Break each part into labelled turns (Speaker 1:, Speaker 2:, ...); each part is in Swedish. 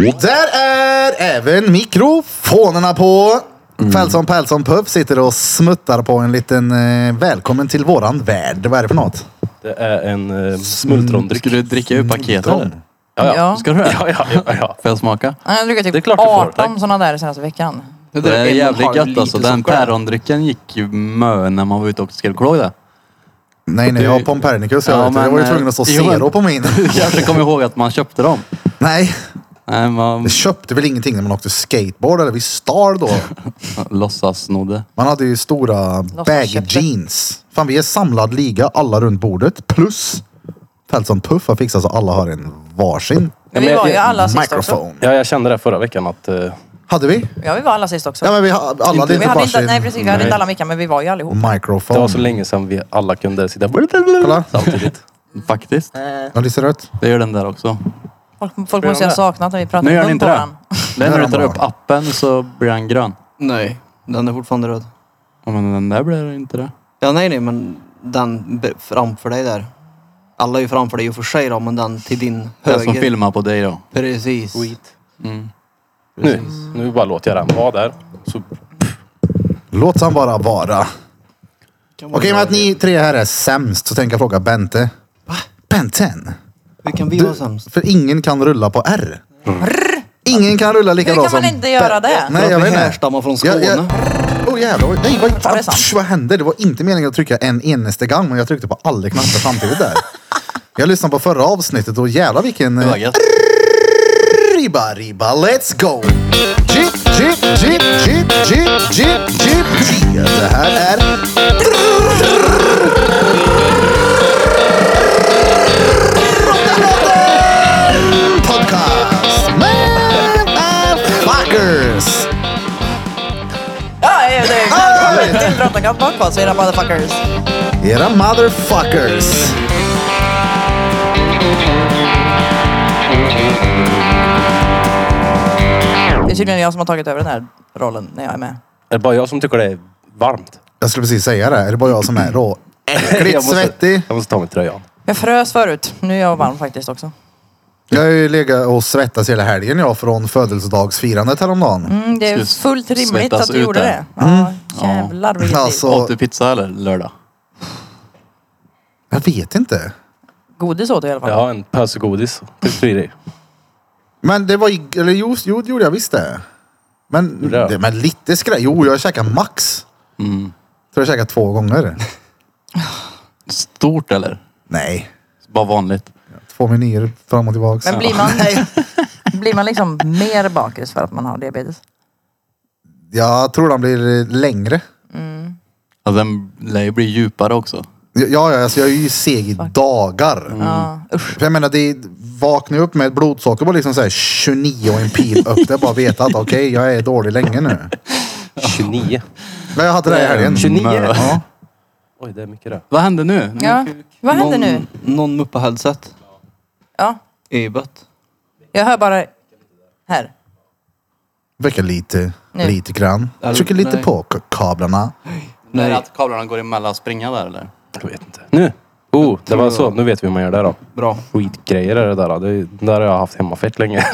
Speaker 1: Där är även mikrofonerna på.
Speaker 2: Mm.
Speaker 1: Pälsson Pälsson Puff sitter och smuttar på en liten eh, välkommen till våran värld. Vad är det för något?
Speaker 3: Det är en eh,
Speaker 2: Du
Speaker 3: smultrondryck.
Speaker 2: skulle dricka ur paketet
Speaker 1: Mm.
Speaker 2: eller?
Speaker 3: Ja, ja.
Speaker 4: Ja.
Speaker 2: Ska du det?
Speaker 3: Ja, ja, ja, ja.
Speaker 2: Får jag smaka?
Speaker 4: Jag har druckit
Speaker 3: Det är
Speaker 4: typ
Speaker 3: klart du får,
Speaker 4: 18
Speaker 3: tack.
Speaker 4: sådana där senaste veckan.
Speaker 2: Det är
Speaker 5: en
Speaker 2: jävligt
Speaker 5: halv
Speaker 2: gött
Speaker 5: liter
Speaker 2: alltså. Den
Speaker 5: socker.
Speaker 2: pärondrycken gick ju mö när man var ute och skrev kloj där.
Speaker 1: Nej, nej, jag har Pompernicus. Jag,
Speaker 2: Ja,
Speaker 1: vet,
Speaker 2: men,
Speaker 1: jag var ju
Speaker 2: eh,
Speaker 1: tvungen att stå
Speaker 2: jo, men-
Speaker 1: zero på min.
Speaker 2: Du kanske kommer ihåg att man köpte dem.
Speaker 1: nej,
Speaker 2: Nej, man
Speaker 1: jag köpte väl ingenting när man åkte skateboard eller vi stal då.
Speaker 2: låtsas-snodde.
Speaker 1: Man hade ju stora baggy
Speaker 4: köpte.
Speaker 1: jeans. Fan, vi är samlad liga alla runt bordet. Plus Pälsson Puff har fixat så alla har en varsin
Speaker 3: Ja,
Speaker 4: vi
Speaker 3: men
Speaker 4: var
Speaker 3: jag-
Speaker 4: ju alla sist också.
Speaker 1: mikrofon.
Speaker 3: ja, jag kände det förra veckan att... eh,
Speaker 1: Hade vi?
Speaker 4: Ja, vi var alla sist också.
Speaker 1: Ja, men vi ha- alla hade
Speaker 4: vi
Speaker 1: inte
Speaker 4: hade inte, nej
Speaker 1: varsin
Speaker 4: precis, vi hade
Speaker 3: Nej.
Speaker 4: inte alla mickar men vi var ju allihop.
Speaker 1: mikrofon.
Speaker 3: det var så länge sedan vi alla kunde sitta
Speaker 1: Kolla.
Speaker 3: samtidigt.
Speaker 2: Faktiskt.
Speaker 1: Ja, det ser ut.
Speaker 2: Det gör den där också.
Speaker 4: Folk, folk
Speaker 3: Gör
Speaker 4: måste ju
Speaker 3: de
Speaker 4: ha
Speaker 3: det?
Speaker 4: saknat när vi pratade
Speaker 2: Nu gör ni
Speaker 4: mun
Speaker 2: inte
Speaker 4: på
Speaker 2: det.
Speaker 4: varandra.
Speaker 2: Den när
Speaker 1: Där
Speaker 2: du tar
Speaker 1: har
Speaker 2: upp
Speaker 1: man.
Speaker 2: appen så blir den grön.
Speaker 5: Nej, den är fortfarande röd.
Speaker 2: Ja, men den där blir inte det.
Speaker 5: Ja, nej, nej, men den b- framför dig där. Alla är ju framför dig i och för sig då, men den till din
Speaker 2: Den
Speaker 5: höger.
Speaker 2: som filmar på dig då.
Speaker 5: Precis.
Speaker 2: Mm.
Speaker 3: Nu, nu bara låter jag den vara där. Så,
Speaker 1: Låt han bara vara.
Speaker 5: Kan man-
Speaker 1: Okej, men att ni tre här är sämst så tänker jag fråga Bente. Va? Benten?
Speaker 5: Hur kan vi
Speaker 1: Du-
Speaker 5: vara sämst?
Speaker 1: För ingen kan rulla på R. Ingen kan rulla lika
Speaker 4: Hur
Speaker 1: bra
Speaker 4: kan
Speaker 1: som...
Speaker 4: man inte göra
Speaker 1: Ben-
Speaker 4: det?
Speaker 1: Nej,
Speaker 5: Mm. För
Speaker 1: jag
Speaker 5: att
Speaker 1: vet
Speaker 5: vi
Speaker 1: inte.
Speaker 5: härstammar från
Speaker 1: Jag-
Speaker 5: Skåne.
Speaker 1: jag- Oh jävlar. oj, Nej, vad,
Speaker 4: Ja, det är sant.
Speaker 1: Psh, vad hände? Det var inte meningen att trycka en eneste gång, men jag tryckte på alla knappar samtidigt där. Jag lyssnade på förra avsnittet och jävlar vilken...
Speaker 2: Det
Speaker 1: eh,
Speaker 2: var gött.
Speaker 1: Ribba, ribba, let's go! Jip, jip, jip, jip, jip, jip, jip, jip. Det här är... Rotterdam Podcast med motherfuckers!
Speaker 4: Ja, det är välkommen till Drottninggatan Podcast era motherfuckers.
Speaker 1: Era motherfuckers!
Speaker 4: Det är tydligen jag som har tagit över den här rollen när jag är med.
Speaker 3: är det bara jag som tycker det är varmt?
Speaker 1: Jag skulle precis säga det, är det bara jag som är rå? Äckligt
Speaker 3: Jag måste-
Speaker 1: svettig.
Speaker 3: Jag måste ta mig tröjan.
Speaker 4: Jag frös förut, nu är jag varm faktiskt också.
Speaker 1: Jag har ju legat och svettats hela helgen jag från födelsedagsfirandet häromdagen.
Speaker 4: Mm, det är
Speaker 2: Ska
Speaker 4: fullt rimligt
Speaker 2: svettas
Speaker 4: att du
Speaker 2: ut
Speaker 4: gjorde
Speaker 2: där.
Speaker 4: det. Ja, jävlar vilket
Speaker 1: Mm. Alltså.
Speaker 4: liv.
Speaker 1: Så-
Speaker 2: Åt du pizza eller lördag?
Speaker 1: Jag vet inte.
Speaker 4: Godis åt du i alla fall.
Speaker 3: Jag har en pöse godis. Tyckte du det?
Speaker 1: Men det var ju, eller jo, jo det gjorde jag visst det. Men,
Speaker 3: Gjorde jag?
Speaker 1: det, men lite skrä... Jo, jag käkade max.
Speaker 2: Mm.
Speaker 1: Tror jag käkade två gånger.
Speaker 2: Stort eller?
Speaker 1: Nej,
Speaker 2: Bara vanligt.
Speaker 1: två menyer fram och tillbaks.
Speaker 4: Men blir man, blir man liksom mer bakis för att man har diabetes?
Speaker 1: Jag tror den blir längre.
Speaker 2: Ja, den lär ju bli djupare också.
Speaker 1: Ja, ja, alltså jag är ju seg i dagar.
Speaker 4: Ja, usch.
Speaker 1: För jag menar, det vaknar ju upp med ett blodsocker på liksom så här 29 och en pil upp. Det är bara att veta att okej, jag är dålig länge nu.
Speaker 3: 29.
Speaker 1: Men jag hade det här i helgen.
Speaker 3: 29?
Speaker 2: Mö.
Speaker 1: Ja.
Speaker 3: Oj, det är mycket det.
Speaker 2: Vad hände nu?
Speaker 4: Ja. Vad händer nu?
Speaker 5: Någon, någon muppa-headset
Speaker 4: Ja,
Speaker 5: i bött.
Speaker 4: jag hör bara här.
Speaker 1: Väcker lite,
Speaker 4: Nej.
Speaker 1: lite grann.
Speaker 5: Eller-
Speaker 1: Trycker lite
Speaker 5: nej.
Speaker 1: på k- kablarna.
Speaker 2: Nej.
Speaker 5: Nej.
Speaker 2: att kablarna går emellan springa där eller?
Speaker 3: Jag vet inte. Nu! Oh, det var så. Nu vet vi hur man gör det då.
Speaker 5: Bra.
Speaker 3: Skitgrejer är det där. då. Det, är- den där har jag haft hemma fett länge.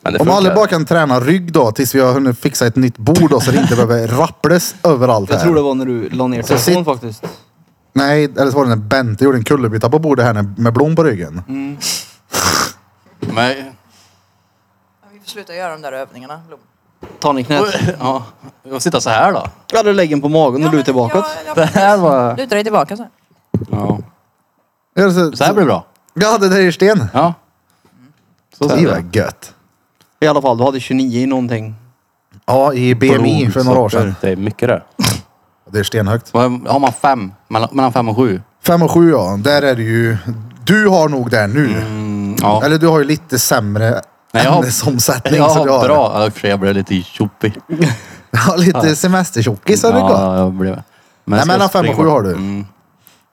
Speaker 3: Men det
Speaker 1: Om alla
Speaker 3: funkar.
Speaker 1: bara kan träna rygg då tills vi har hunnit fixa ett nytt bord då, så det inte behöver rapplas överallt
Speaker 5: Jag tror det
Speaker 1: här.
Speaker 5: var när du la ner
Speaker 1: sitt-
Speaker 5: telefonen faktiskt.
Speaker 1: Nej, eller så var det när Bente gjorde en kullerbytta på bordet här när- med blom på ryggen.
Speaker 2: Nej.
Speaker 4: Vi får sluta göra de där övningarna. Blom.
Speaker 5: Tar ni knät?
Speaker 2: Ja. Och sitta så här då?
Speaker 5: Ja, du lägger den på magen och lutar bakåt.
Speaker 4: Jag,
Speaker 2: Det här var...
Speaker 4: luta dig tillbaka så. här.
Speaker 2: Ja.
Speaker 1: Ja, så,
Speaker 2: Så här blir det bra.
Speaker 1: Jag hade det där i sten.
Speaker 2: Ja. Så
Speaker 1: Det
Speaker 2: ser det.
Speaker 1: var gött.
Speaker 5: I alla fall, du hade 29 i någonting.
Speaker 1: Ja, i BMI för några år sedan.
Speaker 3: Det är mycket det.
Speaker 1: Det är stenhögt.
Speaker 2: Vad- Har man fem? Mellan, mellan fem och sju?
Speaker 1: Fem och sju ja, där är det ju... Du har nog där nu.
Speaker 2: Mm, ja.
Speaker 1: Eller du har ju lite sämre
Speaker 2: Nej, jag har-
Speaker 1: ämnesomsättning.
Speaker 2: jag
Speaker 1: så du
Speaker 2: har bra. Ja, i och för sig, jag blev lite tjoppig.
Speaker 1: Ja, lite semestertjockis har du gått.
Speaker 2: Ja, jag blev... Men jag
Speaker 1: Nej,
Speaker 2: ska
Speaker 1: mellan fem och
Speaker 2: springa-
Speaker 1: sju har du.
Speaker 2: Mm.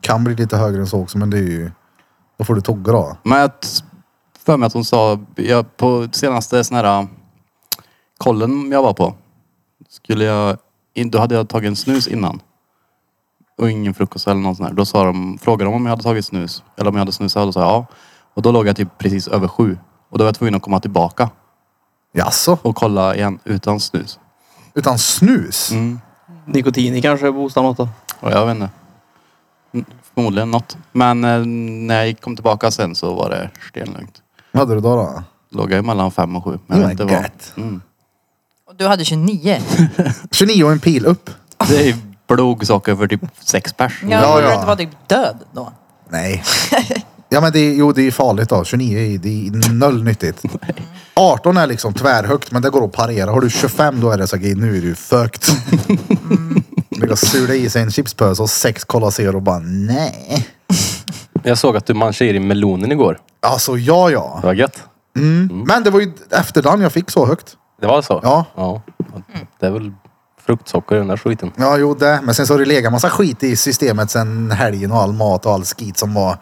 Speaker 1: Kan bli lite högre än så också, men det är ju... Då får du tugga då.
Speaker 2: Men jag t- för mig att hon sa, jag, på senaste sån här äh, kollen jag var på, skulle jag, in- då hade jag tagit en snus innan. Och ingen frukost eller någon sån här. Då sa de, frågade de om jag hade tagit snus. Eller om jag hade snusat. Och då sa jag ja. Och då låg jag typ precis över sju. Och då var jag tvungen att komma tillbaka.
Speaker 1: Jaså?
Speaker 2: och kolla igen utan snus.
Speaker 1: Utan snus?
Speaker 2: Mm.
Speaker 5: Nikotin i kanske boostar något då.
Speaker 2: Och jag vet inte. Mm, Förmodligen något. Men eh, när jag kom tillbaka sen så var det stenlugnt.
Speaker 1: Vad hade du då? då?
Speaker 2: Låg jag mellan fem och sju. Men jag
Speaker 1: Oh
Speaker 2: vet
Speaker 1: my
Speaker 2: inte vad.
Speaker 1: God.
Speaker 4: Och du hade 29.
Speaker 1: 29 och en pil upp.
Speaker 2: Det är blodsocker för typ sex pers.
Speaker 4: Jag
Speaker 1: Ja,
Speaker 4: borde
Speaker 1: ja.
Speaker 4: inte vara typ död då.
Speaker 1: Nej. Ja men det, är- jo det är farligt då. 29 är, det är noll nyttigt. 18 är liksom tvärhögt men det går att parera. Har du 25 då är det så här, nu är du fucked. Det går att sula i sig en chipspöse och sex Cola Zero och bara nej.
Speaker 3: Jag såg att du manchade i melonen igår.
Speaker 1: Alltså ja ja.
Speaker 3: Det var gött.
Speaker 1: Men det var ju efterdagen jag fick så högt.
Speaker 3: Det var så?
Speaker 1: Ja.
Speaker 3: ja. Det är väl fruktsocker i den där skiten.
Speaker 1: Ja jo det. Men sen så har det legat massa skit i systemet sen helgen och all mat och all skit som var.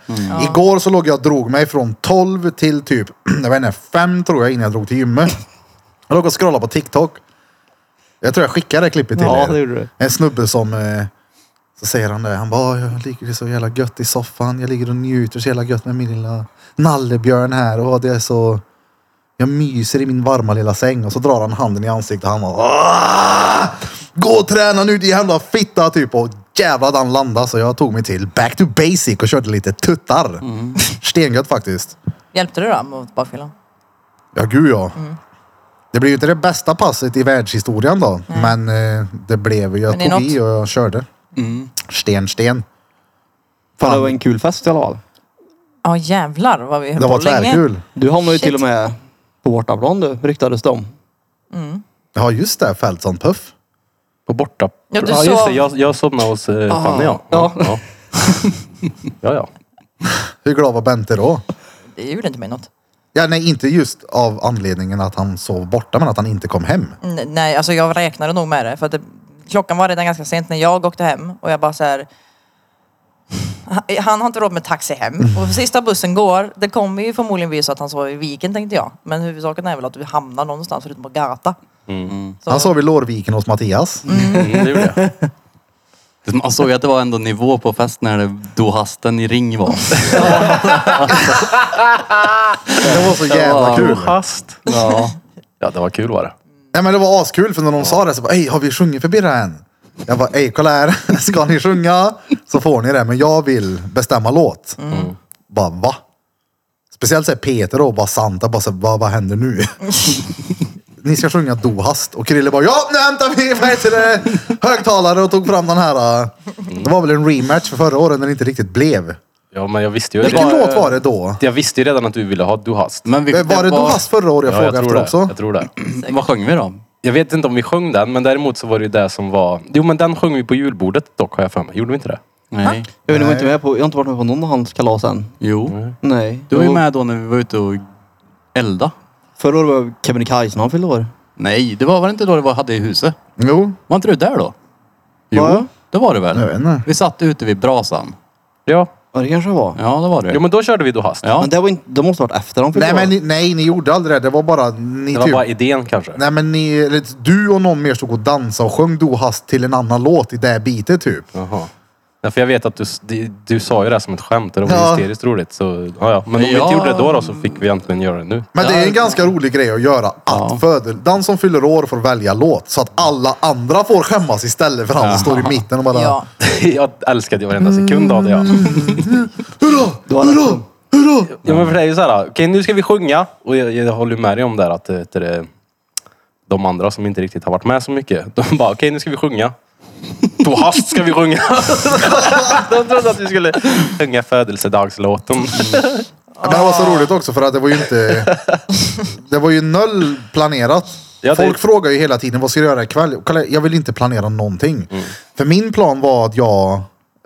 Speaker 1: Igår så låg jag och drog mig från 12 till typ, jag vet inte, 5 tror jag innan jag drog till gymmet. Jag låg och scrollade på TikTok. Jag tror jag skickade det klippet till
Speaker 5: Ja,
Speaker 1: er.
Speaker 5: det gjorde du.
Speaker 1: En snubbe som, eh, så säger han det, han bara "Åh, jag ligger så jävla gött i soffan, jag ligger och njuter så jävla gött med min lilla nallebjörn här och det är så, jag myser i min varma lilla säng och så drar han handen i ansiktet och han bara "Åh! Gå och träna nu din jävla fitta typ och jävlar han landade så jag tog mig till back to basic och körde lite tuttar. Stengött faktiskt.
Speaker 4: Hjälpte du då mot bakfyllan?
Speaker 1: Ja, gud ja. Det blev ju inte det bästa passet i världshistorien då, men eh, det blev ju. Jag
Speaker 4: Men det är
Speaker 1: tog i och jag körde. Sten, sten.
Speaker 5: Fan,
Speaker 1: Fan.
Speaker 5: det var en kul fest i alla fall.
Speaker 4: Ja jävlar vad vi höll
Speaker 1: Det var
Speaker 4: på länge.
Speaker 1: tvärkul.
Speaker 5: Du hamnade ju
Speaker 4: Shit.
Speaker 5: till och med på bortaplan du, ryktades det om.
Speaker 1: Ja, just det. Fältson Puff.
Speaker 3: På borta...
Speaker 4: Ja, du
Speaker 3: just
Speaker 4: sov. Ah.
Speaker 3: det. Jag, jag somnade hos eh, Fanny ja.
Speaker 5: Ja.
Speaker 3: Ja. ja, ja.
Speaker 1: Hur glad var Bente då?
Speaker 4: Det gjorde inte mig något.
Speaker 1: Ja, nej, inte just av anledningen att han sov borta, men att han inte kom hem.
Speaker 4: N- Nej, alltså jag räknade nog med det. För att det, klockan var redan ganska sent när jag åkte hem och jag bara så här. Han- Han har inte råd med taxi hem.
Speaker 1: Mm.
Speaker 4: Och sista bussen går. Det kommer ju förmodligen bli så att han sover i viken tänkte jag. Men huvudsaken är väl att vi hamnar någonstans förutom på gata. Så,
Speaker 1: Han sov i Lårviken hos Mattias.
Speaker 3: Mm, det gjorde jag.
Speaker 2: Man såg att det var ändå nivå på fest när det, då hasten i ring var.
Speaker 1: Det var så jävla
Speaker 2: var-
Speaker 1: kul.
Speaker 3: hast.
Speaker 2: Ja.
Speaker 3: Ja, det var kul var det.
Speaker 1: Nej, men det var askul för när de sa det så bara, "Ey, har vi sjungit förbi det här än? Jag bara, ey kolla här, ska ni sjunga så får ni det, men jag vill bestämma låt. Bara va? Speciellt så här Peter då, och bara Santa, bara så här, vad, vad händer nu? ni ska sjunga Dohast och Krille bara, ja nu hämtar vi vad heter det, högtalare och tog fram den här. äh." Det var väl en rematch för förra året när det inte riktigt blev.
Speaker 3: Ja, men jag visste ju...
Speaker 1: Vilken
Speaker 3: jag,
Speaker 1: låt var det då?
Speaker 3: Jag visste ju redan att du ville ha du hast.
Speaker 2: Men vi,
Speaker 1: Var det Dohast förra året jag
Speaker 3: ja, jag
Speaker 1: frågade
Speaker 3: tror
Speaker 1: efter
Speaker 3: det.
Speaker 1: också?
Speaker 3: Jag tror det.
Speaker 2: Vad sjöng vi då?
Speaker 3: Jag vet inte om vi sjöng den, men däremot så var det ju det som var... Jo, men den sjöng vi på julbordet dock, har jag för mig. Gjorde vi inte det?
Speaker 2: Nej.
Speaker 5: Jag, vet, inte, jag, var inte med på, jag har inte varit med på någon av hans kalas än.
Speaker 2: Jo.
Speaker 5: Nej.
Speaker 2: Du var ju
Speaker 5: Jo,
Speaker 2: med då när vi var ute och elda.
Speaker 5: Förra året var Kebnekaise när han fyllde år.
Speaker 2: Nej, det var väl inte då det var hade i huset?
Speaker 1: Jo,
Speaker 2: Var inte du där då?
Speaker 5: Var jag?
Speaker 2: Det var du väl?
Speaker 1: jag vet inte.
Speaker 2: Vi satt ute vid brasan.
Speaker 3: Ja.
Speaker 5: Ja, det kanske det var.
Speaker 2: Ja, det var du.
Speaker 3: Jo, men då körde vi du hast.
Speaker 2: Ja.
Speaker 5: Men det, var inte, det måste ha varit efter han
Speaker 1: Nej,
Speaker 5: fyllde år.
Speaker 1: men ni, nej, ni gjorde aldrig det. Det var bara ni
Speaker 3: Det var
Speaker 1: typ
Speaker 3: bara idén kanske.
Speaker 1: Nej men ni, eller du och någon mer stod och dansade och sjöng Do hast till en annan låt i det här bitet typ.
Speaker 3: Jaha. Nej, för jag vet att du, du, du sa ju det här som ett skämt och det var
Speaker 1: Ja.
Speaker 3: hysteriskt roligt. Så, ja, ja. Men om vi
Speaker 2: Ja.
Speaker 3: inte gjorde det då, då så fick vi äntligen göra det nu.
Speaker 1: Men det är en
Speaker 2: Ja.
Speaker 1: ganska rolig grej att göra. Att födel, den som fyller år får välja låt så att alla andra får skämmas istället för han som står i mitten och bara
Speaker 4: ja.
Speaker 3: jag älskade ju varenda sekund av det. Ja.
Speaker 1: Hurra! Hurra! Hurra!
Speaker 3: Ja, men för det är ju så här, okej nu ska vi sjunga. Och jag, jag håller ju med dig om där att eh, det, det, de andra som inte riktigt har varit med så mycket. De bara, okej nu ska vi sjunga. På hast ska vi sjunga. de trodde att vi skulle sjunga födelsedagslåten.
Speaker 1: Det här var
Speaker 3: Ah.
Speaker 1: så roligt också för att det var ju inte... Det var ju noll planerat.
Speaker 3: Ja, det-
Speaker 1: Folk frågar ju hela tiden vad ska du göra ikväll? Kolla, jag vill inte planera någonting.
Speaker 3: Mm.
Speaker 1: För min plan var att jag,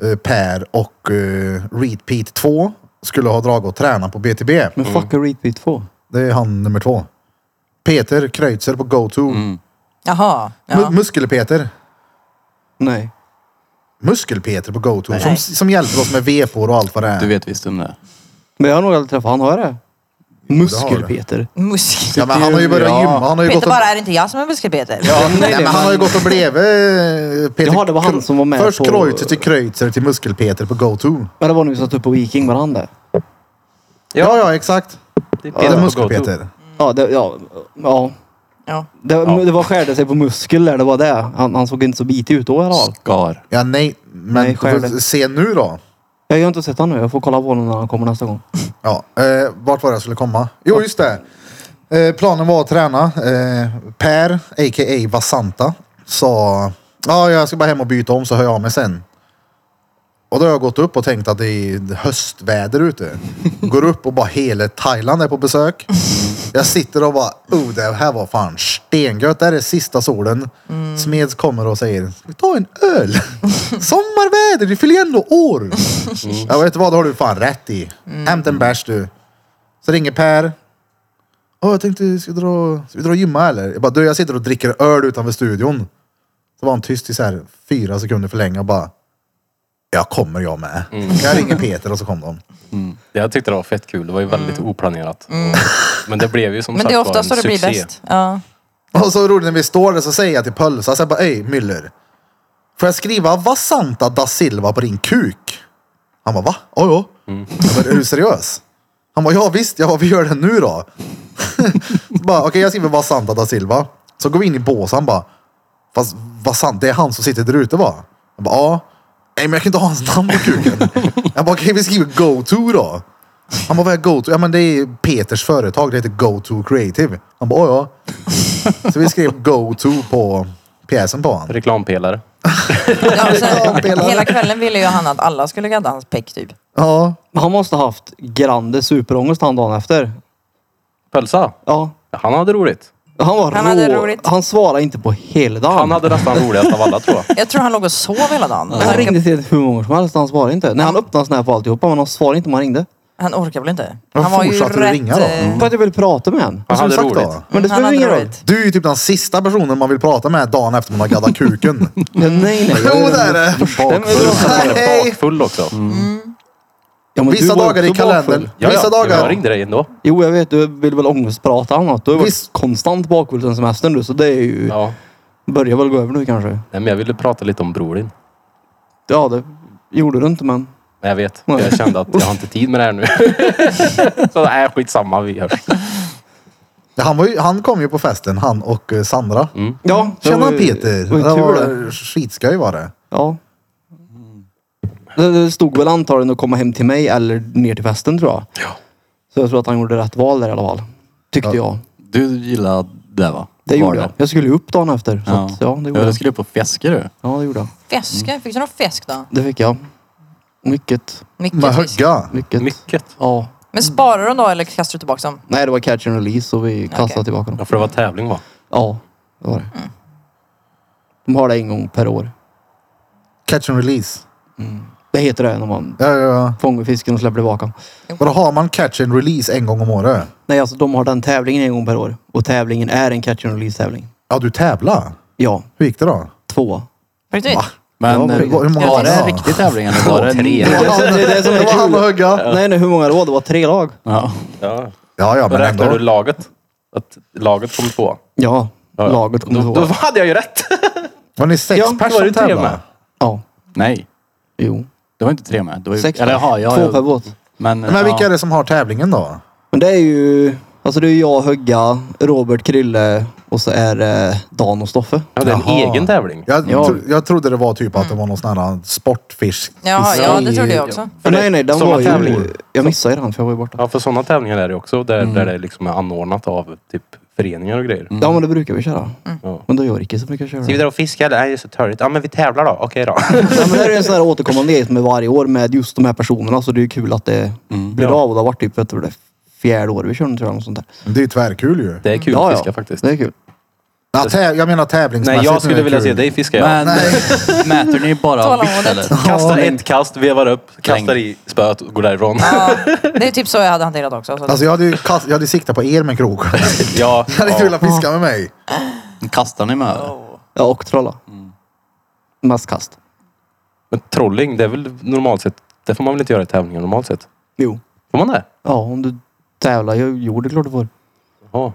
Speaker 1: eh, Per och eh, Repeat 2 skulle ha dragit och tränat på BTB.
Speaker 5: Men fuck a repeat 2.
Speaker 1: Det är han nummer två. Peter Kreutzer på GoTo.
Speaker 4: Jaha.
Speaker 1: Mu-
Speaker 4: Mm. Ja.
Speaker 1: Muskel-Peter.
Speaker 5: Nej.
Speaker 1: Muskel-Peter på GoTo. Som,
Speaker 4: Nej.
Speaker 1: som hjälper oss med V-por och allt vad det är.
Speaker 2: Du vet visst om det.
Speaker 5: Men jag har nog aldrig träffat han, har jag det? Muskel-Peter.
Speaker 4: Musik.
Speaker 1: ja, men han har ju börjat
Speaker 2: Ja.
Speaker 1: gymma. Han har ju
Speaker 4: Peter
Speaker 1: gått och...
Speaker 4: bara, är det inte jag som är muskelpeter?
Speaker 1: Ja, nej,
Speaker 5: nej,
Speaker 1: men han har ju
Speaker 5: men-
Speaker 1: gått och blivit eh, Peter
Speaker 5: Jaha, det var han
Speaker 1: Kro-
Speaker 5: som var med
Speaker 1: Först
Speaker 5: på-
Speaker 1: Kreutzer till Kreutzer till Muskel-Peter på GoTo.
Speaker 5: Men det var nu vi satt upp på Viking, var han det?
Speaker 1: Ja, ja, exakt.
Speaker 3: är
Speaker 1: Ja, det är
Speaker 3: på
Speaker 1: Muskel-Peter.
Speaker 3: GoTo.
Speaker 5: Ja, det, ja, ja.
Speaker 4: Ja.
Speaker 5: Det, det var skärde sig på muskel där, det var det. Han, han såg inte så bitig ut då i alla fall.
Speaker 2: Skar.
Speaker 1: Ja, nej, men
Speaker 5: Nej, skär det.
Speaker 1: se nu då.
Speaker 5: Jag har inte sett honom nu. Jag får kolla på honom när han kommer nästa gång.
Speaker 1: Ja, eh, vart var det jag skulle komma? Jo, just det. Eh, planen var att träna. Eh, per, a.k.a. Vasanta, sa ja, jag ska bara hem och byta om så hör jag av mig sen. Och då har jag gått upp och tänkt att det är höstväder ute. Går upp och bara hela Thailand är på besök. Jag sitter och bara, oh det här var fan stengött. Det här är sista solen. Smeds kommer och säger, ska vi ta en öl? Sommarväder, det fyller ju ändå år. Jag vet vad, det har du fan rätt i. Hämta en bärs du. Så ringer Per. Åh, jag tänkte, ska vi dra, ska vi dra och gymma eller? Jag bara, du jag sitter och dricker öl utanför studion. Så var han tyst i så här fyra sekunder för länge och bara, jag kommer jag med. Jag ringer Peter och så kom de.
Speaker 3: Det jag tyckte det var fett kul. Det var ju väldigt oplanerat. Och- Men det blev ju som
Speaker 4: Men
Speaker 3: sagt
Speaker 4: det är
Speaker 3: var en
Speaker 4: oftast så det blir
Speaker 3: succé.
Speaker 4: bäst. Ja.
Speaker 1: Och så roligt när vi står där så säger jag till Pölsa, så jag bara, ey Müller. Får jag skriva Vasanta da Silva på din kuk? Han bara, va? Oh, ja. Jag bara, är du seriös? Han bara, ja visst, ja, vi gör det nu då. Så bara, Okej, jag skriver Vasanta da Silva. Så går vi in i båsen, han bara, fast Vasant, det är han som sitter där ute va? Jag bara, ja. Nej, men jag kan inte ha hans namn på kuken. Jag bara, okej, vi skriver Go To då. Han bara, vad är Go To? Ja, men det är Peters företag, det heter Go To Creative. Han bara, ja, ja. Så vi skrev go to på pjäsen på honom.
Speaker 3: Reklampelare.
Speaker 4: Ja, och sen,
Speaker 1: Reklampelare.
Speaker 4: hela kvällen ville ju han att alla skulle gadda hans peck typ.
Speaker 1: Ja,
Speaker 5: Men Han måste ha haft grande superångest han dagen efter.
Speaker 3: Pölsa.
Speaker 5: Ja.
Speaker 3: Han hade roligt.
Speaker 5: Han var
Speaker 4: Han
Speaker 5: rå.
Speaker 4: hade roligt.
Speaker 5: Han svarade inte på hela dagen.
Speaker 3: Han hade nästan roligast av alla tror jag.
Speaker 4: Jag tror han låg och sov hela dagen.
Speaker 5: Han ringde till hur många som helst, han svarade inte. Nej, han öppnade Snap och alltihopa, men han svarade inte om han ringde.
Speaker 4: Han orkar väl inte?
Speaker 1: Men
Speaker 4: Han var ju
Speaker 1: fortsatte du
Speaker 4: rätt...
Speaker 1: ringa då?
Speaker 4: eh,
Speaker 1: Mm.
Speaker 5: För att jag ville prata med honom.
Speaker 3: Han
Speaker 1: som
Speaker 3: hade
Speaker 1: sagt
Speaker 3: roligt.
Speaker 1: då.
Speaker 5: Men det
Speaker 4: han
Speaker 5: spelar
Speaker 4: hade
Speaker 5: ingen roll.
Speaker 4: roligt.
Speaker 1: Du är ju typ den sista personen man vill prata med dagen efter man har gaddat kuken.
Speaker 5: Ja, nej, nej.
Speaker 1: Jo, det är det.
Speaker 3: Han var
Speaker 1: Nej.
Speaker 3: bakfull också.
Speaker 5: Ja, men
Speaker 1: Vissa
Speaker 5: du var
Speaker 1: dagar i
Speaker 5: också
Speaker 1: kalendern.
Speaker 5: bakfull.
Speaker 3: Ja,
Speaker 1: Vissa
Speaker 3: ja. Jag
Speaker 1: dagar.
Speaker 3: ringde dig ändå.
Speaker 5: Jo, jag vet. Du vill väl ångestprata annat. Du har ju
Speaker 1: Visst.
Speaker 5: varit konstant bakfull sen semestern du, så det är ju...
Speaker 3: Ja.
Speaker 5: Börjar väl gå över nu kanske.
Speaker 3: Nej, men jag ville prata lite om bror din.
Speaker 5: Ja, det gjorde du inte, men...
Speaker 3: Men jag vet.
Speaker 5: Nej.
Speaker 3: Jag kände att jag har inte tid med det här nu. Så nej, skitsamma. Vi hörs.
Speaker 1: Han, var ju, han kom ju på festen, han och eh, Sandra.
Speaker 5: Ja, det
Speaker 1: Tjena
Speaker 5: var ju-
Speaker 1: Peter!
Speaker 5: Det var ju
Speaker 1: Det
Speaker 5: tur det.
Speaker 1: var skitskoj var det.
Speaker 5: Ja. Det, det stod väl antagligen att komma hem till mig eller ner till festen tror jag.
Speaker 3: Ja.
Speaker 5: Så jag tror att han gjorde rätt val där i alla fall. Tyckte
Speaker 1: Ja.
Speaker 5: jag.
Speaker 2: Du gillade det va?
Speaker 5: Det
Speaker 2: Var
Speaker 5: gjorde jag. Jag skulle ju upp dagen efter. Så
Speaker 2: Ja.
Speaker 5: att, ja, det gjorde
Speaker 2: ja, du
Speaker 5: jag.
Speaker 2: skulle upp på fiske du.
Speaker 5: Ja, det gjorde jag. Mm.
Speaker 4: Fiske? Fick du någon fisk då?
Speaker 5: Det fick jag. Mycket.
Speaker 4: Mycket
Speaker 1: Med
Speaker 4: fisk.
Speaker 1: högga.
Speaker 5: Mycket.
Speaker 3: Mycket.
Speaker 5: Ja.
Speaker 4: Men sparar de då eller kastar du tillbaka dem?
Speaker 5: Nej, det var catch and release och vi kastade
Speaker 4: Okej.
Speaker 5: tillbaka
Speaker 3: Ja,
Speaker 5: dem.
Speaker 3: för det var tävling va?
Speaker 5: Ja, det var det. De har det en gång per år.
Speaker 1: Catch and release.
Speaker 5: Det heter det när man
Speaker 1: Ja, ja,
Speaker 5: fångar fisken och släpper tillbaka.
Speaker 1: ja. Och då har man catch and release en gång om året?
Speaker 5: Nej, alltså de har den tävlingen en gång per år. Och tävlingen är en catch and release tävling.
Speaker 1: Ja, du tävlar.
Speaker 5: Ja,
Speaker 1: Hur gick det då?
Speaker 5: två.
Speaker 4: På riktigt?
Speaker 2: Men
Speaker 5: Ja,
Speaker 2: eh,
Speaker 1: Hur hur många
Speaker 4: Ja,
Speaker 2: var
Speaker 1: var
Speaker 4: det
Speaker 2: det
Speaker 1: det?
Speaker 2: en
Speaker 1: då?
Speaker 2: riktig tävling eller var det
Speaker 3: Två, tre.
Speaker 5: Det, är- det är det som
Speaker 1: Det var
Speaker 5: är
Speaker 1: han och
Speaker 5: kul.
Speaker 1: högga.
Speaker 5: Nej, nej, hur många råd? Det var tre lag.
Speaker 2: Ja.
Speaker 3: Ja.
Speaker 1: Ja, ja,
Speaker 3: Då
Speaker 1: men
Speaker 3: räknar du
Speaker 1: ändå.
Speaker 3: laget. Att laget kom två.
Speaker 5: Ja,
Speaker 3: Ja, ja.
Speaker 5: laget kommer
Speaker 3: då, då
Speaker 5: två.
Speaker 3: hade jag ju rätt.
Speaker 1: Var ni sex
Speaker 5: Ja, det
Speaker 1: pers
Speaker 3: var
Speaker 1: som
Speaker 3: ju tre
Speaker 1: tävlade?
Speaker 3: med.
Speaker 5: Ja,
Speaker 2: Nej,
Speaker 5: jo.
Speaker 2: det var inte tre med. Det var ju,
Speaker 5: Sex
Speaker 2: eller,
Speaker 5: pers.
Speaker 2: ja, ja,
Speaker 5: Två
Speaker 2: ja.
Speaker 5: per båt.
Speaker 2: Men,
Speaker 1: Men vilka
Speaker 2: ja.
Speaker 1: är det som har tävlingen då?
Speaker 5: Men det är ju... Alltså det är jag, Högga, Robert, Krille och så är det Dan och Stoffe.
Speaker 3: Ja, det är en
Speaker 1: Jaha.
Speaker 3: egen tävling.
Speaker 1: Jag,
Speaker 2: Ja.
Speaker 1: tro, jag trodde det var typ att det var någon sån här sportfisk.
Speaker 4: Ja, ja, det trodde jag också.
Speaker 3: För det-
Speaker 5: nej, nej, den
Speaker 3: såna
Speaker 5: var ju...
Speaker 3: tävlingar.
Speaker 5: Jag missade ju den för jag var ju borta.
Speaker 3: Ja, för sådana tävlingar är det också. Där, där det liksom är anordnat av typ föreningar och grejer.
Speaker 5: Ja, men det brukar vi köra.
Speaker 3: Mm. Ja.
Speaker 5: Men det är jag och Ricky som brukar köra.
Speaker 3: Ska vi
Speaker 5: det.
Speaker 3: dra och fiska eller? Nej, det är så törligt. Ja, men vi tävlar då. Okej då.
Speaker 5: Nej, men det är ju en sån här återkommande grej med varje år med just de här personerna. Så det är ju kul att det blir
Speaker 3: Mm. Ja.
Speaker 5: av. Och det har varit typ, jag tror det är fjärde året vi körde tror jag. Något sånt där.
Speaker 1: Det är ju tvärkul ju.
Speaker 3: Det är kul
Speaker 5: Ja,
Speaker 3: att
Speaker 5: ja.
Speaker 3: fiska faktiskt.
Speaker 5: Det är kul.
Speaker 1: Ja, tä, jag menar
Speaker 3: Nej,
Speaker 1: tävlingsmässigt. nu är
Speaker 3: jag skulle
Speaker 1: det
Speaker 3: vilja
Speaker 1: kul.
Speaker 3: se dig fiska. Ja.
Speaker 2: men mäter ni bara
Speaker 4: Tålamodet.
Speaker 2: vikt eller?
Speaker 3: Kastar ett kast, vevar upp, kastar
Speaker 2: Släng.
Speaker 3: i spöet och går därifrån.
Speaker 4: Ja, det är typ så jag hade hanterat också. Så att,
Speaker 1: Alltså jag hade ju kast, jag hade siktat på er med krok.
Speaker 3: Ja,
Speaker 1: Jag hade inte
Speaker 3: ja.
Speaker 1: velat fiska med mig.
Speaker 2: Kastar ni med? eller?
Speaker 5: Ja, och trolla.
Speaker 3: Mm.
Speaker 5: Mest kast.
Speaker 3: Men trolling, det är väl normalt sett. Det får man väl inte göra i tävlingar normalt sett?
Speaker 5: Jo.
Speaker 3: Får man det?
Speaker 5: Ja, om du tävlar. Jo, jo det är klart du får.
Speaker 3: Ja.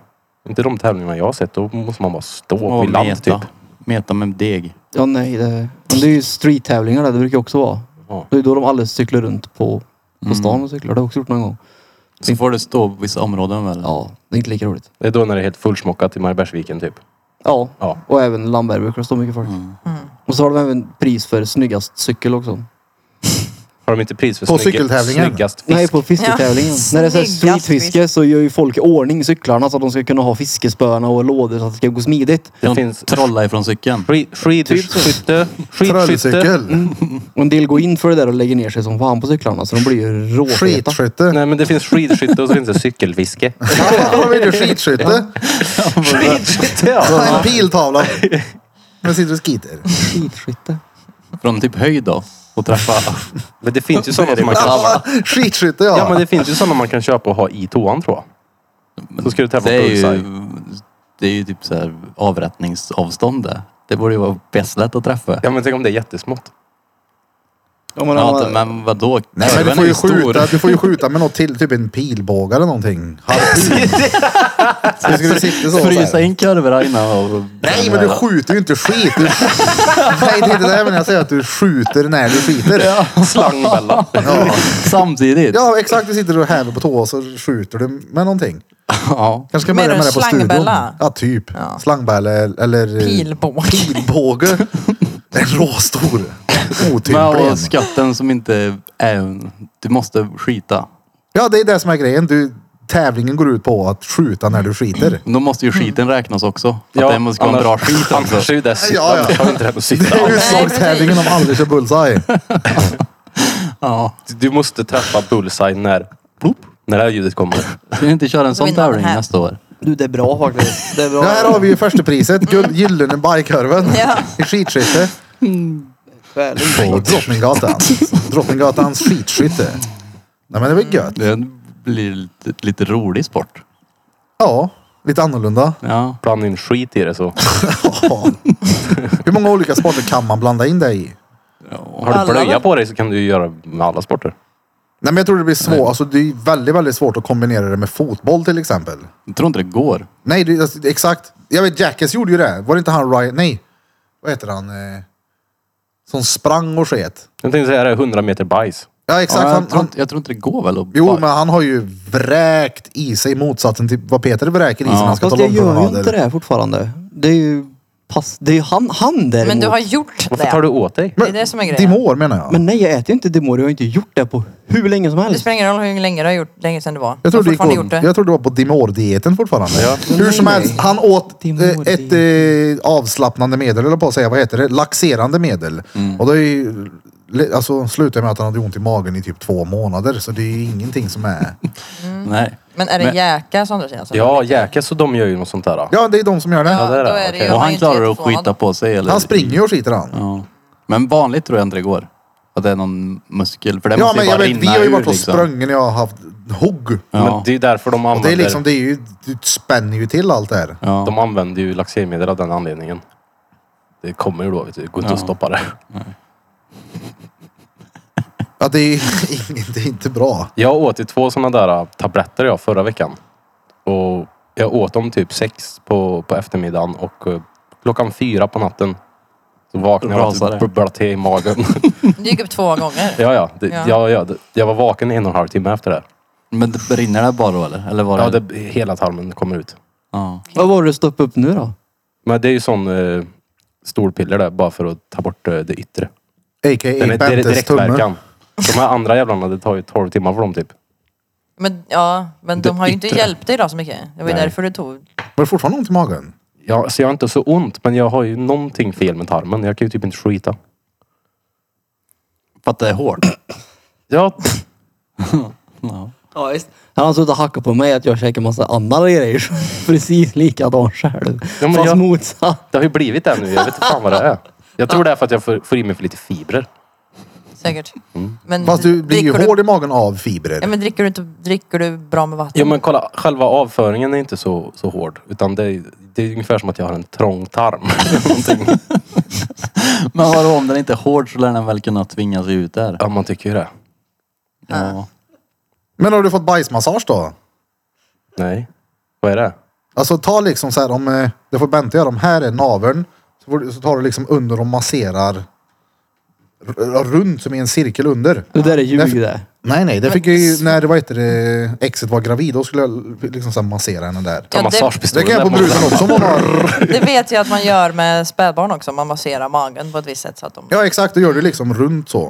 Speaker 3: Inte de tävlingarna jag har sett. Då måste man bara stå
Speaker 2: Och
Speaker 3: vid land
Speaker 2: meta.
Speaker 3: typ.
Speaker 2: Meta med deg.
Speaker 5: Ja, nej. Det, men det är ju street-tävlingar där. Det brukar också vara.
Speaker 3: Ja.
Speaker 5: Mm. Det är då de alldeles cyklar runt på, på stan och cyklar. Det har jag också gjort någon gång.
Speaker 2: Sen får det stå på vissa områden väl?
Speaker 5: Ja, det är inte lika roligt.
Speaker 3: Det är då när det är helt fullsmockat i Mariebergsviken typ.
Speaker 5: Ja,
Speaker 3: Ja.
Speaker 5: och även Lamberg det står mycket folk.
Speaker 4: Mm.
Speaker 5: Och så har de även pris för snyggast cykel också.
Speaker 3: Har de inte pris för
Speaker 1: På
Speaker 3: snygg-
Speaker 1: cykeltävlingen?
Speaker 3: snyggast fisk?
Speaker 5: Nej, på fisketävlingen.
Speaker 4: Ja,
Speaker 5: När det är så här
Speaker 4: snyggast
Speaker 5: streetfiske så gör ju folk i ordning cyklarna så att de ska kunna ha fiskespöna och lådor så att det ska gå smidigt.
Speaker 3: Det
Speaker 2: De
Speaker 3: finns
Speaker 2: trollar ifrån cykeln.
Speaker 3: Skid- Skidskytte. Skidskytte.
Speaker 1: Trollcykel.
Speaker 3: Mm.
Speaker 5: Och en del går in för det där och lägger ner sig som fan på cyklarna så de blir ju råfeta.
Speaker 1: Skitskytte.
Speaker 3: Nej men det finns skidskytte och så finns det cykelfiske.
Speaker 1: Ja, vill du skidskytte?
Speaker 3: Skidskytte
Speaker 1: Så
Speaker 3: ja!
Speaker 1: har jag en piltavla. Men sitter och skiter.
Speaker 5: Skitskytte.
Speaker 2: Från typ höjd då. Och träffa.
Speaker 3: Men det finns ju sådana som man kan...
Speaker 1: Ja, Skidskytte ja.
Speaker 3: Ja men det finns ju sådana man kan köpa och ha i toan tror jag. Så ska du träffa
Speaker 2: det, är ju,
Speaker 3: bullseye.
Speaker 2: det är ju typ så här avrättningsavstånd det. Det borde ju vara bäst lätt att träffa.
Speaker 3: Ja men tänk om det är jättesmått.
Speaker 5: Ja, men,
Speaker 2: Ja,
Speaker 5: men,
Speaker 2: men vadå?
Speaker 1: Nej, men
Speaker 2: Kurvan
Speaker 1: du
Speaker 2: är
Speaker 1: får,
Speaker 2: ju
Speaker 1: ju
Speaker 2: stor.
Speaker 1: skjuta, du får ju skjuta med något till, typ en pilbåge eller någonting. Harpun. Så du skulle sitta så. så här.
Speaker 2: Frysa in kurvorna innan och...
Speaker 1: Nej, men du skjuter ju inte skit. Du... Nej, det är det där jag menar. Jag säger att du skjuter när du skiter.
Speaker 3: Slangbella.
Speaker 1: Ja,
Speaker 2: Samtidigt.
Speaker 1: ja exakt. Du sitter och häver på tå och så skjuter du med någonting.
Speaker 2: Ja.
Speaker 1: Kanske ska
Speaker 4: Menar
Speaker 1: börja med
Speaker 4: du
Speaker 1: det på studion.
Speaker 4: slangbella?
Speaker 1: Ja, typ.
Speaker 4: Ja.
Speaker 1: Slangbella eller... eh,
Speaker 4: Pilbåge.
Speaker 1: Pilbåge. En råstor.
Speaker 2: Men
Speaker 1: Otymplig.
Speaker 2: och skatten som inte är... Du måste skita.
Speaker 1: Ja, det är det som är grejen. Du, tävlingen går ut på att skjuta när du skiter.
Speaker 2: Då måste
Speaker 1: Mm.
Speaker 2: ju skiten räknas också. Att det måste vara en bra skit
Speaker 3: Annars
Speaker 2: också.
Speaker 3: är ju det sittande.
Speaker 1: Ja, ja.
Speaker 3: Har du inte rätt att sitta
Speaker 1: Det är
Speaker 3: alls.
Speaker 1: utslagstävlingen om aldrig kör bullseye.
Speaker 2: Ja.
Speaker 3: Du måste träffa bullseye när... Plopp, när det här ljudet kommer.
Speaker 2: Kan vi inte köra en sån
Speaker 4: vinner den
Speaker 2: tävling
Speaker 4: här.
Speaker 2: nästa år?
Speaker 5: du, det är bra faktiskt. Det är bra.
Speaker 1: Ja, här har vi ju första priset. Guld- Gyllene bajkorven.
Speaker 4: Ja.
Speaker 1: I skidskytte.
Speaker 5: Skälig
Speaker 1: På
Speaker 5: skit.
Speaker 1: Drottninggatan. Drottninggatans skidskytte. Nej men det var gött.
Speaker 2: Det blir lite, lite rolig sport.
Speaker 1: Ja, lite annorlunda.
Speaker 2: Ja.
Speaker 3: Blanda in skit i det så.
Speaker 1: Ja. Hur många olika sporter kan man blanda in det i?
Speaker 3: Har du
Speaker 4: Alla
Speaker 3: blöja
Speaker 4: väl?
Speaker 3: på dig så kan du ju göra med alla sporter.
Speaker 1: Nej men jag tror det blir svårt. Alltså det är väldigt, väldigt svårt att kombinera det med fotboll till exempel.
Speaker 2: Jag tror inte det går.
Speaker 1: Nej, det, alltså, exakt. Jag vet Jackass gjorde ju det. Var det inte han Ryan? Nej. Vad heter han? Eh, som sprang och sket.
Speaker 3: Jag tänkte säga det, 100 meter bajs.
Speaker 1: Ja exakt.
Speaker 2: Ja,
Speaker 1: han,
Speaker 2: jag, tror
Speaker 1: han,
Speaker 2: inte, jag tror inte det går väl att...
Speaker 1: Jo, men han har ju vräkt i sig motsatsen till vad Peter vräker i sig när han ska ta
Speaker 5: Fast jag gör ju
Speaker 1: långpromenader.
Speaker 5: inte det här fortfarande. Det är ju... Pass, det är ju han, han däremot.
Speaker 4: Men du har gjort
Speaker 3: Varför tar du
Speaker 4: det.
Speaker 3: åt dig?
Speaker 4: Det är det som är grejen.
Speaker 1: Dimor menar jag.
Speaker 5: Men nej, jag äter ju inte Demore. Jag har inte gjort det på hur länge som
Speaker 4: Det
Speaker 5: helst.
Speaker 4: spelar ingen roll hur länge du har gjort, länge sedan det var.
Speaker 1: jag,
Speaker 4: Du har
Speaker 1: trodde det
Speaker 4: fortfarande
Speaker 1: gick,
Speaker 4: gjort det.
Speaker 1: jag trodde det var på Dimor-dieten fortfarande. Hur som
Speaker 5: Nej,
Speaker 1: helst,
Speaker 5: nej.
Speaker 1: han åt eh,
Speaker 5: Dimor-diet.
Speaker 1: ett eh, avslappnande medel, eller på att säga, vad heter det? Laxerande medel.
Speaker 2: Mm.
Speaker 1: Och det är ju, alltså slutade med att han hade ont i magen i typ två månader. Så det är ju ingenting som är... Mm.
Speaker 2: Nej.
Speaker 4: Men är det
Speaker 2: Men-
Speaker 4: jäkar som du säger? Alltså?
Speaker 3: Ja, jäklar så de gör ju något sånt där.
Speaker 1: Ja, det är de som gör det.
Speaker 4: Ja,
Speaker 3: det är det.
Speaker 4: då är det
Speaker 3: Okej.
Speaker 4: ju-
Speaker 3: Ja,
Speaker 2: Och
Speaker 4: man är
Speaker 2: han
Speaker 4: ju
Speaker 2: klarar
Speaker 4: inte
Speaker 2: att skita
Speaker 4: jätteförvånad.
Speaker 2: på sig eller?
Speaker 1: Han springer ju och skiter han.
Speaker 2: Ja. Men vanligt tror jag inte det går. Att det är någon muskel. För det
Speaker 1: Ja,
Speaker 2: måste
Speaker 1: men
Speaker 2: ju
Speaker 1: jag
Speaker 2: bara
Speaker 1: vet,
Speaker 2: rinna
Speaker 1: vi har ju
Speaker 2: ur,
Speaker 1: varit och
Speaker 2: liksom.
Speaker 1: sprungit när jag har haft hugg.
Speaker 2: Ja.
Speaker 3: Men det är därför de
Speaker 1: Och
Speaker 3: använder,
Speaker 1: det är liksom, det är ju, det spänner ju till allt det här.
Speaker 2: Ja.
Speaker 3: de använder ju laxermedel av den anledningen. Det kommer ju då, vet du. Det går inte att
Speaker 2: Ja.
Speaker 3: stoppa det.
Speaker 1: Ja, det är inget, det är inte bra.
Speaker 3: Jag åt ju två sådana där äh, tabletter jag förra veckan. Och jag åt dem typ sex på, på eftermiddagen och eh, klockan fyra på natten så vaknade jag av
Speaker 2: Rasade.
Speaker 3: att det bubblade till i magen.
Speaker 4: Du gick upp två gånger.
Speaker 3: ja, ja, det,
Speaker 4: Ja.
Speaker 3: ja. Ja, det, jag var vaken i en och en halv timme efter det.
Speaker 2: Men det brinner det bara då eller? Eller var det...
Speaker 3: Ja, det, hela tarmen kommer ut.
Speaker 2: Ja.
Speaker 5: Vad var det du stoppade upp nu då?
Speaker 3: Men det är ju sån eh, storpiller där bara för att ta bort eh, det yttre. Den
Speaker 1: A.k.a.
Speaker 3: är dir-
Speaker 1: Bentes tumme.
Speaker 3: direktverkan. De här andra jävlarna, det tar ju 12 timmar för dem typ.
Speaker 4: Men, ja, men de har ju inte hjälpt dig då så mycket. Det var ju
Speaker 3: Nej.
Speaker 4: därför du tog...
Speaker 1: Var det fortfarande ont i magen?
Speaker 3: Ja, så jag har inte så ont, men jag har ju någonting fel med tarmen. Jag kan ju typ inte skita.
Speaker 2: För att det är hårt.
Speaker 3: Ja,
Speaker 2: Ja.
Speaker 5: Ja, just. Han har suttit och hackat på mig att jag käkar massa andra grejer. Precis likadan själv.
Speaker 3: Ja, men
Speaker 5: Fast
Speaker 3: jag-
Speaker 5: motsatt.
Speaker 3: det har ju blivit det nu. Jag vet inte fan vad det är. Jag tror det är för att jag får, får i mig för lite fibrer.
Speaker 4: Säkert. Men
Speaker 1: Mm. Fast du blir ju
Speaker 4: dricker
Speaker 1: hård i magen av fibrer.
Speaker 4: Ja, men dricker du, inte, dricker du bra med vatten?
Speaker 3: Jo men kolla, själva avföringen är inte så, så hård. Utan det är, det är ungefär som att jag har en trång tarm. Någonting.
Speaker 2: Men vadå, om den inte är hård så lär den väl kunna tvinga sig ut där.
Speaker 3: ja, man tycker ju det.
Speaker 2: Ja.
Speaker 1: Men har du fått bajsmassage då?
Speaker 3: Nej. Vad är det?
Speaker 1: Alltså ta liksom så här om, eh, det får Bente göra, om här är naveln. Så, får du, så tar du liksom under och masserar r- runt som i en cirkel under.
Speaker 5: Det där är ljug
Speaker 1: Därför-
Speaker 5: det.
Speaker 1: Nej, nej. Det fick jag ju när det var heter det, exet var gravid. Då skulle jag liksom så här massera henne där.
Speaker 3: Ta
Speaker 4: Ja, det-
Speaker 1: Det
Speaker 3: massagepistolen
Speaker 1: kan jag på
Speaker 3: där
Speaker 1: bruden också. om hon har-
Speaker 4: Det vet jag att man gör med spädbarn också. Man masserar magen på ett visst sätt så att de...
Speaker 1: Ja, exakt. Då gör du liksom runt så.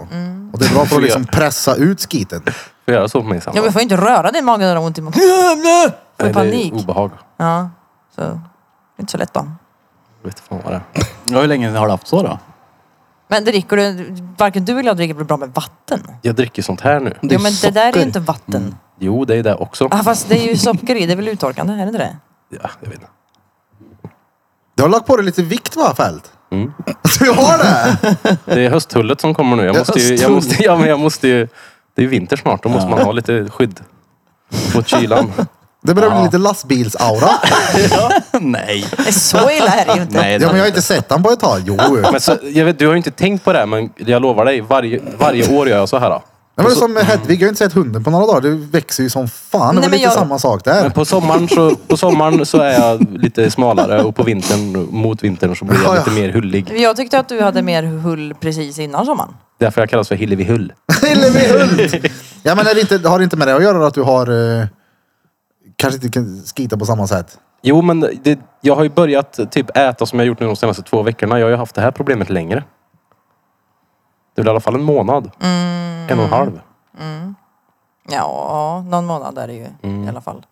Speaker 1: Och det är bra för att liksom pressa ut skiten.
Speaker 3: Får göra så på mig sen.
Speaker 4: Ja, vi får ju inte röra din mage när de har ont i magen.
Speaker 3: Nej,
Speaker 4: Får panik.
Speaker 3: Det är obehag.
Speaker 4: Ja, så. Det är inte så lätt då.
Speaker 3: Jag vet fan vad det är.
Speaker 2: Ja, hur länge har du haft så då?
Speaker 4: Men dricker du... Varken du eller jag dricker bra med vatten.
Speaker 3: Jag dricker sånt här nu.
Speaker 4: Jo men det där är
Speaker 5: socker.
Speaker 4: ju inte vatten.
Speaker 3: Jo, det är det också.
Speaker 4: Ah, fast det är ju socker i, det är väl uttorkande, är det inte det?
Speaker 3: Ja, jag vet inte.
Speaker 1: Du har lagt på dig lite vikt va, Fält?
Speaker 3: Mm.
Speaker 1: Du har det?
Speaker 3: Det är hösttullet som kommer nu. Jag måste ju, jag
Speaker 1: Hösttull.
Speaker 3: måste, ja, men jag måste ju, det är vinter snart. Då måste man ha lite skydd mot kylan.
Speaker 1: Det börjar bli lite lastbilsaura.
Speaker 2: Nej.
Speaker 4: Nej, så illa är det ju inte.
Speaker 2: Nej,
Speaker 1: Ja, men jag har inte sett han på ett tag. Jo.
Speaker 3: Men så, jag vet, du har ju inte tänkt på det här, men jag lovar dig. Varje, varje år gör jag så här. Då.
Speaker 1: Nej, men som med Hedvig, jag har inte sett hunden på några dagar. Det växer ju som fan. Det
Speaker 4: Nej,
Speaker 1: var
Speaker 4: men
Speaker 1: lite
Speaker 4: jag-
Speaker 1: samma sak
Speaker 3: Men
Speaker 1: där.
Speaker 3: på sommaren, så, på sommaren så är jag lite smalare och på vintern, mot vintern så blir jag
Speaker 1: Ja, ja.
Speaker 3: lite mer hullig.
Speaker 4: Jag tyckte att du hade mer hull precis innan sommaren.
Speaker 3: Därför jag kallas för Hillevi Hull.
Speaker 1: Hillevi Hult! Ja, men är det inte, har det inte med det att göra att du har... Eh, kanske inte kan skita på samma sätt?
Speaker 3: Jo, men det, jag har ju börjat typ äta som jag gjort nu de senaste två veckorna. Jag har ju haft det här problemet längre. Det är väl i alla fall en månad. En och en halv.
Speaker 4: Ja, någon månad är det ju i alla fall.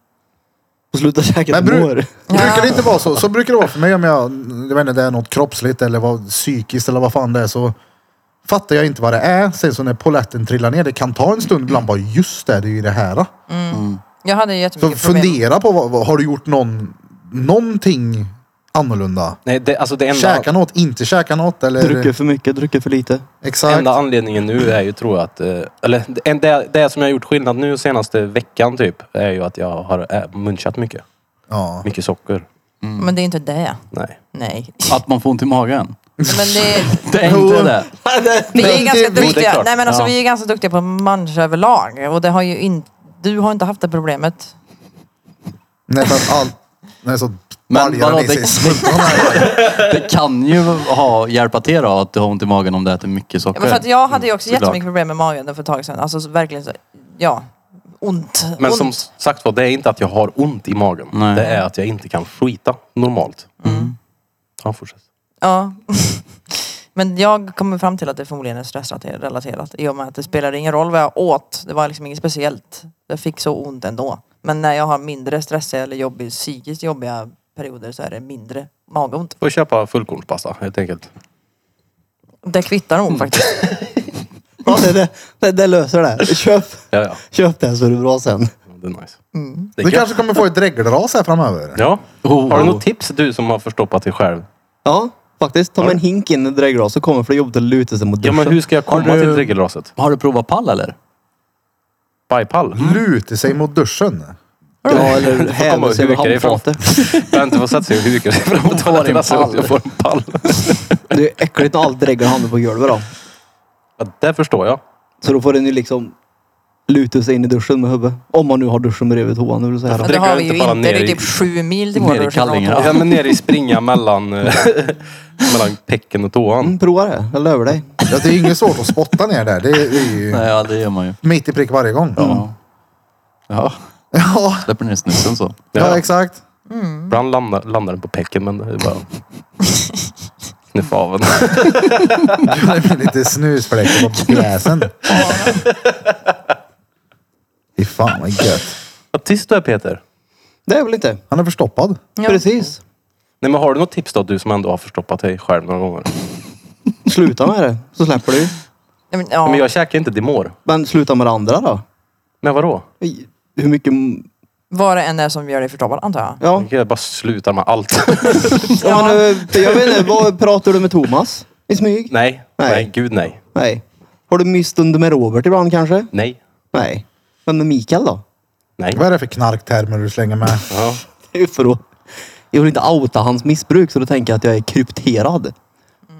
Speaker 5: Sluta käka
Speaker 1: Men
Speaker 5: ett
Speaker 1: bru
Speaker 5: år.
Speaker 1: brukar det inte vara så? Så brukar det vara för mig om jag, jag vet inte, det är något kroppsligt eller vad, psykiskt eller vad fan det är så fattar jag inte vad det är. Sen så när poletten trillar ner, det kan ta en stund ibland bara just det, det är ju det här. Då.
Speaker 4: Jag hade ju
Speaker 1: Så
Speaker 4: jättemycket problem.
Speaker 1: fundera på, vad, vad, har du gjort någon, någonting annorlunda?
Speaker 3: Nej, det, alltså det enda,
Speaker 1: Käka något, inte käka något eller?
Speaker 5: Druckit för mycket, druckit för lite.
Speaker 1: Exakt.
Speaker 3: enda anledningen nu är ju tror jag att... eh, Eller en- det, det som jag har gjort skillnad nu senaste veckan typ är ju att jag har ä- munchat mycket.
Speaker 1: Ja.
Speaker 3: Mycket socker.
Speaker 4: Men det är inte det.
Speaker 3: Nej.
Speaker 4: Nej.
Speaker 2: Att man får ont i magen.
Speaker 4: Men det,
Speaker 2: Det är inte det.
Speaker 1: Men
Speaker 4: vi är ju
Speaker 1: det-
Speaker 4: ganska
Speaker 1: jo, det är
Speaker 4: duktiga.
Speaker 3: klart.
Speaker 4: Nej, men alltså,
Speaker 2: Ja.
Speaker 4: vi är ganska duktiga på mansch överlag. Och det har ju inte... Du har inte haft det problemet.
Speaker 1: Nej, för att allt... Nej, så
Speaker 2: Men
Speaker 1: baljar
Speaker 2: vadå,
Speaker 1: den i sig
Speaker 2: det-
Speaker 1: smultron här.
Speaker 2: Det kan ju ha, hjälpa till då att du har ont i magen om du äter mycket
Speaker 4: Ja, men för att
Speaker 2: socker.
Speaker 4: jag hade ju också
Speaker 2: såklart.
Speaker 4: jättemycket problem med magen för ett tag sedan. Alltså så verkligen så... Ja. Ont.
Speaker 3: Men
Speaker 4: ont.
Speaker 3: som sagt var, det är inte att jag har ont i magen.
Speaker 2: Nej.
Speaker 3: Det är att jag inte kan skita normalt. Ja, fortsätt.
Speaker 4: Ja. Men jag kommer fram till att det förmodligen är stressrelaterat i och med att det spelar ingen roll vad jag åt. Det var liksom inget speciellt. Jag fick så ont ändå. Men när jag har mindre stressiga eller jobbig, psykiskt jobbiga perioder så är det mindre magont.
Speaker 3: Får köpa fullkornspasta helt enkelt.
Speaker 4: Det kvittar nog faktiskt.
Speaker 5: Ja, det, det, det, det löser det. Köp,
Speaker 3: Ja, ja.
Speaker 5: köp det så är det bra sen.
Speaker 3: Det är nice. Det är
Speaker 1: Du
Speaker 3: gött.
Speaker 1: kanske kommer få ett dregelras här framöver.
Speaker 3: Ja.
Speaker 2: Oh.
Speaker 3: Har du något tips du som har förstoppat dig själv?
Speaker 5: Ja, faktiskt. Ta med en hink in i drägglas så kommer det jobbigt att luta sig mot
Speaker 3: Ja,
Speaker 5: duschen.
Speaker 3: men hur ska jag komma
Speaker 2: Har du-
Speaker 3: till regelraset?
Speaker 2: Har du provat pall eller?
Speaker 3: Bajpall?
Speaker 1: Luta sig mot duschen.
Speaker 5: Ja,
Speaker 3: Du
Speaker 5: eller
Speaker 3: får komma
Speaker 5: häva
Speaker 3: och
Speaker 5: sig över
Speaker 3: huka dig fram.
Speaker 5: handfatet.
Speaker 3: Jag har inte fått sätta sig och huka sig fram på
Speaker 2: Hon får en
Speaker 3: toaletten så
Speaker 2: pall.
Speaker 3: jag får en pall.
Speaker 5: Det är äckligt när allt dregel hamnar på golvet då.
Speaker 3: Ja, det förstår jag.
Speaker 5: Så då får den ju liksom luta sig in i duschen med huvudet. Om man nu har duschen bredvid toan. vill
Speaker 4: Men
Speaker 5: säga då.
Speaker 4: det
Speaker 3: dricker
Speaker 4: har
Speaker 3: jag
Speaker 4: vi ju
Speaker 3: inte bara
Speaker 4: inte. Det
Speaker 3: ner
Speaker 4: är
Speaker 3: i-
Speaker 4: typ sju mil till
Speaker 2: ner
Speaker 4: vår
Speaker 2: i kallingarna.
Speaker 3: Ja, men ner i springa mellan, eh, mellan pecken och tåan.
Speaker 5: Mm, prova det. Jag lovar dig.
Speaker 1: Ja, det är inget svårt att spotta ner där. Det är, det är ju
Speaker 2: Nej, ja, det gör man ju.
Speaker 1: mitt i prick varje gång.
Speaker 2: Ja. Ja,
Speaker 1: Ja,
Speaker 2: släpper ner snusen så.
Speaker 1: ja,
Speaker 3: Ja,
Speaker 1: exakt.
Speaker 3: ibland landar, landar den på pecken men det är bara... Sniffa av den.
Speaker 1: Det blir lite snusfläckar på gräsen. Fy fan vad gött.
Speaker 3: Vad tyst du är Peter.
Speaker 5: Det är väl inte.
Speaker 1: Han är förstoppad.
Speaker 5: Precis.
Speaker 3: Nej, men har du något tips då du som ändå har förstoppat dig själv några gånger?
Speaker 5: Sluta med det. Så släpper du.
Speaker 4: Ja, men,
Speaker 3: Nej,
Speaker 4: ja.
Speaker 3: Men jag käkar inte Dimor.
Speaker 5: Men sluta med det andra då.
Speaker 3: Men vadå?
Speaker 5: I- Hur mycket...
Speaker 4: Vad det än är som gör dig förstoppad antar jag.
Speaker 5: Ja.
Speaker 3: Jag bara slutar med allt.
Speaker 5: ja. Men, eh, jag vet inte. Vad pratar du med Thomas? I smyg?
Speaker 3: nej, nej,
Speaker 5: Nej.
Speaker 3: gud nej.
Speaker 5: Nej. Har du mysstunder med Robert ibland kanske?
Speaker 3: Nej,
Speaker 5: Nej. Men med Mikael då?
Speaker 3: nej.
Speaker 1: Vad är det för knarktermer du slänger med?
Speaker 3: Ja.
Speaker 5: Det är ju för att... Jag vill inte outa hans missbruk så då tänker jag att jag är krypterad.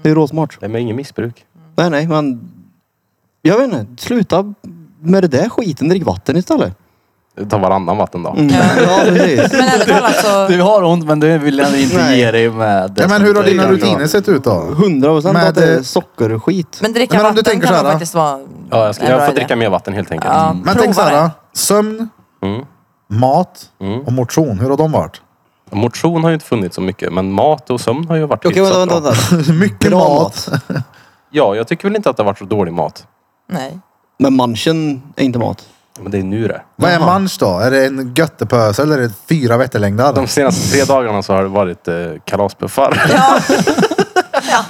Speaker 5: Det är ju råsmart.
Speaker 3: Nej, men ingen missbruk.
Speaker 5: Nej, nej, men... Jag vet inte. Sluta med det där skiten. Drick vatten istället.
Speaker 3: Ta varannan vatten då.
Speaker 5: Ja, precis.
Speaker 4: Men ärligt talat så...
Speaker 2: Du har ont men det vill jag inte
Speaker 5: Nej.
Speaker 2: ge dig med.
Speaker 1: Ja, men hur har dina
Speaker 5: är
Speaker 1: rutiner
Speaker 5: klart.
Speaker 1: sett ut då?
Speaker 5: 100 procent
Speaker 1: Men
Speaker 5: att det är
Speaker 1: det-
Speaker 5: sockerskit.
Speaker 4: Men dricka
Speaker 1: Men om du
Speaker 4: vatten
Speaker 1: tänker
Speaker 4: kan
Speaker 1: så här,
Speaker 4: nog
Speaker 1: då?
Speaker 4: faktiskt vara
Speaker 3: Ja, jag, ska,
Speaker 4: en bra
Speaker 3: jag får
Speaker 4: idé.
Speaker 3: dricka mer vatten helt enkelt.
Speaker 4: Ja,
Speaker 1: Men
Speaker 4: prova
Speaker 1: tänk så här,
Speaker 4: det.
Speaker 1: då. sömn
Speaker 3: Mm.
Speaker 1: Mat
Speaker 5: Mm.
Speaker 1: och motion, hur har de varit?
Speaker 3: Motion har ju inte funnits så mycket, men mat och sömn har ju varit
Speaker 5: Okej,
Speaker 3: hyfsat
Speaker 5: vänta, vänta.
Speaker 3: bra.
Speaker 5: vänta.
Speaker 1: Mycket
Speaker 5: Bra
Speaker 1: mat.
Speaker 5: mat.
Speaker 3: Ja, jag tycker väl inte att det har varit så dålig mat.
Speaker 4: Nej.
Speaker 5: Men manchen är inte mat.
Speaker 3: Men det är nu det.
Speaker 1: Vad är manch då? Är det en göttepöse eller är det fyra
Speaker 3: De
Speaker 1: vätterlängder?
Speaker 3: senaste tre dagarna så har det varit eh, kalaspuffar.
Speaker 4: Ja. ja.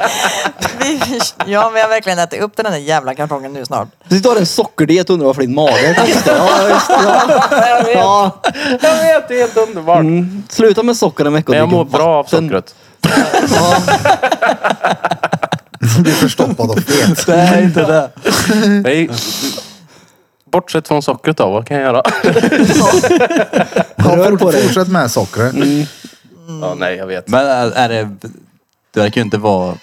Speaker 4: Vi, ja, vi har verkligen ätit upp den där jävla kartongen nu snart.
Speaker 5: Du tar en sockerdiet och undrar varför din mage är konstig. Ja, just, ja.
Speaker 3: jag, vet,
Speaker 5: Ja.
Speaker 3: jag vet, det är helt underbart.
Speaker 5: Mm. Sluta med socker en vecka och
Speaker 3: Men jag
Speaker 5: drick
Speaker 3: mår bra av
Speaker 5: vatten.
Speaker 3: sockret.
Speaker 5: Ja.
Speaker 1: De blir förstoppade och fet.
Speaker 2: Det är inte det.
Speaker 3: Nej. Bortsett från sockret då, vad kan jag göra?
Speaker 1: Ja,
Speaker 5: Rör på
Speaker 1: fort-
Speaker 5: dig. Mm.
Speaker 1: fortsätt med sockret.
Speaker 3: Ja, nej, jag vet.
Speaker 2: Men är är det... Det verkar ju inte vara...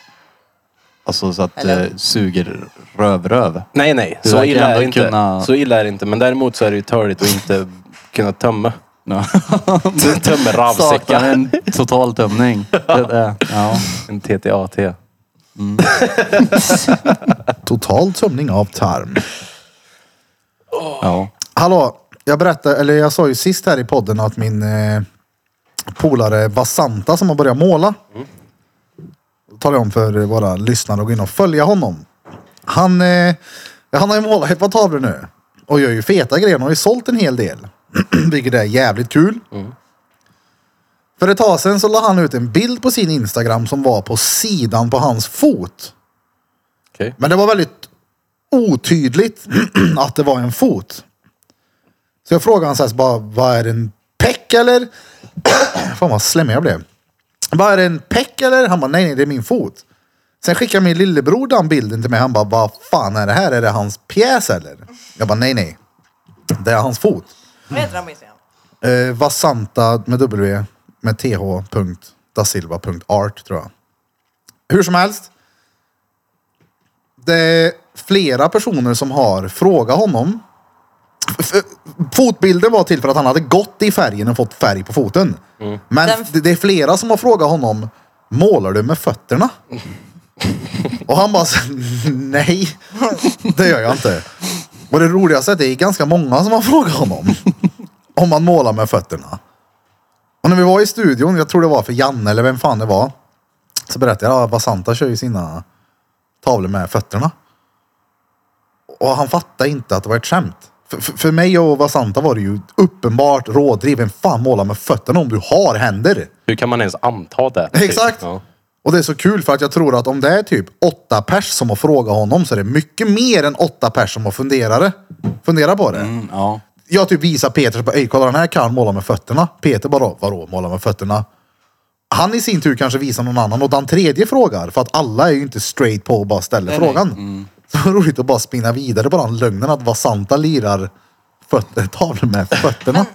Speaker 2: Alltså så att
Speaker 4: Eller?
Speaker 2: det suger rövröv.
Speaker 3: Nej, nej.
Speaker 2: Du
Speaker 3: Så
Speaker 2: verkar
Speaker 3: illa, är
Speaker 2: ändå
Speaker 3: det inte.
Speaker 2: kunna-
Speaker 3: så illa är det inte. Men däremot så är det ju törligt att inte kunna tömma.
Speaker 2: Ja.
Speaker 3: tömma
Speaker 2: Saknar
Speaker 3: ravsäckar.
Speaker 2: en total tömning. Det är det. Ja.
Speaker 3: En TTAT.
Speaker 1: Total tömning av tarm.
Speaker 2: ja.
Speaker 1: Hallå, jag berättade, eller jag sa ju sist här i podden att min eh, polare Vasanta som har börjat måla. Då talar jag om för våra lyssnare att gå in och följa honom. Han, eh, han har ju målat ett par tavlor nu och gör ju feta grejer. Han har ju sålt en hel del, vilket är jävligt kul. För ett tag sedan så la han ut en bild på sin Instagram som var på sidan på hans fot.
Speaker 3: Okej.
Speaker 1: Men det var väldigt otydligt att det var en fot. Så jag frågade honom så här, så bara, vad är det, en peck eller? Fan vad slemmig jag blev. Vad är det, en peck eller? Han bara, nej, nej det är min fot. Sen skickade min lillebror den bilden till mig. Han bara, vad fan är det här? Är det hans pjäs eller? Jag bara, nej, nej. Det är hans fot.
Speaker 4: Vad heter den på Instagram?
Speaker 1: Eh, Vasanta med W med th. punkt da silva punkt art tror jag. Hur som helst. Det är flera personer som har frågat honom. F- f- Fotbilden var till för att han hade gått i färgen och fått färg på foten. Men
Speaker 4: Den-
Speaker 1: det- det är flera som har frågat honom. Målar du med fötterna? Och han bara, så, nej, det gör jag inte. Och det roligaste är att det är ganska många som har frågat honom om man målar med fötterna. Och när vi var i studion, jag tror det var för Janne eller vem fan det var, så berättade jag att Vasanta kör ju sina tavlor med fötterna. Och han fattade inte att det var ett skämt. För, för, för mig och Vasanta var det ju uppenbart rådriv. Vem fan målar med fötterna om du har händer?
Speaker 3: Hur kan man ens anta det?
Speaker 1: Exakt.
Speaker 3: Ja.
Speaker 1: Och det är så kul för att jag tror att om det är typ åtta pers som har frågat honom så är det mycket mer än åtta pers som har funderare. funderat på det.
Speaker 2: Mm, ja.
Speaker 1: Jag typ visar Peter, så bara, "Ey, kolla den här kan måla med fötterna. Peter bara, vadå måla med fötterna? Han i sin tur kanske visar någon annan och den tredje frågar. För att alla är ju inte straight på och bara ställer frågan.
Speaker 2: Mm.
Speaker 1: Så det var roligt att bara spinna vidare på den lögnen att Vasanta lirar fötter, tavlor med fötterna.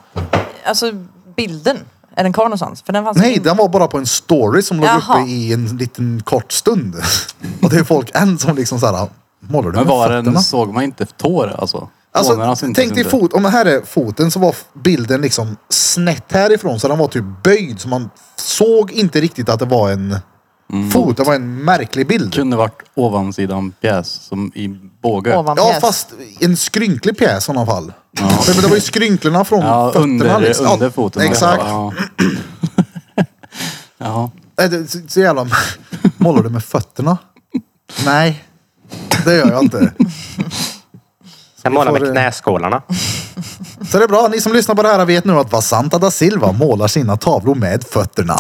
Speaker 4: Alltså bilden. Är den kvar någonstans? För den fanns
Speaker 1: Nej,
Speaker 4: inte-
Speaker 1: den var bara på en story som låg
Speaker 4: Jaha.
Speaker 1: uppe i en liten kort stund. Och det är folk än som liksom såhär, målar du
Speaker 2: Men
Speaker 1: med
Speaker 2: var
Speaker 1: fötterna?
Speaker 2: den, såg man inte tår alltså? Tårna
Speaker 1: Alltså,
Speaker 2: syntes
Speaker 1: tänk dig
Speaker 2: liksom inte.
Speaker 1: fot, om det här är foten så var bilden liksom snett härifrån så den var typ böjd så man såg inte riktigt att det var en
Speaker 2: Mm.
Speaker 1: fot. Det var en märklig bild.
Speaker 2: Kunde varit ovansidan pjäs som i båge.
Speaker 4: Ovan
Speaker 1: Ja,
Speaker 4: pjäs.
Speaker 1: fast en skrynklig pjäs i sådana fall. Men det var ju skrynklorna från
Speaker 2: Ja,
Speaker 1: fötterna.
Speaker 2: under,
Speaker 1: liksom. Ja,
Speaker 2: under foten.
Speaker 1: Exakt.
Speaker 2: Ja. ja.
Speaker 1: Nej, det, så, så jävla... Målar du med fötterna? Nej, det gör jag inte.
Speaker 3: Jag
Speaker 1: målar
Speaker 3: målar
Speaker 1: med
Speaker 3: med knäskålarna.
Speaker 1: eh, Så det är bra, ni som lyssnar på det här vet nu att Vasanta da Silva målar sina tavlor med fötterna.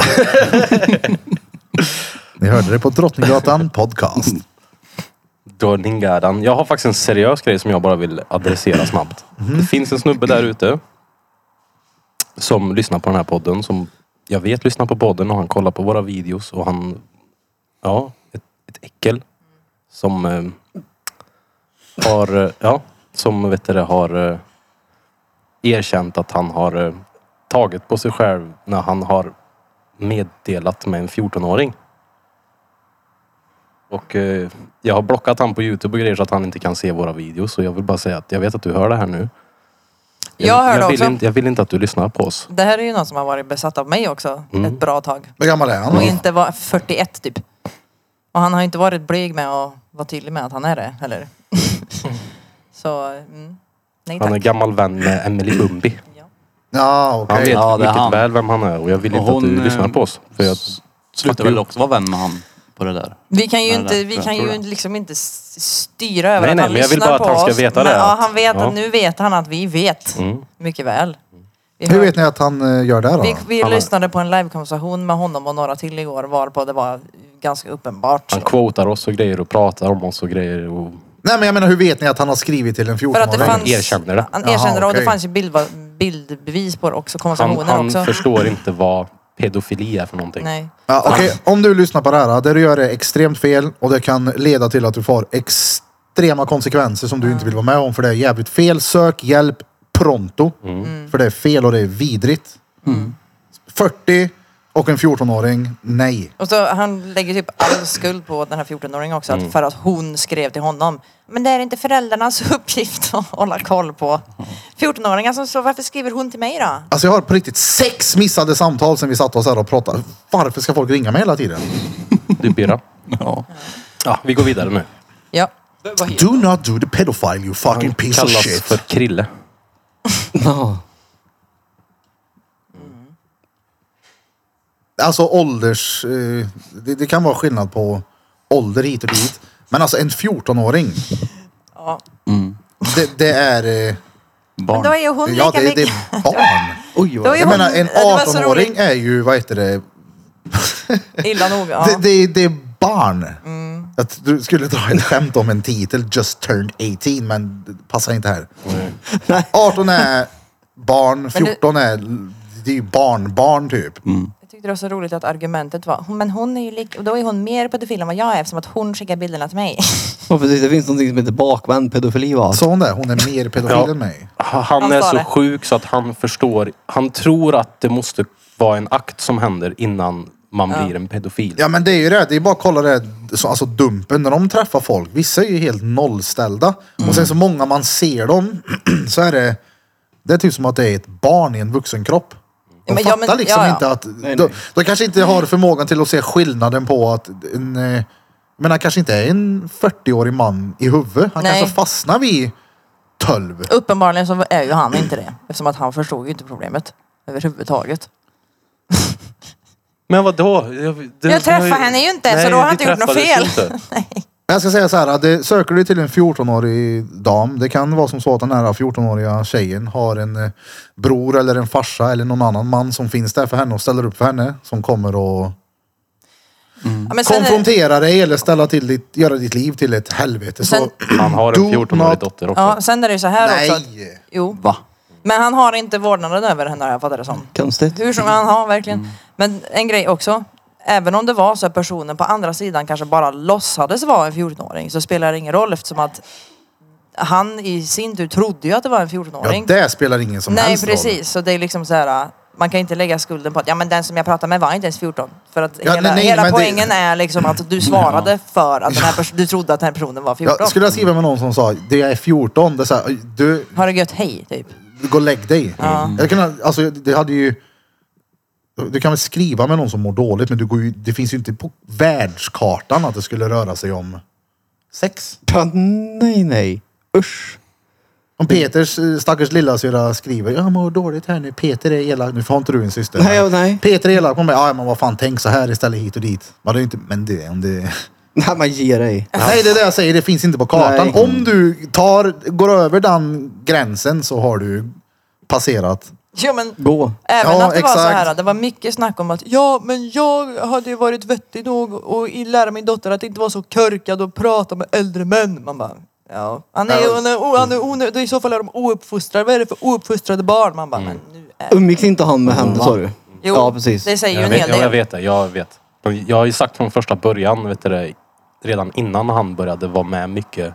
Speaker 1: ni hörde det på Drottninggatan podcast.
Speaker 3: Drottninggatan. Jag har faktiskt en seriös grej som jag bara vill adressera snabbt. Det finns en snubbe där ute som lyssnar på den här podden. Som jag vet lyssnar på podden och han kollar på våra videos och han... Ja, ett, ett äckel. Som eh, har... eh, Ja, som vet du, det, har eh, erkänt att han har eh, tagit på sig själv när han har meddelat med en 14-åring. Och eh, jag har blockat han på Youtube och grejer så att han inte kan se våra videos. Så jag vill bara säga att jag vet att du hör det här nu.
Speaker 4: Jag hörde
Speaker 3: jag vill,
Speaker 4: också.
Speaker 3: inte, jag vill inte att du lyssnar på oss.
Speaker 4: Det här är ju någon som har varit besatt av mig också
Speaker 3: Mm.
Speaker 4: ett bra tag.
Speaker 1: Hur gammal är han?
Speaker 4: Och
Speaker 1: då?
Speaker 4: inte var 41 typ. Och han har ju inte varit blyg med att vara tydlig med att han är det heller. Så, mm. nej
Speaker 3: Han är
Speaker 4: tack.
Speaker 3: gammal vän med Emily Bumbi.
Speaker 1: Ja,
Speaker 3: Han
Speaker 1: okej.
Speaker 3: vet
Speaker 2: Ja, det är
Speaker 3: mycket
Speaker 2: han.
Speaker 3: väl vem han är och jag vill
Speaker 2: Och
Speaker 3: inte att
Speaker 2: hon,
Speaker 3: du
Speaker 2: eh,
Speaker 3: lyssnar på oss. För jag,
Speaker 2: Slutar väl också vara vän med han på det där.
Speaker 4: Vi kan ju
Speaker 2: Nej,
Speaker 4: inte,
Speaker 2: nej,
Speaker 4: vi
Speaker 2: jag
Speaker 4: kan
Speaker 2: tror
Speaker 4: ju
Speaker 2: det.
Speaker 4: liksom inte s- styra över
Speaker 3: Nej,
Speaker 4: att
Speaker 3: nej,
Speaker 4: han
Speaker 3: men jag vill
Speaker 4: lyssnar
Speaker 3: bara att
Speaker 4: på
Speaker 3: han ska
Speaker 4: oss.
Speaker 3: veta det,
Speaker 4: Ja,
Speaker 3: att-
Speaker 4: han vet
Speaker 3: ja. Mm.
Speaker 4: att nu vet han att vi vet. Mycket väl. Vi,
Speaker 1: Hur
Speaker 4: hör-
Speaker 1: vet ni att han eh, gör det här då?
Speaker 4: vi, vi
Speaker 3: Han är-
Speaker 4: lyssnade på en livekonversation med honom och några till igår varpå det var ganska uppenbart.
Speaker 3: han quotar oss och grejer och pratar om oss och grejer. Och,
Speaker 1: Nej men jag menar hur vet ni att han har skrivit till en
Speaker 4: För att det
Speaker 1: 14-åring?
Speaker 4: fanns,
Speaker 3: Han erkänner det.
Speaker 4: Han
Speaker 1: Jaha,
Speaker 4: erkände det och det
Speaker 1: okej.
Speaker 4: fanns ju bild, bildbevis på det också,
Speaker 3: han
Speaker 4: konversationer
Speaker 3: han
Speaker 4: också.
Speaker 3: förstår inte vad pedofili är för någonting.
Speaker 4: Nej.
Speaker 1: Ja, Okej, om du lyssnar på det här. Det du gör är extremt fel och det kan leda till att du får extrema konsekvenser som du inte vill vara med om för det är jävligt fel. Sök hjälp pronto.
Speaker 3: Mm.
Speaker 1: För det är fel och det är vidrigt. 40 och en 14-åring, nej.
Speaker 4: Och så han lägger typ all skuld på den här 14-åringen också, att för att hon skrev till honom. Men det är inte föräldrarnas uppgift att hålla koll på 14-åringar som så varför skriver hon till mig då?
Speaker 1: Alltså jag har på riktigt sex missade samtal sen vi satt oss här och pratade. Varför ska folk ringa mig hela tiden?
Speaker 3: Du Birra.
Speaker 2: Ja.
Speaker 3: Ja, vi går vidare nu.
Speaker 4: Ja.
Speaker 1: Do not do the pedophile you fucking piece of
Speaker 3: Kallas
Speaker 1: shit.
Speaker 3: för Krille.
Speaker 5: Ja.
Speaker 1: Alltså ålders... eh, Det, det kan vara skillnad på ålder hit och dit. Men alltså en 14-åring.
Speaker 4: ja.
Speaker 1: Det, det är... eh,
Speaker 4: Men då
Speaker 2: Barn.
Speaker 4: är ju hon
Speaker 1: Ja,
Speaker 4: lika
Speaker 1: det, det
Speaker 4: mycket...
Speaker 1: är barn.
Speaker 5: Oj,
Speaker 4: Det var
Speaker 5: vad
Speaker 4: ju-
Speaker 1: Jag menar en
Speaker 4: Det var så
Speaker 1: 18-åring
Speaker 4: roligt.
Speaker 1: är ju, vad heter det?
Speaker 4: Illa nog. Ja. Mm.
Speaker 1: Det, det, det är barn. Att du skulle dra ett skämt om en titel, just turned 18, men det passar inte här. 18 är barn,
Speaker 4: Men det-
Speaker 1: 14 är... Det är ju barnbarn typ.
Speaker 4: Jag tyckte det var så roligt att argumentet var, "Hon- men hon är ju lik, och då är hon mer pedofil än vad jag är eftersom att hon skickar bilderna till mig.
Speaker 5: Ja, precis. Det finns någonting som heter bakvänd pedofili va?
Speaker 1: Sa hon det? Hon är mer pedofil
Speaker 3: Ja.
Speaker 1: än mig.
Speaker 3: Ha- Han,
Speaker 4: Han
Speaker 3: är
Speaker 4: sa
Speaker 3: så
Speaker 4: det.
Speaker 3: sjuk så att han förstår. Han tror att det måste vara en akt som händer innan man blir en pedofil.
Speaker 1: Ja men det är ju det, det är bara att kolla det här, så- alltså dumpen när de träffar folk. Vissa är ju helt nollställda. Och sen så många man ser dem så är det, det är typ som att det är ett barn i en vuxen kropp. De
Speaker 4: Men ja,
Speaker 1: fattar
Speaker 4: men-
Speaker 1: liksom
Speaker 4: ja, ja.
Speaker 1: inte att,
Speaker 2: Nej,
Speaker 1: De,
Speaker 2: nej.
Speaker 1: de kanske inte har förmågan till att se skillnaden på att en, eh, men han kanske inte är en 40-årig man i huvudet. Han
Speaker 4: Nej.
Speaker 1: kanske fastnar vid 12.
Speaker 4: Uppenbarligen så är ju han inte det eftersom att han förstod ju inte problemet överhuvudtaget.
Speaker 3: Men vadå? Jag, det-
Speaker 4: Jag träffar
Speaker 3: det har
Speaker 4: henne ju inte, så då
Speaker 3: vi
Speaker 4: har han inte gjort något
Speaker 3: träffades
Speaker 4: fel.
Speaker 3: inte.
Speaker 1: Jag ska säga så här, det, söker du till en 14-årig dam, det kan vara som så att den här 14-åriga tjejen har en eh, bror eller en farsa eller någon annan man som finns där för henne och ställer upp för henne. Som kommer och
Speaker 4: Ja, men sen är-
Speaker 1: konfrontera dig eller ställa till ditt, göra ditt liv till ett helvete. Så,
Speaker 4: Sen-
Speaker 3: Han har
Speaker 1: Do
Speaker 3: en 14-årig
Speaker 1: not-
Speaker 3: dotter också.
Speaker 4: Ja, sen är det ju så här
Speaker 1: Nej.
Speaker 4: också. att- Jo.
Speaker 2: Va?
Speaker 4: Men han har inte vårdnaden över henne har jag fattat det som.
Speaker 5: Konstigt.
Speaker 4: Hur som han har verkligen.
Speaker 1: Mm.
Speaker 4: Men en grej också. Även om det var så att personen på andra sidan kanske bara låtsades vara en 14-åring så spelar det ingen roll eftersom att han i sin tur trodde ju att det var en 14-åring.
Speaker 1: ja, det spelar ingen som
Speaker 4: Nej
Speaker 1: helst roll.
Speaker 4: precis, så det är liksom så här. Man kan inte lägga skulden på att ja men den som jag pratade med var inte ens 14. För att
Speaker 1: Ja,
Speaker 4: hela,
Speaker 1: nej, nej,
Speaker 4: hela
Speaker 1: men det-
Speaker 4: poängen är liksom att du svarade för att den här pers- du trodde att den här personen var 14.
Speaker 1: Jag skulle jag skriva med någon som sa, det är 14, det är så här, du,
Speaker 4: Har det gött hej typ.
Speaker 1: gå och lägg dig.
Speaker 4: Ja.
Speaker 1: Jag kan, alltså, det hade ju, du kan väl skriva med någon som mår dåligt men du går ju, det finns ju inte på världskartan att det skulle röra sig om sex.
Speaker 5: Ja, nej, nej. Usch.
Speaker 1: Om
Speaker 5: Mm.
Speaker 1: Peters eh, stackars lillasyrra skriver jag mår dåligt här nu, Peter är elak. Nu får inte du en syster.
Speaker 5: Nej, ja, nej.
Speaker 1: Peter är elak på mig. Ja, men vad fan, tänk så här istället hit och dit. Men det är inte, men det, om det...
Speaker 5: Nej, man ger dig.
Speaker 1: Nej, det är det jag säger. Det finns inte på kartan.
Speaker 5: Nej.
Speaker 1: Om du tar, går över den gränsen så har du passerat.
Speaker 4: Jo, men
Speaker 5: Gå.
Speaker 4: Även
Speaker 1: Ja,
Speaker 4: att det var så
Speaker 1: exakt.
Speaker 4: här, det var mycket snack om att ja men jag hade ju varit vettig nog och i- lära min dotter att inte vara så körkad och prata med äldre män. Man bara, ja. Han är,
Speaker 1: Ja.
Speaker 4: han är, o- han är onö- I så fall är de ouppfostrade. Vad är det för ouppfostrade barn? Man bara,
Speaker 3: Mm.
Speaker 4: men nu är
Speaker 5: Umgicks inte han med henne sa du?
Speaker 4: Jo,
Speaker 5: ja, precis.
Speaker 4: det säger ju
Speaker 3: Jag
Speaker 4: en
Speaker 3: vet,
Speaker 4: hel
Speaker 3: ja, jag
Speaker 4: del.
Speaker 3: vet det. Jag vet. Men Jag har ju sagt från första början, vet du det, redan innan han började vara med mycket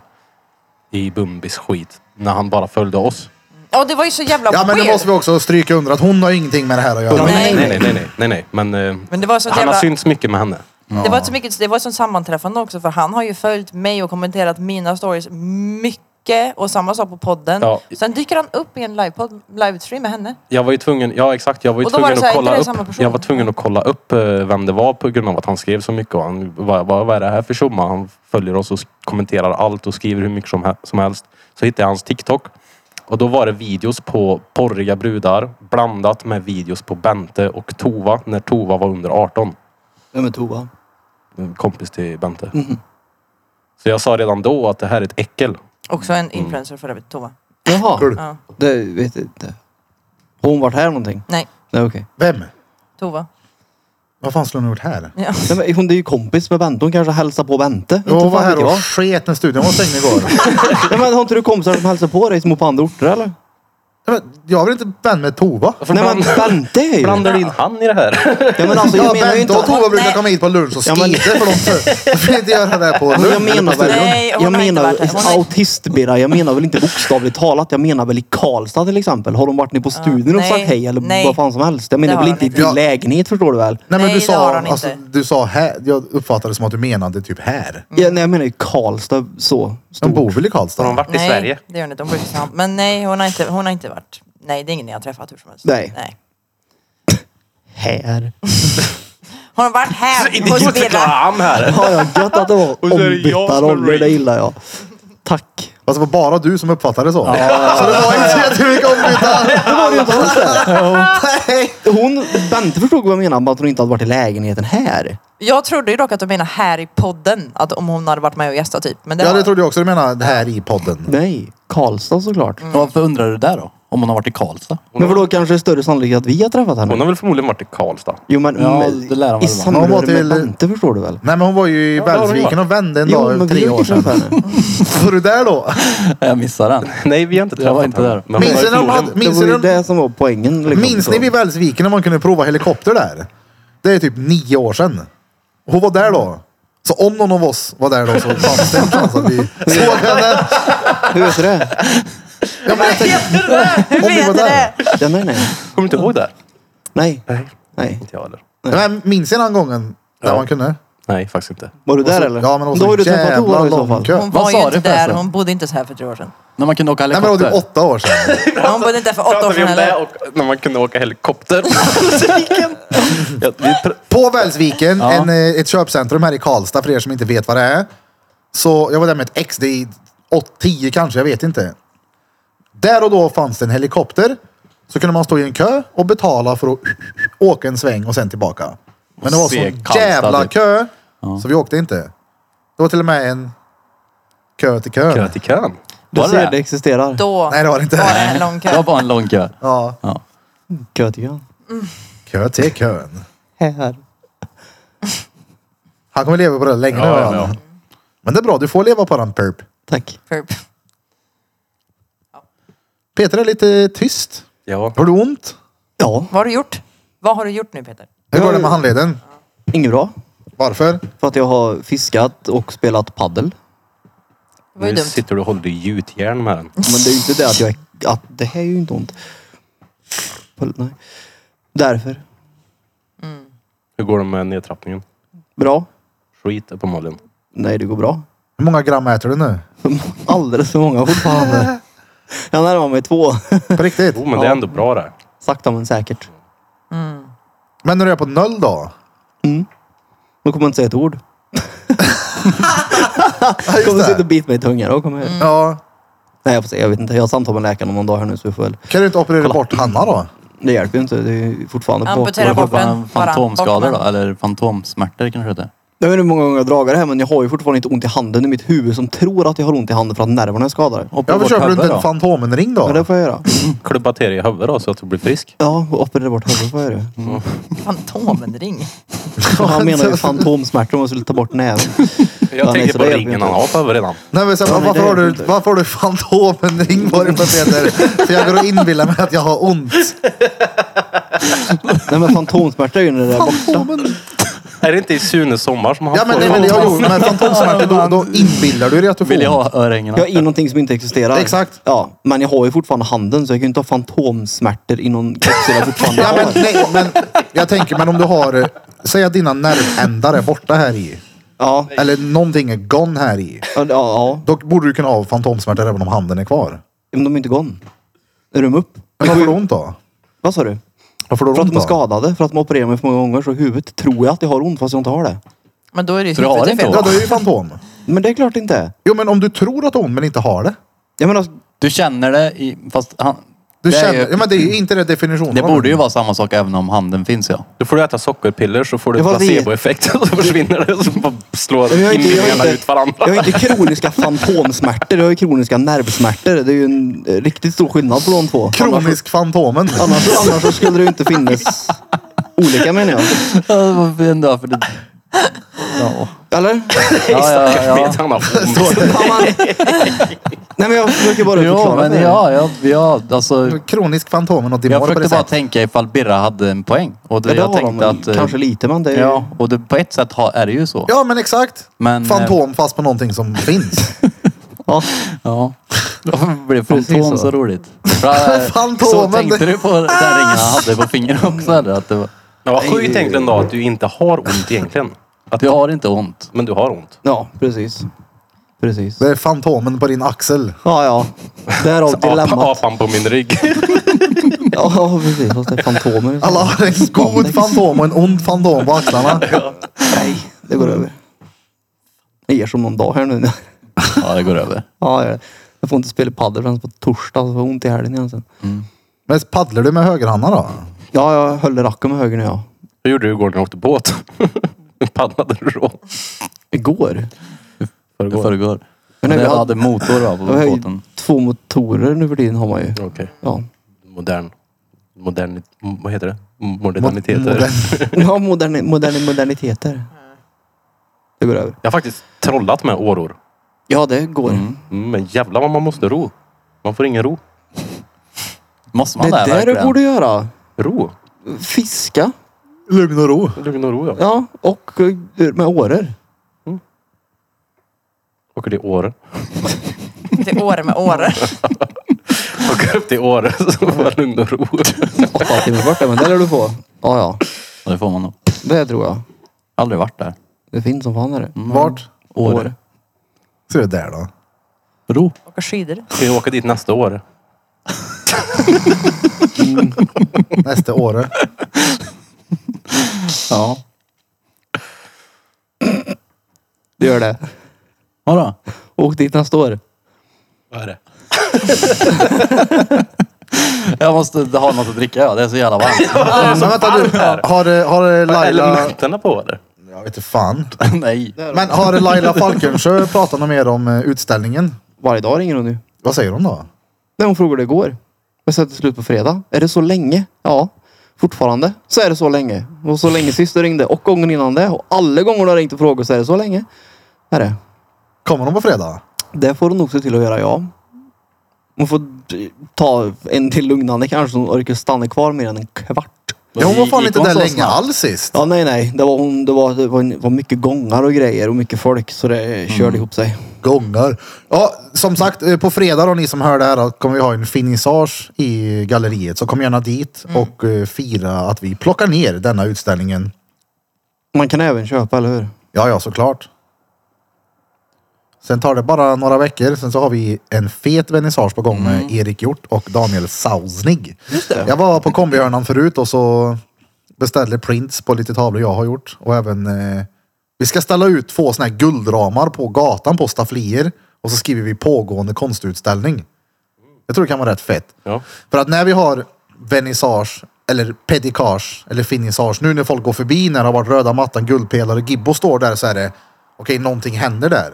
Speaker 3: i Bumbis skit. När han bara följde oss.
Speaker 4: Ja, det var ju så jävla
Speaker 1: Ja, men det
Speaker 4: weird.
Speaker 1: måste vi också stryka under att hon har ingenting med det här att göra.
Speaker 5: Ja,
Speaker 4: Nej.
Speaker 3: Nej, nej, nej, nej, nej, nej. Men, eh,
Speaker 4: Men det var så
Speaker 3: han
Speaker 4: jävla-
Speaker 3: har synts mycket med henne.
Speaker 4: Det var, inte så mycket, det var ett sånt sammanträffande också för han har ju följt mig och kommenterat mina stories mycket mycket och samma sak på podden.
Speaker 3: Ja.
Speaker 4: Sen dyker han upp i en livepodd, livestream med henne.
Speaker 3: Jag var ju tvungen, ja exakt, jag var ju
Speaker 4: Och då var
Speaker 3: tvungen
Speaker 4: det så här,
Speaker 3: att kolla
Speaker 4: inte det är
Speaker 3: upp.
Speaker 4: samma person?
Speaker 3: Jag var tvungen att kolla upp eh, vem det var på grund av att han skrev så mycket. Och han, vad, vad, vad är det här för tjomma? Han följer oss och sk- kommenterar allt och skriver hur mycket som, he- som helst. Så hittade jag hans TikTok. Och då var det videos på porriga brudar blandat med videos på Bente och Tova när Tova var under 18.
Speaker 5: Vem är Tova?
Speaker 3: En kompis till Bente. Så jag sa redan då att det här Mm-hmm. är ett äckel.
Speaker 4: Också en
Speaker 3: Mm.
Speaker 4: influencer för övrigt, Tova.
Speaker 5: Jaha.
Speaker 1: Kul.
Speaker 4: Ja.
Speaker 5: Det vet jag inte. Har hon varit här någonting?
Speaker 4: Nej,
Speaker 5: Nej okej.
Speaker 1: Vem?
Speaker 4: Tova.
Speaker 1: Vad fan skulle hon ha gjort här?
Speaker 4: Ja.
Speaker 5: Nej, men Hon är ju kompis med Bente. Hon kanske hälsar på Bente.
Speaker 1: Jo,
Speaker 5: Inte
Speaker 1: hon var
Speaker 5: fan vet
Speaker 1: här
Speaker 5: jag.
Speaker 1: och sket när studion var stängd igår.
Speaker 5: Nej, men har inte du kompisar som hälsar på dig som bor på andra orter eller?
Speaker 1: Nej, men Jag vill inte vän med Tova.
Speaker 3: Varför
Speaker 5: Nej men
Speaker 3: bland-
Speaker 5: Bente är ju...
Speaker 3: blandar du in han i det här?
Speaker 5: Ja, men alltså,
Speaker 1: Ja,
Speaker 5: jag menar ju
Speaker 1: Bente
Speaker 5: inte
Speaker 1: och
Speaker 5: att...
Speaker 1: Tova brukar
Speaker 4: Nej.
Speaker 1: komma hit på lunch och
Speaker 5: Ja,
Speaker 1: skita
Speaker 5: men-
Speaker 1: för de för- de får inte göra det här på
Speaker 5: Alltså,
Speaker 1: lunch.
Speaker 5: jag menar väl,
Speaker 4: Nej, hon
Speaker 5: jag
Speaker 4: har inte
Speaker 5: menar
Speaker 4: varit här. Hon har-
Speaker 5: autistbira, jag menar väl inte bokstavligt talat. Jag menar väl i Karlstad till exempel. Har de varit nere på studion och
Speaker 4: nej,
Speaker 5: sagt hej eller
Speaker 4: nej.
Speaker 5: vad fan som helst. Jag
Speaker 4: Det
Speaker 5: menar
Speaker 4: har
Speaker 5: väl
Speaker 4: de
Speaker 5: inte i
Speaker 4: inte.
Speaker 5: din
Speaker 1: Ja.
Speaker 5: lägenhet förstår du väl?
Speaker 1: Nej men
Speaker 4: Nej,
Speaker 1: du
Speaker 4: det har
Speaker 1: sa,
Speaker 4: han
Speaker 1: alltså,
Speaker 4: inte.
Speaker 1: du sa här, jag uppfattade det som att du menade typ här.
Speaker 5: Ja, nej, jag menar ju Karlstad så.
Speaker 1: De
Speaker 5: Stort.
Speaker 1: bor väl i
Speaker 3: Har de
Speaker 1: Karlstad?
Speaker 3: varit i
Speaker 4: nej,
Speaker 3: Sverige?
Speaker 4: det gör hon inte. Hon bor i Kristinehamn. Men nej, hon har, inte, hon har inte varit... Nej, det är ingen jag har träffat hur som helst.
Speaker 5: Nej.
Speaker 4: nej.
Speaker 5: Här.
Speaker 4: Hon har varit här hos
Speaker 3: Idiotförklara
Speaker 4: Birra.
Speaker 3: han här.
Speaker 5: Ja, jag gött att det var
Speaker 3: så är det jag
Speaker 5: ombytta
Speaker 3: som är
Speaker 5: roller, det
Speaker 3: rape.
Speaker 5: gillar jag. Tack.
Speaker 1: Alltså det var bara du som uppfattade det så. Så det var inte jättemycket ombytta.
Speaker 5: Det var det ju inte alls det. Hon, Bente förstod vad jag menade med att hon inte hade varit i lägenheten här.
Speaker 4: Jag trodde ju dock att du menade här i podden. Att om hon hade varit med och gästat typ. Men det
Speaker 1: Ja
Speaker 4: har-
Speaker 1: det trodde jag också du menade, det här i podden.
Speaker 5: Nej, Karlstad såklart.
Speaker 2: Varför undrar du det då? Om hon har varit i Karlstad?
Speaker 5: Men för då kanske det är större sannolikhet att vi har träffat henne.
Speaker 3: Hon har väl förmodligen varit i Karlstad.
Speaker 5: Jo men
Speaker 2: Ja,
Speaker 5: men-
Speaker 2: det lär han
Speaker 5: i
Speaker 2: väl vara.
Speaker 1: Hon var
Speaker 5: samröre
Speaker 1: till-
Speaker 5: med Bente förstår du väl?
Speaker 1: Nej men hon var ju i
Speaker 3: det har hon
Speaker 1: Välsviken och vände en
Speaker 5: Jo
Speaker 1: dag
Speaker 5: men
Speaker 1: för
Speaker 5: vi
Speaker 1: tre
Speaker 5: har
Speaker 1: år
Speaker 5: ju träffat
Speaker 1: sedan.
Speaker 5: henne.
Speaker 1: Var du där då?
Speaker 2: Jag missar den.
Speaker 3: Nej, vi har inte
Speaker 2: Jag
Speaker 3: träffat
Speaker 2: var inte
Speaker 3: henne.
Speaker 2: där.
Speaker 3: Men
Speaker 1: Minns
Speaker 3: hon
Speaker 1: ni
Speaker 3: var
Speaker 1: när de
Speaker 3: förmodligen-
Speaker 1: hade-
Speaker 5: Det
Speaker 1: minns
Speaker 5: var
Speaker 1: ni
Speaker 5: ju
Speaker 1: de-
Speaker 5: det som var poängen. Liksom,
Speaker 1: Minns
Speaker 5: så.
Speaker 1: ni vid Välsviken när man kunde prova helikopter där? Det är typ nio år sedan. Hon var där då. Så om någon av oss var där då så fanns det en chans att vi såg henne.
Speaker 5: Hur vet du det?
Speaker 1: Ja, men jag tänkte,
Speaker 4: Hur
Speaker 1: Om vi var
Speaker 4: vet du
Speaker 1: där.
Speaker 4: det?
Speaker 5: Ja, nej, nej.
Speaker 3: Kommer du inte ihåg det?
Speaker 5: Nej,
Speaker 3: Nej.
Speaker 5: nej.
Speaker 3: Inte jag heller.
Speaker 1: men minns ni den gången? Där
Speaker 3: Ja.
Speaker 1: man kunde?
Speaker 3: Nej, faktiskt inte.
Speaker 5: Var du där
Speaker 1: Och så-
Speaker 5: eller?
Speaker 1: Ja, men det var
Speaker 5: Då har
Speaker 1: så
Speaker 5: du träffat Tora
Speaker 1: jävla
Speaker 5: i så
Speaker 1: lång
Speaker 5: fall.
Speaker 1: kö.
Speaker 4: Hon
Speaker 2: Vad
Speaker 4: var
Speaker 2: sa
Speaker 4: ju
Speaker 2: du
Speaker 4: inte där.
Speaker 2: förresten?
Speaker 4: Hon bodde inte så här för tre år sedan.
Speaker 2: När man kunde åka
Speaker 1: Nej, men det var typ
Speaker 2: helikopter.
Speaker 1: åtta år sedan.
Speaker 4: Hon bodde inte där för åtta år
Speaker 3: Pratar vi
Speaker 4: sedan
Speaker 3: om det
Speaker 4: heller.
Speaker 3: och när man kunde åka helikopter? ja, vi pr-
Speaker 1: På Välsviken,
Speaker 2: Ja.
Speaker 1: en, eh, ett köpcentrum här i Karlstad för er som inte vet vad det är. Så jag var där med ett ex, det är åt- 10 kanske, jag vet inte. Där och då fanns det en helikopter. Så kunde man stå i en kö och betala för att åka en sväng och sen tillbaka. Men det var
Speaker 2: Och se
Speaker 1: sån
Speaker 2: Karlstad,
Speaker 1: jävla
Speaker 2: typ.
Speaker 1: kö, så vi åkte inte. Det var till och med en kö till kön.
Speaker 3: kö till kön.
Speaker 5: Du
Speaker 2: Var det
Speaker 5: ser,
Speaker 2: det?
Speaker 5: det existerar.
Speaker 4: Då
Speaker 1: Nej, det var det inte.
Speaker 4: var det en lång
Speaker 2: Det var
Speaker 4: kö.
Speaker 2: bara en lång kö.
Speaker 1: Ja,
Speaker 2: Ja.
Speaker 5: Kö tycker jag.
Speaker 1: kö till kön.
Speaker 5: Här.
Speaker 1: Han kommer leva på det länge nu.
Speaker 3: Ja, ja,
Speaker 1: han.
Speaker 3: ja.
Speaker 1: Men det är bra, du får leva på den perp.
Speaker 5: Tack.
Speaker 4: Perp.
Speaker 1: Peter är lite tyst.
Speaker 3: Ja.
Speaker 1: Har du ont?
Speaker 5: Ja,
Speaker 4: Vad har du gjort? Vad har du gjort nu Peter?
Speaker 1: Hur går det med handleden?
Speaker 5: inget bra.
Speaker 1: Varför?
Speaker 5: För att jag har fiskat och spelat paddel.
Speaker 4: Det var ju
Speaker 3: Nu
Speaker 4: dumt.
Speaker 3: sitter du och håller i gjutjärn med den.
Speaker 5: Men det är ju inte det att jag är... Att det här är ju inte ont. Pull- Nej. Därför.
Speaker 3: Hur går det med nedtrappningen?
Speaker 5: Bra.
Speaker 3: Skit uppenbarligen.
Speaker 5: Nej, det går bra.
Speaker 1: Hur många gram äter du nu?
Speaker 5: Alldeles för många fortfarande. Jag närmar mig två.
Speaker 1: På riktigt?
Speaker 3: Jo, men det är ändå bra det.
Speaker 5: Sakta men säkert.
Speaker 1: Men när du är på noll då?
Speaker 5: Då kommer jag inte säga ett ord. Jag kommer sitta och bita mig i tungan. Då kommer jag...
Speaker 1: Ja.
Speaker 5: Nej, jag får se. Jag vet inte. Jag har samtal med läkaren om någon dag här nu så vi får väl...
Speaker 1: Kan du inte operera bort Hanna då?
Speaker 5: Det hjälper ju inte. Det är ju fortfarande på.
Speaker 4: Amputera
Speaker 5: Jag
Speaker 4: bort
Speaker 5: vet
Speaker 4: den.
Speaker 2: Fan-
Speaker 4: Bara
Speaker 2: Fantomskador
Speaker 4: bort
Speaker 2: då?
Speaker 4: den.
Speaker 2: Eller fantomsmärtor kanske det heter.
Speaker 5: inte hur många gånger jag har dragit det här men jag har ju fortfarande inte ont i handen. Det är mitt huvud som tror att jag har ont i handen för att nerverna är skadade.
Speaker 2: Operera
Speaker 1: Ja,
Speaker 2: bort
Speaker 1: för köper du
Speaker 2: huvudet
Speaker 1: inte en
Speaker 2: då?
Speaker 1: Fantomen-ring
Speaker 5: Ja, det
Speaker 1: då?
Speaker 5: får jag göra.
Speaker 3: Klubba till dig i huvudet då så att du blir frisk.
Speaker 5: Ja, och operera bort huvudet får jag göra.
Speaker 4: Fantomenring.
Speaker 5: Han menar ju fantomsmärtor om man skulle ta bort näven.
Speaker 3: Jag
Speaker 5: nej,
Speaker 3: tänker
Speaker 5: så
Speaker 3: på
Speaker 5: det hjälper
Speaker 3: ringen han har på huvudet redan.
Speaker 1: Nej, men sen,
Speaker 5: Ja, men
Speaker 1: varför,
Speaker 5: det
Speaker 1: har du,
Speaker 5: hjälper inte.
Speaker 1: varför har du Fantomen-ring på dig på Peter? För jag går och inbillar mig att jag har ont.
Speaker 5: Nej men fantomsmärtor är ju när det är borta.
Speaker 1: Fantomen.
Speaker 3: Är det inte i Sunes sommar som han
Speaker 1: Ja men det är väl det jag har gjort med fantomsmärtor. Då, då inbillar du dig att du
Speaker 2: Vill jag
Speaker 1: får ont.
Speaker 2: ha örhängena?
Speaker 5: Jag har i någonting som inte existerar.
Speaker 1: Exakt.
Speaker 5: Ja, men jag har ju fortfarande handen så jag kan ju inte ha fantomsmärtor i någon kapsel jag fortfarande
Speaker 1: Ja, men,
Speaker 5: har.
Speaker 1: nej, men jag tänker, men om du har, eh, säg att dina nervändar är borta här i.
Speaker 5: Ja.
Speaker 1: Eller någonting är gone här i.
Speaker 5: Ja, ja, ja.
Speaker 1: Då borde du kunna ha fantomsmärtor även om handen är kvar.
Speaker 5: Men de är inte gone. Är de upp?
Speaker 1: Men varför då ont då?
Speaker 5: Vad sa du?
Speaker 1: Varför då
Speaker 5: För att
Speaker 1: ont
Speaker 5: de är
Speaker 1: då?
Speaker 5: skadade, för att de opererar mig för många gånger. Så i huvudet tror jag att jag har ont fast jag inte har det.
Speaker 4: Men då är det ju
Speaker 2: Så
Speaker 3: typ
Speaker 2: du har
Speaker 4: huvudet
Speaker 2: inte
Speaker 4: fel.
Speaker 1: Ja, det är ju fantom.
Speaker 5: Men det är klart det inte är.
Speaker 1: Jo, men om du tror att du har ont men inte har det.
Speaker 5: Jag menar,
Speaker 2: Du känner det i, fast han,
Speaker 1: Du
Speaker 2: det, är
Speaker 1: känner,
Speaker 2: ju,
Speaker 1: ja, men det är ju inte det definitionen.
Speaker 2: det
Speaker 1: av
Speaker 2: borde ju vara samma sak även om handen finns ja.
Speaker 3: Då får du äta sockerpiller så får du
Speaker 5: Jag var vet.
Speaker 3: placeboeffekt och så försvinner det. Så bara slår
Speaker 5: jag, har inte, jag,
Speaker 3: inbillningarna
Speaker 5: har
Speaker 3: ut
Speaker 5: inte,
Speaker 3: varandra.
Speaker 5: jag har inte kroniska fantomsmärtor, jag har ju kroniska nervsmärtor. Det är ju en eh, riktigt stor skillnad på de två.
Speaker 1: Kronisk Fantomen.
Speaker 5: Annars, annars så skulle det ju inte finnas olika menar jag.
Speaker 2: Vad fin du för det. Ja,
Speaker 5: Eller?
Speaker 2: ja, ja.
Speaker 3: Vet han har ont.
Speaker 5: Fan, man. Nej men jag försöker bara
Speaker 2: Jo,
Speaker 5: förklara.
Speaker 2: men
Speaker 5: det.
Speaker 2: ja, ja, ja, alltså,
Speaker 1: Kronisk Fantomen och
Speaker 2: jag
Speaker 1: Dimor på det
Speaker 2: försökte bara
Speaker 1: sättet.
Speaker 2: tänka ifall Birra hade en poäng. Och
Speaker 5: Ja,
Speaker 2: det,
Speaker 5: det
Speaker 2: jag
Speaker 5: har
Speaker 2: tänkte
Speaker 5: de,
Speaker 2: att... eh,
Speaker 5: Kanske lite men det är
Speaker 2: Ja, och det, på ett sätt har, är det ju så.
Speaker 1: Ja, men exakt.
Speaker 2: Men, eh,
Speaker 1: Fantom fast på någonting som finns.
Speaker 5: Ja.
Speaker 2: Ja. Varför blev
Speaker 5: Precis
Speaker 2: fantom
Speaker 5: så.
Speaker 2: så roligt? För, eh,
Speaker 1: Fantomen,
Speaker 2: Så
Speaker 1: det-
Speaker 2: tänkte du på den ringen han hade på fingret också eller? Att det var,
Speaker 3: Men vad sjukt egentligen då att du inte har ont egentligen. Att,
Speaker 2: du har inte ont.
Speaker 3: Men du har ont.
Speaker 5: ja, precis. Precis.
Speaker 1: Det är Fantomen på din axel.
Speaker 5: Ja, ja. Därav
Speaker 3: Apa,
Speaker 5: dilemmat.
Speaker 3: apan på min rygg.
Speaker 5: Ja, precis. Fast det är fantomer.
Speaker 1: Alla har en god Fantom och en ond Fantom på axlarna.
Speaker 5: Nej, det går över. Jag ger som någon dag här nu.
Speaker 2: Ja, det går över.
Speaker 5: Ja, jag, jag får inte spela padel förrän på torsdag, så får jag ont i helgen igen sen.
Speaker 1: Men paddlar du med högerhanden
Speaker 2: Mm.
Speaker 1: då?
Speaker 5: Ja, jag höll racken med höger nu ja.
Speaker 3: Hur gjorde du igår när du åkte båt? Paddlade du då?
Speaker 5: Igår.
Speaker 2: Det föregår. Men
Speaker 5: Men
Speaker 2: det
Speaker 5: nej, vi hade-
Speaker 2: hade motor va, på
Speaker 5: Jag har ju
Speaker 2: båten.
Speaker 5: två motorer nu för tiden har man ju.
Speaker 3: Okej.
Speaker 5: Ja,
Speaker 3: Modern. Modern... Vad heter det?
Speaker 1: Mo-
Speaker 3: Moderniteter.
Speaker 1: modern-
Speaker 5: ja moderni, moderni, moderniteter. Det går över.
Speaker 3: Jag har faktiskt trollat med åror.
Speaker 5: Ja, det går.
Speaker 3: Mm, Men jävlar vad man måste ro. Man får ingen ro.
Speaker 2: Måste man
Speaker 5: Det
Speaker 2: det,
Speaker 5: är det du
Speaker 2: verkligen?
Speaker 5: borde göra.
Speaker 3: Ro?
Speaker 5: Fiska.
Speaker 1: Lugn och ro.
Speaker 3: Lugn och ro ja.
Speaker 5: Ja, och eh, med åror.
Speaker 3: Åker till Åre.
Speaker 4: Till Åre med Åre.
Speaker 3: Åker upp till Åre så får jag lugn och ro.
Speaker 5: Åtta timmar bort, men det lär du få. Ja, ja.
Speaker 2: Ja, Det får man nog.
Speaker 5: Det tror jag.
Speaker 2: Aldrig varit där.
Speaker 5: Det finns som fan är det.
Speaker 2: Mm.
Speaker 1: Vart?
Speaker 2: Åre.
Speaker 1: Så är det där då.
Speaker 2: Ro.
Speaker 4: Åka skidor.
Speaker 3: Ska jag åka dit nästa år?
Speaker 1: Nästa år.
Speaker 2: Ja.
Speaker 5: Det gör det.
Speaker 2: Vadå?
Speaker 5: Åk dit nästa år.
Speaker 3: Vad är det?
Speaker 2: Jag måste ha något att dricka ja. Det är så jävla varmt.
Speaker 1: Men vänta du. Har, eh, har eh,
Speaker 3: Vad är
Speaker 1: Laila...
Speaker 3: elementerna på eller?
Speaker 1: Jag vet inte fan.
Speaker 2: Nej.
Speaker 1: Men har eh, Laila Falkensjö pratat något mer om eh, utställningen?
Speaker 5: Varje dag ringer hon nu.
Speaker 1: Vad säger hon då?
Speaker 5: När hon frågade igår. Jag sätter slut på fredag. Är det så länge? Ja. Fortfarande så är det så länge. Och så länge sist du ringde och gången innan det. Och alla gånger du har ringt och frågat så är det så länge. Är det.
Speaker 1: Kommer hon på fredag?
Speaker 5: Det får hon nog se till att göra ja. Hon får d- ta en till lugnande kanske så hon orkar stanna kvar mer än en kvart.
Speaker 1: Ja, hon var fan
Speaker 2: Gick
Speaker 1: inte
Speaker 2: hon
Speaker 1: där
Speaker 2: så
Speaker 1: länge
Speaker 2: snabbt?
Speaker 1: alls sist.
Speaker 5: Ja nej nej. Det var, hon, det var, det var, det var mycket gångar och grejer och mycket folk så det eh, körde ihop sig.
Speaker 1: Gånger. Ja, som sagt, eh, på fredag då, ni som hör det här, då kommer vi ha en finissage i galleriet. Så kom gärna dit
Speaker 2: Mm.
Speaker 1: och eh, fira att vi plockar ner denna utställningen.
Speaker 5: Man kan även köpa eller hur?
Speaker 1: Ja, ja, såklart. Sen tar det bara några veckor. Sen så har vi en fet vernissage på gång med Erik Hjort och Daniel Sausnig. Mm. Just det. Jag var på kombihörnan förut och så beställde prints på lite tavlor jag har gjort. Och även... Eh, vi ska ställa ut två såna här guldramar på gatan på stafflier. Och så skriver vi pågående konstutställning. Jag tror det kan vara rätt fett.
Speaker 3: Ja.
Speaker 1: För att när vi har vernissage eller pedikage eller finissage, nu när folk går förbi när det har varit röda mattan, guldpelare, Gibbo står där så är det okej, någonting händer där.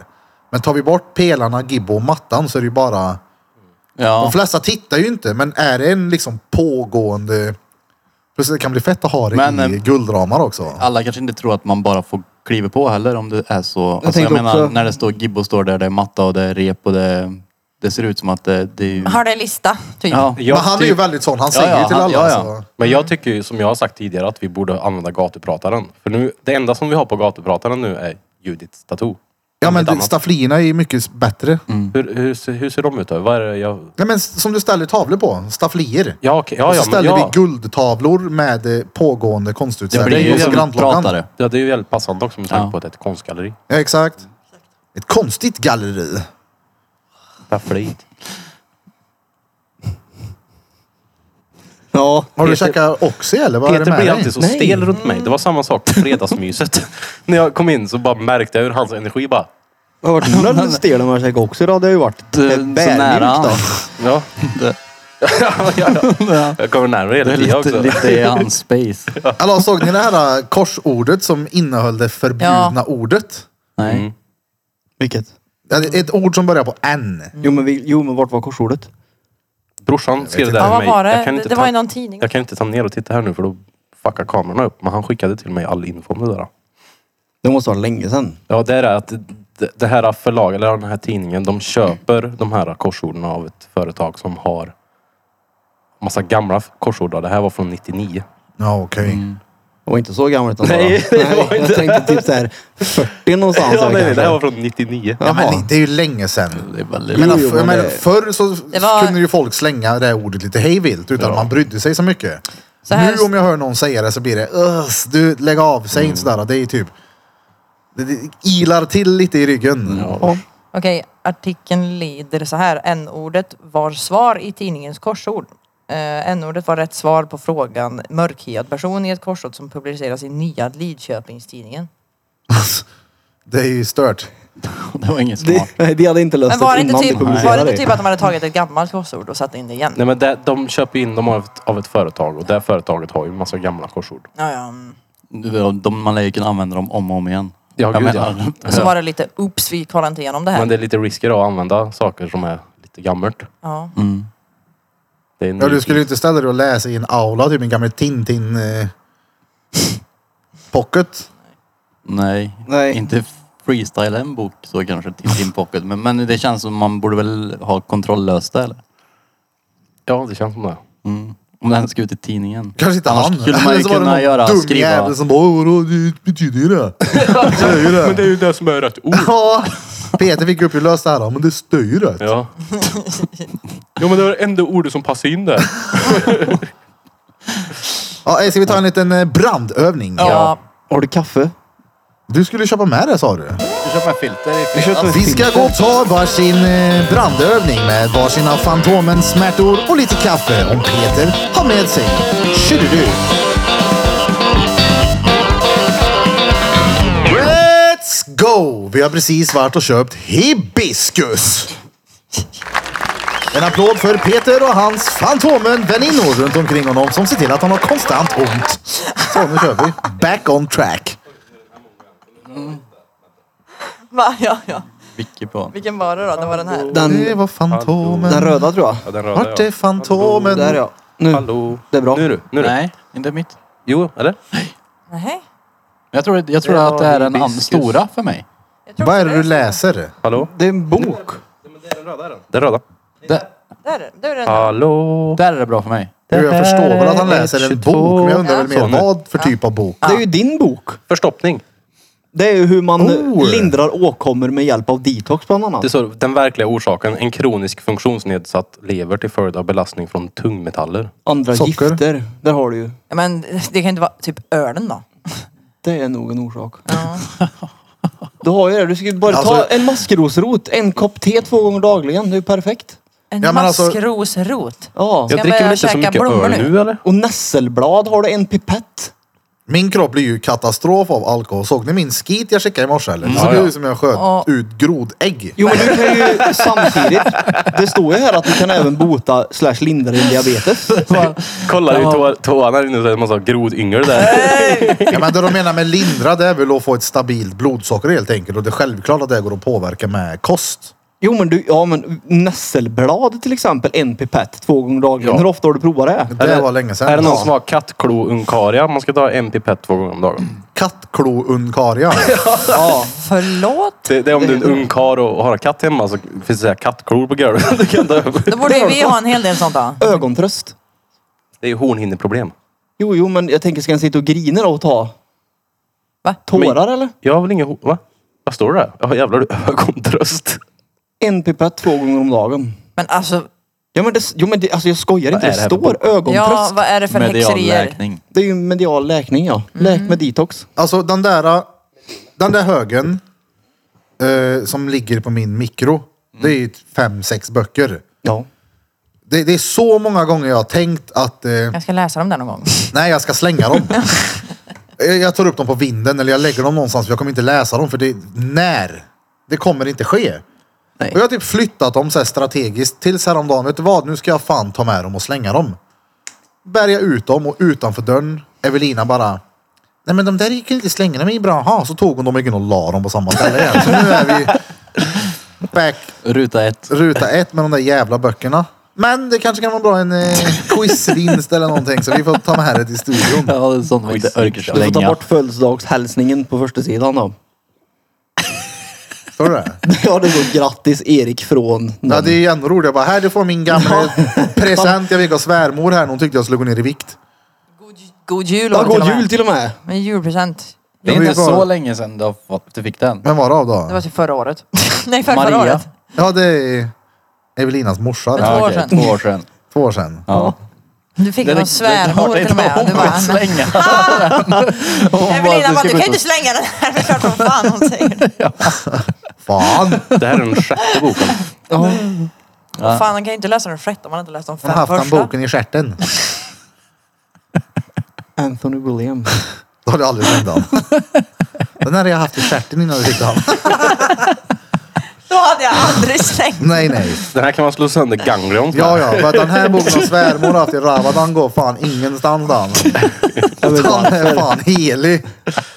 Speaker 1: Men tar vi bort pelarna, Gibbo och mattan så är det ju bara, de
Speaker 2: Ja.
Speaker 1: flesta tittar ju inte, men är det en liksom pågående Plus det kan bli fett att ha det
Speaker 2: Men,
Speaker 1: i
Speaker 2: eh,
Speaker 1: guldramar också.
Speaker 2: Alla kanske inte tror att man bara får kliva på heller om det är så. Jag, alltså, jag
Speaker 5: tänkte
Speaker 2: menar
Speaker 5: också-
Speaker 2: när det står Gibbo står där, det är matta och det är rep och det, det ser ut som att det, det är ju...
Speaker 4: Har det lista, typ.
Speaker 2: Ja.
Speaker 1: Men
Speaker 3: Jag
Speaker 1: han är ju
Speaker 3: tyck-
Speaker 1: väldigt sån, han
Speaker 2: Ja,
Speaker 1: säger
Speaker 2: ja,
Speaker 1: ju till
Speaker 2: han-
Speaker 1: alla. alltså.
Speaker 2: ja, ja.
Speaker 1: Så.
Speaker 3: Men jag tycker ju som jag har sagt tidigare att vi borde använda gatuprataren. För nu, det enda som vi har på gatuprataren nu är Judiths tattoo.
Speaker 1: Ja men
Speaker 3: Inget
Speaker 1: det-
Speaker 3: annat. Mm.
Speaker 1: stafflierna är ju mycket bättre.
Speaker 2: Mm.
Speaker 3: Hur, hur, ser- hur ser de ut då? Vad är det jag...
Speaker 1: Nej, men s- som du ställer tavlor på, stafflier.
Speaker 3: Ja, okej.
Speaker 1: och
Speaker 3: Ja,
Speaker 1: så
Speaker 3: ja, men,
Speaker 1: ställer
Speaker 3: ja.
Speaker 1: vi guldtavlor med eh, pågående
Speaker 2: Det
Speaker 1: konstutställning.
Speaker 2: blir ju
Speaker 1: Och så
Speaker 2: som
Speaker 1: grantloggan.
Speaker 2: pratare.
Speaker 3: ja, det är ju väldigt passande också med tanke
Speaker 2: Ja.
Speaker 3: på att det är ett konstgalleri.
Speaker 1: Ja exakt. Ett konstigt galleri.
Speaker 3: Staffliet.
Speaker 5: Ja.
Speaker 1: Har du
Speaker 3: Peter-
Speaker 1: käkat Oxy eller vad är det
Speaker 3: Peter
Speaker 1: med
Speaker 3: blir
Speaker 1: dig?
Speaker 3: alltid så
Speaker 5: Nej.
Speaker 3: stel runt mig. Det var samma sak på fredagsmyset. När jag kom in så bara märkte jag hur hans energi bara...
Speaker 5: Jag har varit några stel om jag käkar också. Då hade jag ju varit
Speaker 2: Du,
Speaker 5: eh,
Speaker 2: så
Speaker 5: bärmjuk
Speaker 2: nära.
Speaker 5: då.
Speaker 3: Ja.
Speaker 2: Det-
Speaker 3: ja, ja, ja. Jag kommer närmare
Speaker 2: Det
Speaker 3: hela
Speaker 2: är
Speaker 3: tiden
Speaker 2: lite,
Speaker 3: också.
Speaker 2: lite i hans space.
Speaker 1: Alla såg ni det här eh, korsordet som innehöll det förbjudna ordet?
Speaker 2: Nej.
Speaker 3: Mm.
Speaker 5: Vilket?
Speaker 1: Ja, det är Ett ord som börjar på N.
Speaker 5: Mm. Jo men, vi, jo men vart var korsordet?
Speaker 3: Brorsan skrev det
Speaker 1: inte.
Speaker 3: där
Speaker 4: Ja,
Speaker 3: till mig.
Speaker 4: vad var
Speaker 3: Jag
Speaker 4: det?
Speaker 3: kan
Speaker 4: Det,
Speaker 3: inte
Speaker 4: det var
Speaker 3: ta-
Speaker 4: i någon tidning.
Speaker 3: Jag kan inte ta ner och titta här nu för då fuckar kamerorna upp. Men han skickade till mig all info om det där.
Speaker 5: Det måste vara länge sedan.
Speaker 3: Ja, det är det att det- det här förlaget, eller den här tidningen, de köper de här korsorden av ett företag som har massa gamla korsord. Det här var från 99.
Speaker 1: Ja okej.
Speaker 3: Mm.
Speaker 5: Det var inte så gammalt utan
Speaker 3: Nej,
Speaker 5: bara,
Speaker 3: det var
Speaker 5: nej,
Speaker 3: inte.
Speaker 5: Jag tänkte typ såhär 40 någonstans.
Speaker 3: Ja, nej, nej,
Speaker 5: kanske.
Speaker 3: det här var från 99.
Speaker 1: Ja,
Speaker 5: Jaha.
Speaker 1: men det är ju länge sedan.
Speaker 2: Det är väldigt...
Speaker 1: Jag menar,
Speaker 5: Jo, jo,
Speaker 1: för, jag
Speaker 5: men
Speaker 1: menar,
Speaker 5: det-
Speaker 1: förr så
Speaker 4: var-
Speaker 1: kunde ju folk slänga det här ordet lite hejvilt utan att man brydde sig så mycket.
Speaker 4: Så här-
Speaker 1: Nu om jag hör någon säga det så blir det "Ös, du lägg av, säg inte
Speaker 2: Mm.
Speaker 1: sådär. Det är ju typ, det, det ilar till lite i ryggen.
Speaker 5: Ja.
Speaker 4: Okej, artikeln lyder så här. N-ordet var svar i tidningens korsord. Eh, N-ordet var rätt svar på frågan mörkhyad person i ett korsord som publiceras i Nya Lidköpingstidningen.
Speaker 1: Det är ju stört.
Speaker 2: Det var inget smart.
Speaker 5: Det, nej, det hade inte löst
Speaker 4: Men var det
Speaker 5: det
Speaker 4: inte
Speaker 5: innan
Speaker 4: typ,
Speaker 5: du
Speaker 4: var det
Speaker 5: publicerade
Speaker 4: inte typ att de hade tagit ett gammalt korsord och satt in det igen?
Speaker 3: Nej, men det, de köper in dem av ett, av ett företag och det här företaget har ju massa gamla korsord.
Speaker 4: Ja, ja. mm.
Speaker 2: De, de, man lär ju kunna använda dem om och om igen.
Speaker 3: Ja, gud,
Speaker 2: Jag menar-
Speaker 3: ja.
Speaker 4: Så Alltså, var det lite oops, vi kollade inte igenom det här.
Speaker 3: Men det är lite risker att använda saker som är lite gammalt.
Speaker 4: Ja.
Speaker 3: Det är en
Speaker 1: Ja,
Speaker 3: ny
Speaker 1: du skulle ju
Speaker 3: tid.
Speaker 1: inte ställa dig och läsa i en aula, typ en gammal Tintin eh, pocket.
Speaker 2: Nej.
Speaker 5: Nej.
Speaker 2: Inte freestyle en bok så kanske till din pocket. Men, men det känns som man borde väl ha kontrolllöst det eller?
Speaker 3: Ja, det känns som det.
Speaker 2: Mm. Om den ska ut i tidningen.
Speaker 1: Kanske inte
Speaker 2: Annars
Speaker 1: han.
Speaker 2: skulle man
Speaker 1: Eller
Speaker 2: ju
Speaker 1: så var det
Speaker 2: kunna
Speaker 1: någon
Speaker 2: göra-
Speaker 1: dum
Speaker 2: skriva-
Speaker 1: jävel som bara "Åh, vadå, det betyder ju det. Säger det.
Speaker 3: Men det är ju det som är rätt ord.
Speaker 1: Ja, Peter fick upp ju löst det här. Men det stör ju rätt.
Speaker 3: Ja. Jo men det var det enda ordet som passade in där.
Speaker 1: Ja, eh, ska vi ta en liten eh, brandövning?
Speaker 4: Ja.
Speaker 5: Har du kaffe?
Speaker 1: Du skulle köpa med det sa du.
Speaker 2: Du köper filter i
Speaker 1: Vi ska gå och ta varsin eh, brandövning med varsina Fantomens smärtor och lite kaffe om Peter har med sig. Tjurru! Let's go! Vi har precis varit och köpt hibiskus. En applåd för Peter och hans Fantomen-väninnor runt omkring honom som ser till att han har konstant ont. Så nu kör vi. Back on track.
Speaker 4: Va? ja, ja.
Speaker 2: Wiki på.
Speaker 4: Vilken var det då? Det var den här.
Speaker 1: Det
Speaker 5: Den,
Speaker 1: var Fantomen.
Speaker 5: den röda tror jag.
Speaker 3: Ja, den röda,
Speaker 1: Vart är
Speaker 3: ja.
Speaker 1: Fantomen?
Speaker 5: Där ja. Nu.
Speaker 3: Hallå.
Speaker 5: Det är bra.
Speaker 3: Nu du. Nu du.
Speaker 2: Nej, inte mitt.
Speaker 3: Jo, eller?
Speaker 4: Nej.
Speaker 2: Jag tror, jag tror
Speaker 3: Det
Speaker 2: att det är
Speaker 3: var
Speaker 2: den an-
Speaker 3: hibiskus.
Speaker 2: stora för mig.
Speaker 4: Jag tror
Speaker 1: Vad är
Speaker 4: inte
Speaker 1: det du läser?
Speaker 3: Hallå?
Speaker 5: Det är en bok.
Speaker 3: Den röda.
Speaker 2: Där,
Speaker 4: Där, där är den.
Speaker 3: Hallå.
Speaker 2: där är det bra för mig.
Speaker 1: Jo, jag förstår väl att han läser en bok, men jag undrar väl
Speaker 3: Ja.
Speaker 1: mer vad för typ av bok?
Speaker 5: Det är ju din bok.
Speaker 3: Förstoppning.
Speaker 5: Det är ju hur man
Speaker 1: Oh.
Speaker 5: lindrar åkommor med hjälp av detox bland annat.
Speaker 3: Det står den verkliga orsaken. En kronisk funktionsnedsatt lever till följd av belastning från tungmetaller.
Speaker 5: Andra
Speaker 1: Socker.
Speaker 5: gifter. Där har du ju.
Speaker 4: Ja, Men det kan inte vara typ ölen då?
Speaker 5: Det är nog en orsak. Du har ju det. Du ska ju bara ta
Speaker 1: Alltså-
Speaker 5: en maskrosrot, en kopp te två gånger dagligen. Det är ju perfekt.
Speaker 4: En
Speaker 1: Ja, men alltså-
Speaker 4: maskrosrot.
Speaker 5: Ja.
Speaker 3: Jag dricker
Speaker 4: jag
Speaker 3: väl
Speaker 4: börja
Speaker 3: inte så
Speaker 4: käka
Speaker 3: mycket
Speaker 4: blommor
Speaker 3: öl
Speaker 4: nu?
Speaker 3: nu eller?
Speaker 5: Och nässelblad har du en pipett.
Speaker 1: Min kropp blir ju katastrof av alkohol. Såg ni min skit jag skickade i morse eller? Det såg
Speaker 3: Ja, ja.
Speaker 1: ut som jag sköt
Speaker 4: Ja.
Speaker 1: ut grodägg.
Speaker 5: Jo men du kan ju samtidigt. Det står ju här att du kan även bota slash lindra din diabetes.
Speaker 3: Kolla i tå- tårna här inne så är det en massa grodyngel där.
Speaker 1: Ja, men det de menar med lindra det är väl att få ett stabilt blodsocker helt enkelt. Och det är självklart att det går att påverka med kost.
Speaker 5: Jo men du, ja men nässelblad till exempel, en pipett två gånger dagligen.
Speaker 3: Ja.
Speaker 5: Hur ofta har du provat det?
Speaker 1: Det där var länge sedan.
Speaker 3: Är det någon
Speaker 1: Ja.
Speaker 3: som har kattklo-unkaria? Man ska ta en pipett två gånger om dagen.
Speaker 1: Kattklo-unkaria.
Speaker 5: Ja.
Speaker 4: Förlåt?
Speaker 3: Det, det är om du är en ung karl och har en katt hemma så finns det så här kattklor på golvet. Du kan ta över.
Speaker 4: Då borde ju
Speaker 5: har
Speaker 4: vi
Speaker 5: du.
Speaker 4: ha en hel del sånt då.
Speaker 5: Ögontröst.
Speaker 3: Det är ju hornhinneproblem.
Speaker 5: Jo jo men jag tänker ska jag sitta och grina då och ta
Speaker 4: Va?
Speaker 5: tårar eller?
Speaker 3: Jag har väl ingen... ho- Va? Vad står det? där? Ja jävlar, du ögontröst.
Speaker 5: En pipett två gånger om dagen.
Speaker 4: Men alltså,
Speaker 5: Ja men, det, jo, men det, alltså jag skojar inte.
Speaker 3: är
Speaker 5: Det,
Speaker 3: det här för
Speaker 5: står
Speaker 4: ja,
Speaker 5: ögontröst.
Speaker 4: vad är det för
Speaker 2: Medial
Speaker 4: häxerier?
Speaker 2: läkning.
Speaker 5: Det är ju medial läkning ja. Läk
Speaker 4: Mm.
Speaker 5: med detox.
Speaker 1: Alltså den där, den där högen eh, som ligger på min mikro. Det är ju typ fem, sex böcker.
Speaker 5: Ja.
Speaker 1: Det, det är så många gånger jag har tänkt att eh,
Speaker 4: Jag ska läsa dem där någon gång.
Speaker 1: nej, jag ska slänga dem. jag, jag tar upp dem på vinden eller jag lägger dem någonstans för jag kommer inte läsa dem för det, när? Det kommer inte ske.
Speaker 5: Nej.
Speaker 1: Och jag har typ flyttat dem så här strategiskt tills häromdagen. Vet du vad? Nu ska jag fan ta med dem och slänga dem. Bär jag ut dem och utanför dörren, Evelina bara Nej men de där gick inte slänga, de är bra. Ha, så tog hon dem igen och la dem på samma ställe igen. Så nu är vi back
Speaker 2: Ruta ett.
Speaker 1: ruta ett med de där jävla böckerna. Men det kanske kan vara bra en eh, quizvinst eller någonting så vi får ta med det till studion.
Speaker 2: Ja, det är sånt man inte orkar
Speaker 5: Du får ta
Speaker 2: slänga.
Speaker 5: bort födelsedagshälsningen på första sidan då.
Speaker 1: Står det där?
Speaker 5: Ja det står grattis Erik från...
Speaker 1: Ja, det är ju ännu roligare. Jag bara, här du får min gamla present jag fick av svärmor här. Hon tyckte jag skulle gå ner i vikt.
Speaker 4: God, god jul
Speaker 5: Ja,
Speaker 4: var det till
Speaker 5: god
Speaker 4: och med.
Speaker 5: jul till och med.
Speaker 4: En julpresent.
Speaker 2: Det är
Speaker 1: Ja, det är
Speaker 2: inte
Speaker 1: bara-
Speaker 2: så länge sedan du, har fått, du fick den.
Speaker 1: Vem var det av
Speaker 4: Det var
Speaker 1: då?
Speaker 4: till förra året. Nej, för förra
Speaker 2: Maria.
Speaker 4: året.
Speaker 1: Ja, det är Evelinas morsa.
Speaker 4: Men
Speaker 1: Där.
Speaker 4: två år
Speaker 2: okej,
Speaker 4: sedan.
Speaker 2: Två år sedan.
Speaker 1: Två år sedan.
Speaker 2: Ja.
Speaker 4: Du fick
Speaker 2: Det-
Speaker 4: någon
Speaker 2: det- det-
Speaker 4: svärmor
Speaker 2: det-
Speaker 4: till och med.
Speaker 2: hon
Speaker 4: Du
Speaker 2: vill
Speaker 4: bara, "Nej."
Speaker 2: slänga den. Hon bara,
Speaker 4: Evelina bara,
Speaker 2: ska
Speaker 4: du
Speaker 2: gå ut
Speaker 4: kan ju
Speaker 2: och-
Speaker 4: inte slänga den här. Det är klart som fan hon säger det.
Speaker 1: Fan!
Speaker 3: Det här är den sjätte boken.
Speaker 4: Och Fan, han kan ju inte läsa den sjätte om han inte läst de
Speaker 1: Hon
Speaker 4: fem
Speaker 1: har haft
Speaker 4: första.
Speaker 1: den boken i stjärten.
Speaker 5: Anthony Williams.
Speaker 1: Då har du aldrig slängt den. Den hade jag haft i stjärten innan du fick den.
Speaker 4: Då hade jag aldrig slängt
Speaker 1: Nej, nej.
Speaker 3: Den här kan man slå sönder ganglions med.
Speaker 1: Ja, ja. För att den här boken har svärmor haft i Ravadan går fan ingenstans den. Den är fan helig.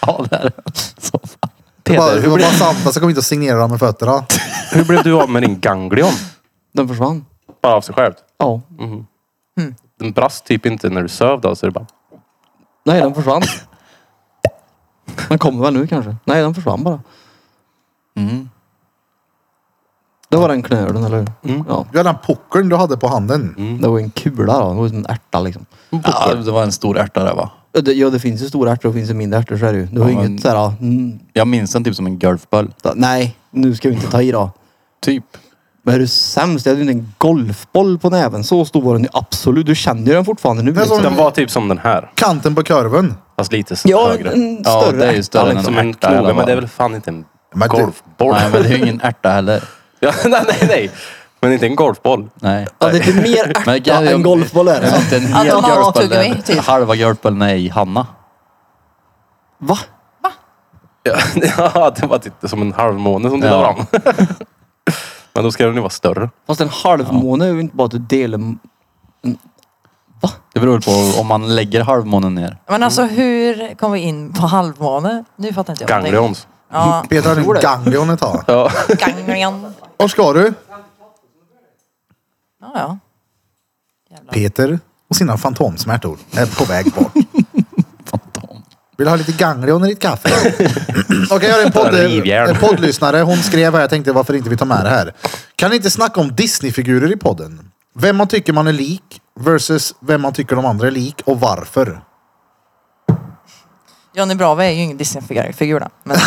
Speaker 2: Ja, det är så fan.
Speaker 1: Det var
Speaker 3: Peter,
Speaker 1: det
Speaker 3: hur,
Speaker 1: var
Speaker 3: blev,
Speaker 1: bara samtal så kom inte att signera dem med fötterna.
Speaker 3: hur blev du av med din ganglion?
Speaker 5: Den försvann.
Speaker 3: Bara av sig själv.
Speaker 5: Ja.
Speaker 3: Den brast typ inte när du söv då, så det bara...
Speaker 5: Nej den försvann. Den kommer väl nu kanske? Nej den försvann bara.
Speaker 2: Mm.
Speaker 5: Det var den knölen eller hur?
Speaker 3: Mm.
Speaker 5: Ja.
Speaker 1: Du hade den puckeln du hade på handen.
Speaker 2: Mm.
Speaker 5: Det var en kula då. Det var som en ärta liksom.
Speaker 2: Ja, det var en stor ärta där va?
Speaker 5: Ja, det- Ja det finns ju stora ärtor och finns ju mindre ärtor så är det ju. Det var
Speaker 2: Ja, men-
Speaker 5: inget såhär, mm,
Speaker 2: Jag minns den typ som en golfboll.
Speaker 5: da- nej nu ska vi inte ta i då.
Speaker 2: Typ.
Speaker 5: Men är du sämst? Jag hade ju en golfboll på näven. Så stor var den ju absolut. Du känner ju den fortfarande nu.
Speaker 1: Det är som-
Speaker 5: Liksom.
Speaker 3: Den var typ som den här.
Speaker 1: Kanten på kurven.
Speaker 3: Fast lite s-
Speaker 5: Ja,
Speaker 3: högre.
Speaker 4: mm.
Speaker 5: en
Speaker 2: Ja,
Speaker 5: större
Speaker 2: det är ju större
Speaker 5: ärta,
Speaker 2: än
Speaker 5: liksom.
Speaker 3: Som
Speaker 2: en
Speaker 3: en
Speaker 2: ärta i alla
Speaker 3: knoge,
Speaker 2: fall.
Speaker 3: men det är väl fan inte en
Speaker 1: Men du-
Speaker 3: golfboll?
Speaker 2: Nej men det är ju ingen ärta heller.
Speaker 3: ja, nej, nej, nej. Men inte en golfboll.
Speaker 2: Nej.
Speaker 5: Ja, det är lite mer
Speaker 2: Men
Speaker 5: ärta
Speaker 2: kan jag-
Speaker 5: än golfboll är
Speaker 2: Jag
Speaker 5: det.
Speaker 2: vet inte, en hel
Speaker 4: Automat-
Speaker 2: golfboll.
Speaker 4: tuggummi,
Speaker 2: är-
Speaker 4: typ.
Speaker 2: Halva golfbollen är i Hanna.
Speaker 5: Va?
Speaker 3: Ja, ja, det var typ som en halvmåne som du
Speaker 2: Ja.
Speaker 3: la fram. Men då ska den ju vara större.
Speaker 5: Fast en halvmåne är ju inte bara att du delar...
Speaker 2: Det beror på om man lägger halvmånen ner.
Speaker 4: Men alltså
Speaker 1: Mm.
Speaker 4: hur kom vi in på halvmåne? Nu fattar inte jag någonting.
Speaker 3: Ganglions.
Speaker 4: Ja,
Speaker 1: Peter hade en ganglion ett tag.
Speaker 3: Ja.
Speaker 4: ganglion.
Speaker 1: Var ska du?
Speaker 4: Ja, ja.
Speaker 1: Peter och sina fantomsmärtor är på väg bort.
Speaker 2: Fantom.
Speaker 1: Vill du ha lite ganglion i ditt kaffe? Okej, jag har en, podd,
Speaker 3: Rivjärn.
Speaker 1: en poddlyssnare. Hon skrev här, jag tänkte varför inte vi tar med det här. Kan ni inte snacka om Disney-figurer i podden? Vem man tycker man är lik versus vem man tycker de andra är lik och varför.
Speaker 4: Johnny Bravo är ju ingen Disney-figur. då, Men,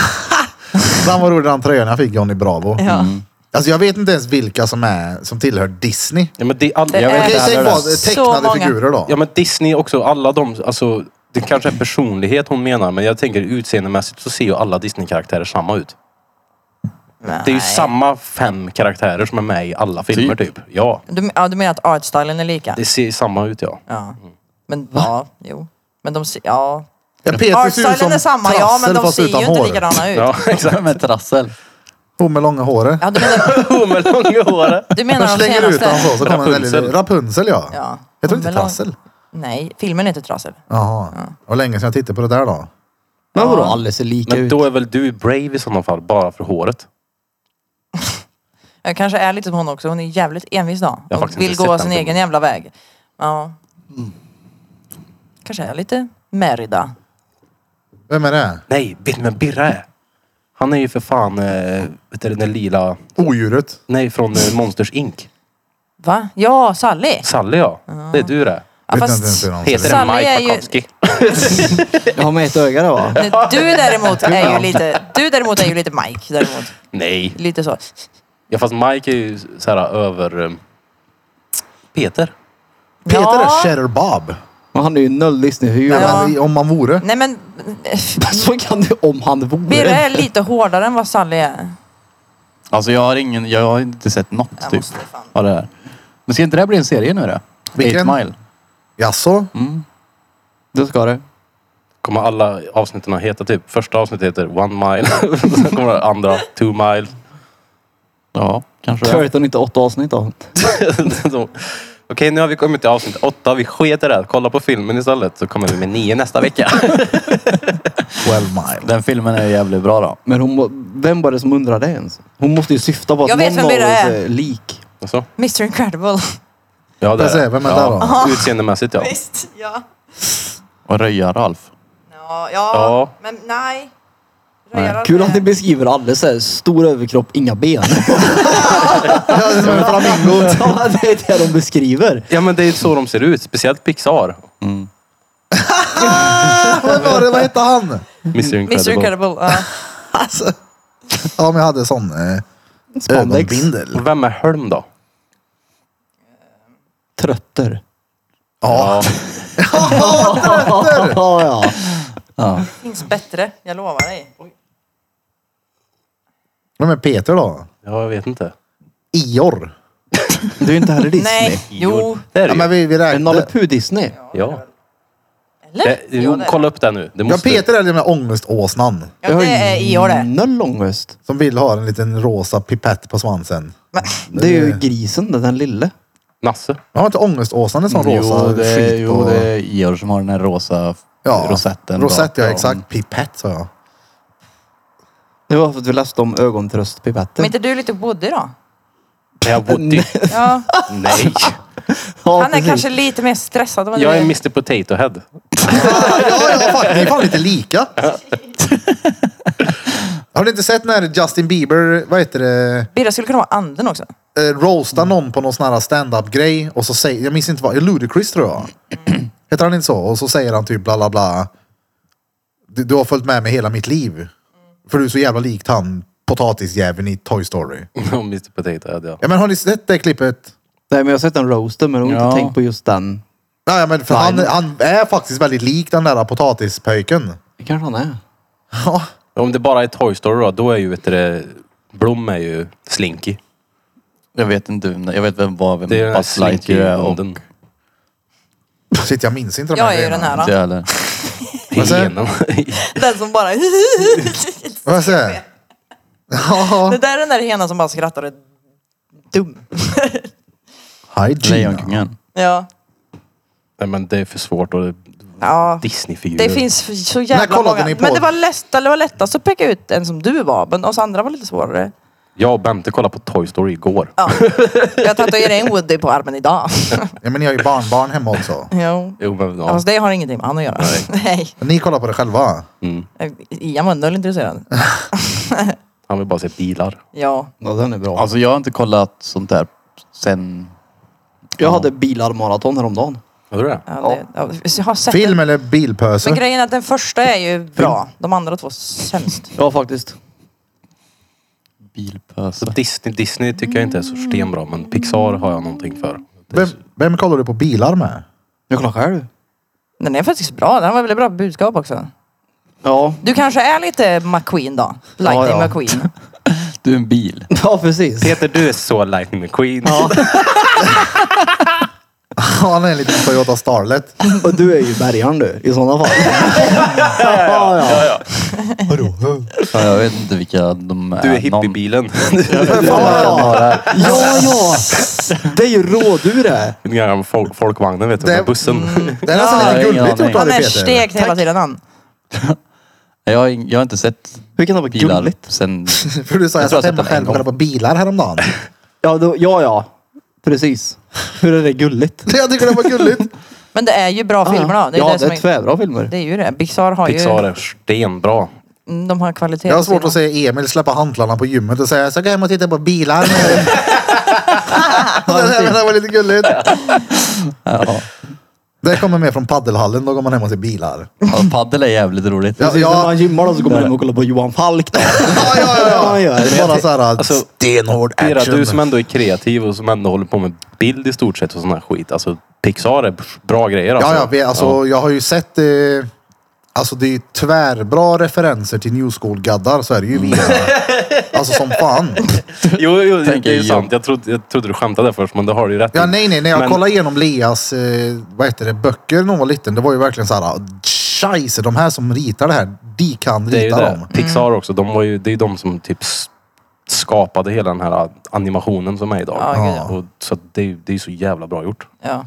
Speaker 1: Den var rolig den tröjan jag fick, Johnny Bravo.
Speaker 4: ja.
Speaker 1: Alltså jag vet inte ens vilka som, är, som tillhör Disney.
Speaker 3: Ja, men det är all...
Speaker 4: Det
Speaker 3: jag vet
Speaker 4: är-
Speaker 3: inte
Speaker 1: Okej, säg
Speaker 3: heller det.
Speaker 1: vad,
Speaker 4: Så
Speaker 1: tecknade
Speaker 4: många.
Speaker 1: figurer då.
Speaker 3: Ja men Disney också, alla de, alltså det kanske är personlighet hon menar men jag tänker utseendemässigt så ser ju alla Disney-karaktärer samma ut. Det är ju
Speaker 4: Nej.
Speaker 3: samma fem karaktärer som är med i alla filmer typ. Ja,
Speaker 4: Du, ja, du menar att artstylen är lika?
Speaker 3: det ser samma ut ja.
Speaker 4: Ja. Men ja, jo. Men de ser, ja.
Speaker 1: Ja, Peter ser ut som
Speaker 4: Artstylen är samma, ja, men de
Speaker 1: fast
Speaker 4: ser ju
Speaker 1: utan
Speaker 4: inte
Speaker 1: hår.
Speaker 4: likadana ut.
Speaker 3: Ja, exakt.
Speaker 2: Med trassel.
Speaker 1: Hon med långa håret.
Speaker 4: Ja, du menar,
Speaker 3: Med långa hår.
Speaker 4: du
Speaker 1: De
Speaker 4: menar de
Speaker 1: slänger ut honom
Speaker 4: senaste?
Speaker 1: så, så kommer en väldigt...
Speaker 3: Rapunzel.
Speaker 1: Rapunzel ja.
Speaker 4: Ja.
Speaker 1: Jag tror inte
Speaker 4: Hon med lång-
Speaker 1: Trassel.
Speaker 4: Nej, filmen är inte trasig.
Speaker 1: Jaha. Och länge sedan jag tittade på det där då.
Speaker 5: Men vadå alla ser lika
Speaker 3: Men
Speaker 5: ut?
Speaker 3: då är väl du brave i sådana fall, bara för håret?
Speaker 4: Jag kanske är lite som hon också. Hon är jävligt envis då.
Speaker 3: Jag har
Speaker 4: Och
Speaker 3: faktiskt
Speaker 4: vill
Speaker 3: inte
Speaker 4: gå
Speaker 3: sett
Speaker 4: sin
Speaker 3: den
Speaker 4: egen
Speaker 3: filmen. Mm.
Speaker 4: jävla väg. Ja. Kanske är jag lite Merida.
Speaker 1: Vem är det?
Speaker 3: Nej, vet ni vem Birra är? Han är ju för fan, eh, vet du den där lila,
Speaker 1: Odjuret.
Speaker 3: nej från eh, Monsters Inc.
Speaker 4: Va? Ja, Sally.
Speaker 3: Sally ja, det är du det.
Speaker 4: Ja,
Speaker 1: Vet inte ens
Speaker 4: fast
Speaker 1: hur han ser
Speaker 3: Heter
Speaker 1: ut.
Speaker 3: den
Speaker 4: Sally är
Speaker 3: Mike
Speaker 4: ju-
Speaker 3: Wachowski?
Speaker 5: Jag har med ett öga där va?
Speaker 4: Du däremot är ju lite, du däremot är ju lite Mike däremot.
Speaker 3: Nej.
Speaker 4: Lite så.
Speaker 3: Ja, fast Mike är ju så här över... eh, Peter.
Speaker 1: Peter
Speaker 4: Ja.
Speaker 1: är Cheddar Bob.
Speaker 5: Men han är ju nöllis nu. Hur gör
Speaker 1: Nej,
Speaker 5: han?
Speaker 4: Ja.
Speaker 1: men, om man vore.
Speaker 4: Nej men, eh,
Speaker 5: Så kan det om han
Speaker 4: Birre är
Speaker 5: vore.
Speaker 4: lite hårdare än vad Sally är.
Speaker 2: Alltså jag har ingen, jag har inte sett något
Speaker 4: Jag
Speaker 2: typ
Speaker 4: måste fan-
Speaker 2: av det här. Men ska inte det här bli en serie nu då?
Speaker 1: Vilken?
Speaker 2: Eight Mile.
Speaker 1: Jaså?
Speaker 5: Det ska det.
Speaker 3: Kommer alla avsnitten att heta typ... Första avsnittet heter One Mile. Sen kommer det andra Two Mile.
Speaker 2: Ja, kanske det.
Speaker 5: Förutom inte åtta avsnitt då.
Speaker 3: Så, Okej, nu har vi kommit till avsnitt åtta. Vi sket i det här. Kolla på filmen istället så kommer vi med nio nästa vecka.
Speaker 1: 12 mile.
Speaker 2: Den filmen är ju jävligt bra då.
Speaker 5: Men hon, må- vem var det som undrade ens? Hon måste ju syfta på att
Speaker 4: Jag vet
Speaker 5: någon
Speaker 4: vem
Speaker 5: av oss
Speaker 4: Birra är.
Speaker 5: är lik.
Speaker 3: Så.
Speaker 4: Mr Incredible.
Speaker 3: Ja,
Speaker 1: Får jag se, vem är det då?
Speaker 3: ja. Utseendemässigt ja.
Speaker 4: Visst, ja.
Speaker 2: Och Röja-Ralf.
Speaker 4: Ja, ja.
Speaker 3: Ja.
Speaker 4: men nej.
Speaker 2: Nej.
Speaker 4: Röjar
Speaker 5: Kul att
Speaker 4: aldrig.
Speaker 5: ni beskriver alldeles såhär. Stor överkropp, inga
Speaker 1: Ja,
Speaker 5: ben.
Speaker 1: det är som en flamingo.
Speaker 5: Ja, det är det de beskriver.
Speaker 3: Ja men det är ju så de ser ut. Speciellt Pixar.
Speaker 4: Mm.
Speaker 1: Vad var det? Vad hette han?
Speaker 3: Mr
Speaker 4: Mr
Speaker 3: Incredible.
Speaker 4: Incredible, ja.
Speaker 1: Alltså. Ja, men jag hade sån eh,
Speaker 5: Spandex.
Speaker 1: ögonbindel.
Speaker 3: Vem är Holm då?
Speaker 5: Trötter.
Speaker 1: Ja.
Speaker 5: Ja, ja.
Speaker 4: Finns bättre, jag lovar dig.
Speaker 1: Vem är Peter då?
Speaker 3: Ja, jag vet inte.
Speaker 1: Ior.
Speaker 5: Du är ju inte heller Disney.
Speaker 4: Nej, jo.
Speaker 3: Det är
Speaker 1: Ja,
Speaker 3: det
Speaker 1: men
Speaker 3: ju.
Speaker 1: vi, vi
Speaker 5: Är Nalle
Speaker 1: räknar.
Speaker 5: Puh Disney?
Speaker 3: Ja.
Speaker 4: Eller?
Speaker 3: Det-
Speaker 4: Jo,
Speaker 3: Jo,
Speaker 4: det är
Speaker 3: kolla upp det nu. Det
Speaker 1: Ja,
Speaker 3: måste...
Speaker 1: Peter är den där ångeståsnan.
Speaker 4: det. Ja, det är i år det.
Speaker 5: Noll ångest.
Speaker 1: Som vill ha en liten rosa pipett på svansen.
Speaker 5: Det är ju grisen, den där lille.
Speaker 3: Nasse.
Speaker 1: Jag har inte ångeståsnan en sån rosa
Speaker 2: Mm, jo, det är,
Speaker 1: skit
Speaker 2: jo,
Speaker 1: på...
Speaker 2: det är Georg som har den här rosa
Speaker 1: Ja,
Speaker 2: rosetten.
Speaker 1: Rosett ja,
Speaker 2: bakom.
Speaker 1: exakt. Pipett sa jag.
Speaker 5: Det var för att vi läste om ögontröstpipetter.
Speaker 4: Men inte du lite Woody då?
Speaker 3: Nej, jag Woody.
Speaker 4: Ja.
Speaker 3: Nej.
Speaker 5: Ja,
Speaker 4: Han är
Speaker 5: precis.
Speaker 4: kanske lite mer stressad. än vad
Speaker 3: Jag
Speaker 4: du
Speaker 3: är Mr Potato Head.
Speaker 1: Ja, ja, fan, ni är fan lite lika. Har ni inte sett när Justin Bieber, vad heter det,
Speaker 4: Birre skulle kunna vara anden också.
Speaker 1: eh, roastar någon på någon sån här stand-up grej och så säger, jag minns inte vad, Ludacris tror jag. Heter han inte så? Och så säger han typ bla bla bla. Du, du har följt med mig hela mitt liv. För du är så jävla likt han potatisjäveln i Toy Story.
Speaker 3: Ja, Mr Potato Head ja.
Speaker 1: Ja men har ni sett det klippet?
Speaker 5: Nej, men jag har sett en roaster, men jag har
Speaker 2: Ja.
Speaker 5: inte tänkt på just den.
Speaker 1: Nej men för han, han är faktiskt väldigt lik den där potatispöjken.
Speaker 5: Det kanske han är.
Speaker 1: Ja.
Speaker 3: Om det bara är Toy Story då, då är ju vet du, det- Blom är ju Slinky.
Speaker 2: Jag vet inte vem Jag vet vem var vem
Speaker 3: Det är den här
Speaker 2: Buzz Lightyear är och
Speaker 3: Slinky-onden.
Speaker 1: Shit jag minns inte de här
Speaker 4: Jag är ju
Speaker 1: grejerna.
Speaker 4: den här.
Speaker 2: inte
Speaker 4: Då.
Speaker 2: jag heller.
Speaker 1: Vad säger-
Speaker 3: Helena.
Speaker 4: Den som bara...
Speaker 1: Vad jag säger? Ja.
Speaker 4: Det där är den där henen som bara skrattar och är dum.
Speaker 1: Hi Gina.
Speaker 2: Lejonkungen.
Speaker 4: Ja.
Speaker 3: Nej men det är för svårt och
Speaker 4: ja.
Speaker 3: Disneyfigurer.
Speaker 4: Det finns f- så jävla
Speaker 1: kollade
Speaker 4: många.
Speaker 1: ni på-
Speaker 4: Men det var, lätt, det var lättast att peka ut en som du var. Men oss andra var lite svårare.
Speaker 3: Jag och Bente kollade på Toy Story igår.
Speaker 4: Ja. Jag tatuerade en Woody på armen idag.
Speaker 1: Ja men ni har ju barnbarn hemma också.
Speaker 4: Jo.
Speaker 3: Jo men
Speaker 4: Ja.
Speaker 3: ja.
Speaker 4: Fast det har ingenting med han att göra. Nej.
Speaker 1: Ni kollar på det själva.
Speaker 4: Ian var noll intresserad.
Speaker 3: Han vill bara se bilar.
Speaker 4: Ja.
Speaker 5: Ja, den är bra.
Speaker 2: Alltså jag har inte kollat sånt där sen...
Speaker 5: jag hade bilarmaraton häromdagen.
Speaker 3: Hörde du det?
Speaker 4: ja, det, ja. Jag har sett
Speaker 1: Film
Speaker 4: den.
Speaker 1: eller
Speaker 4: Men
Speaker 1: bilpöse?
Speaker 4: grejen är att den första är ju bra. De andra två sämst.
Speaker 5: Ja, faktiskt.
Speaker 3: Så
Speaker 2: Bilpöse.
Speaker 3: Disney, Disney tycker jag inte är så stenbra men Pixar har jag någonting för. Det är
Speaker 1: Vem,
Speaker 3: så-
Speaker 1: vem kollar du på bilar med?
Speaker 5: Jag kollar själv.
Speaker 4: Den är faktiskt bra. Den har väldigt bra budskap också.
Speaker 5: Ja.
Speaker 4: Du kanske är lite McQueen då? Lightning
Speaker 5: Ja, ja.
Speaker 4: McQueen.
Speaker 2: Du är en bil.
Speaker 5: Ja, precis.
Speaker 3: Peter du är så Lightning McQueen.
Speaker 1: Han är en liten Toyota Starlet.
Speaker 5: Och du är ju bärgaren du, i sådana fall. ja, ja.
Speaker 1: Vadå?
Speaker 2: Ja, jag vet inte vilka de är.
Speaker 3: Du är
Speaker 2: Någon-
Speaker 3: hippiebilen.
Speaker 5: Ja, ja, ja. Det är ju rådjur det.
Speaker 3: Den gamla folk, folkvagnen vet du,
Speaker 1: Det-
Speaker 3: med bussen.
Speaker 1: Det är nästan
Speaker 2: Ja,
Speaker 1: lite
Speaker 2: ingen
Speaker 1: gulligt
Speaker 2: aning.
Speaker 1: gjort av
Speaker 4: Han
Speaker 1: dig
Speaker 4: är
Speaker 1: Peter.
Speaker 4: stekt hela tiden han.
Speaker 2: Jag, har, ing- jag har inte sett
Speaker 5: Hur kan det vara
Speaker 2: bilar
Speaker 5: gulligt?
Speaker 2: sen...
Speaker 1: För du sa
Speaker 2: Jag
Speaker 1: jag
Speaker 2: tror
Speaker 1: satt
Speaker 2: jag
Speaker 1: hemma
Speaker 2: sett den en
Speaker 1: själv och kollade på bilar häromdagen.
Speaker 5: Ja, då, ja, ja. Precis. Hur är det gulligt?
Speaker 1: Jag tycker det var gulligt.
Speaker 4: Men det är ju bra filmer då. Det är,
Speaker 5: ja,
Speaker 4: det
Speaker 5: det
Speaker 4: som
Speaker 5: är
Speaker 4: är,
Speaker 5: tvärbra filmer.
Speaker 4: det är ju det. Pixar har
Speaker 3: Pixar
Speaker 4: ju...
Speaker 3: är stenbra.
Speaker 4: Mm, De har kvalitet.
Speaker 1: Jag har
Speaker 4: på
Speaker 1: svårt
Speaker 4: sina.
Speaker 1: att se Emil släppa hantlarna på gymmet och säga jag ska gå hem och titta på bilar nu. det där det där var lite gulligt.
Speaker 2: Ja.
Speaker 1: Det kommer mer från paddelhallen, då går man hem och ser bilar.
Speaker 2: Ja, paddel är jävligt roligt.
Speaker 1: Ja,
Speaker 5: Precis,
Speaker 1: ja.
Speaker 5: När man gymmar då så går man hem och kollar på Johan Falk. Då.
Speaker 1: Ja, ja, ja.
Speaker 5: Ja, ja,
Speaker 1: Det är bara så här
Speaker 3: Alltså,
Speaker 1: stenhård
Speaker 3: Era,
Speaker 1: action.
Speaker 3: du som ändå är kreativ och som ändå håller på med bild i stort sett och sån här skit. Alltså Pixar är bra grejer alltså.
Speaker 1: Ja, ja, vi, alltså, jag har ju sett... Eh, alltså det är ju tvärbra referenser till New School-gaddar så är det ju vi. alltså som fan.
Speaker 3: Jo, jo det
Speaker 2: Tänker
Speaker 3: är ju
Speaker 2: jag.
Speaker 3: sant. Jag trodde, jag trodde du skämtade först, men det har du ju rätt
Speaker 1: Ja,
Speaker 3: i.
Speaker 1: nej, nej, när jag
Speaker 3: Men-
Speaker 1: kollade igenom Leas eh, vad heter det, böcker när hon var liten, det var ju verkligen så här... ah, Scheisse, de här som ritar det här, de kan
Speaker 3: Det är ju
Speaker 1: rita
Speaker 3: det.
Speaker 1: dem.
Speaker 3: Pixar också. De var ju, det är ju de som typ s- skapade hela den här animationen som är idag.
Speaker 4: Ja, gud, ja.
Speaker 3: Och, så att det, är ju- det är ju så jävla bra gjort.
Speaker 4: Ja.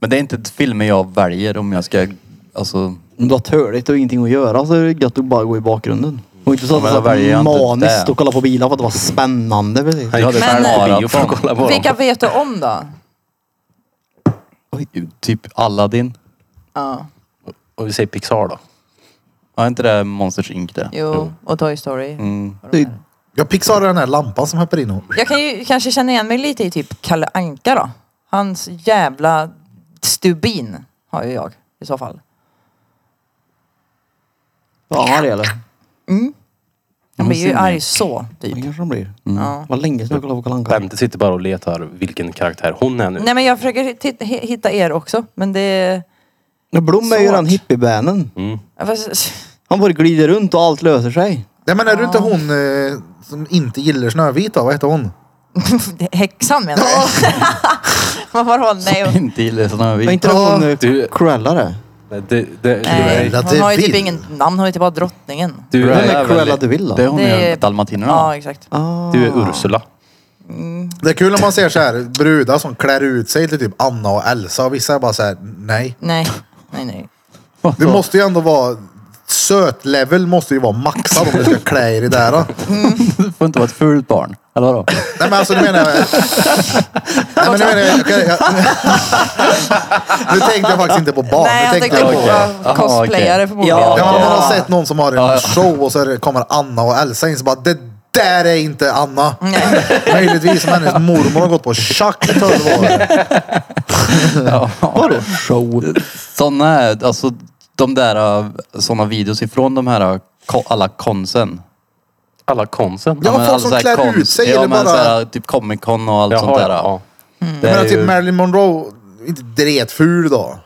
Speaker 2: Men det är inte filmer jag väljer om jag ska... Alltså,
Speaker 5: Om du har törligt och ingenting att göra så är det gött att bara gå i bakgrunden. Och inte så att
Speaker 2: men
Speaker 5: det
Speaker 2: då väljer jag
Speaker 5: var
Speaker 2: inte
Speaker 5: maniskt
Speaker 2: det.
Speaker 5: och kolla på bilar för att det var spännande. Precis.
Speaker 3: Jag hade
Speaker 4: Men-
Speaker 3: själv
Speaker 2: Men-
Speaker 3: bio för att kolla på
Speaker 4: Vilka
Speaker 3: dem.
Speaker 4: vet du om då?
Speaker 2: oj, typ Aladdin.
Speaker 4: Ja.
Speaker 3: Och vi säger Pixar då.
Speaker 2: Var inte det Monsters Inc det?
Speaker 4: Jo, och Toy Story.
Speaker 2: Mm.
Speaker 4: Och de
Speaker 5: Det
Speaker 4: här.
Speaker 5: är-
Speaker 1: Jag pixade den här lampan som hoppar in och...
Speaker 4: Jag kan ju kanske känna igen mig lite i typ Kalle Anka då. Hans jävla stubin har ju jag i så fall.
Speaker 5: Ja, arg eller?
Speaker 4: Han blir ju
Speaker 2: ser ni.
Speaker 4: arg så
Speaker 5: Det
Speaker 4: typ.
Speaker 5: kanske de blir.
Speaker 4: Ja.
Speaker 5: Vad Mm. länge sedan jag kollade på Kalle Anka.
Speaker 3: Bente sitter bara och letar vilken karaktär hon är nu.
Speaker 4: Nej men jag försöker titta, hi- hitta er också men det...
Speaker 5: Men Blom är ju
Speaker 4: Svårt.
Speaker 5: den hippiebänen.
Speaker 3: Mm.
Speaker 4: ja, fast-
Speaker 5: Han bara glider runt och allt löser sig.
Speaker 1: Nej, men är du inte hon eh, som inte gillar Snövit då? Vad heter hon?
Speaker 4: Häxan menar du? Vad var hon? Nej, hon-
Speaker 2: Inte gillar sådana här
Speaker 5: Var
Speaker 2: vi.
Speaker 5: inte det
Speaker 1: Ja.
Speaker 5: hon eh,
Speaker 3: Du-
Speaker 5: Cruella det?
Speaker 3: Det, det, det,
Speaker 4: nej.
Speaker 1: Cruella
Speaker 4: hon har ju
Speaker 1: de
Speaker 4: typ
Speaker 1: Vil.
Speaker 4: ingen namn, hon heter bara drottningen.
Speaker 3: Du,
Speaker 5: Vem
Speaker 3: du,
Speaker 5: är
Speaker 3: är,
Speaker 5: Cruella
Speaker 3: väl,
Speaker 5: de Vil då?
Speaker 2: Det är hon
Speaker 4: Det är-
Speaker 2: ju, dalmatinerna.
Speaker 4: Ja, exakt.
Speaker 5: Ah.
Speaker 3: du är Ursula.
Speaker 1: Det är kul när man ser så här brudar som klär ut sig till typ Anna och Elsa och vissa är bara så här, nej.
Speaker 4: Nej, nej, nej.
Speaker 1: Du måste ju ändå vara... Sötlevel måste ju vara maxad om du ska klä er i det här. då.
Speaker 2: Du får inte vara ett fult barn. Eller vadå?
Speaker 1: Nej men alltså nu menar jag... Nej men nu menar jag... okej, jag nu tänkte jag faktiskt inte på barn.
Speaker 4: nej,
Speaker 1: nu
Speaker 4: han
Speaker 1: tänkte
Speaker 4: tänkte
Speaker 1: jag
Speaker 4: på
Speaker 1: på... Ja,
Speaker 4: okay. cosplayare
Speaker 2: Aha, okej.
Speaker 4: förmodligen.
Speaker 2: Ja,
Speaker 1: men
Speaker 2: okej.
Speaker 1: man har sett någon som har en show och så är det- kommer Anna och Elsa in så bara, det där är inte Anna.
Speaker 4: Nej.
Speaker 1: Möjligtvis som hennes mormor har gått på tjack i tolv år.
Speaker 5: Vadå show?
Speaker 2: Sådana, alltså de där, uh, såna videos ifrån de här uh, ko- alla konsen.
Speaker 3: Alla konsen.
Speaker 1: Ja,
Speaker 2: men
Speaker 1: folk
Speaker 2: alla
Speaker 1: som
Speaker 2: så här
Speaker 1: klär
Speaker 2: konst-
Speaker 1: ut sig
Speaker 2: ja,
Speaker 1: eller
Speaker 2: men
Speaker 1: bara-
Speaker 2: Så här, typ Comic Con och allt
Speaker 3: Jaha,
Speaker 2: sånt där.
Speaker 3: ja.
Speaker 2: Det
Speaker 1: Jag
Speaker 2: är
Speaker 1: menar typ
Speaker 2: ju-
Speaker 1: Marilyn Monroe, inte dretful då.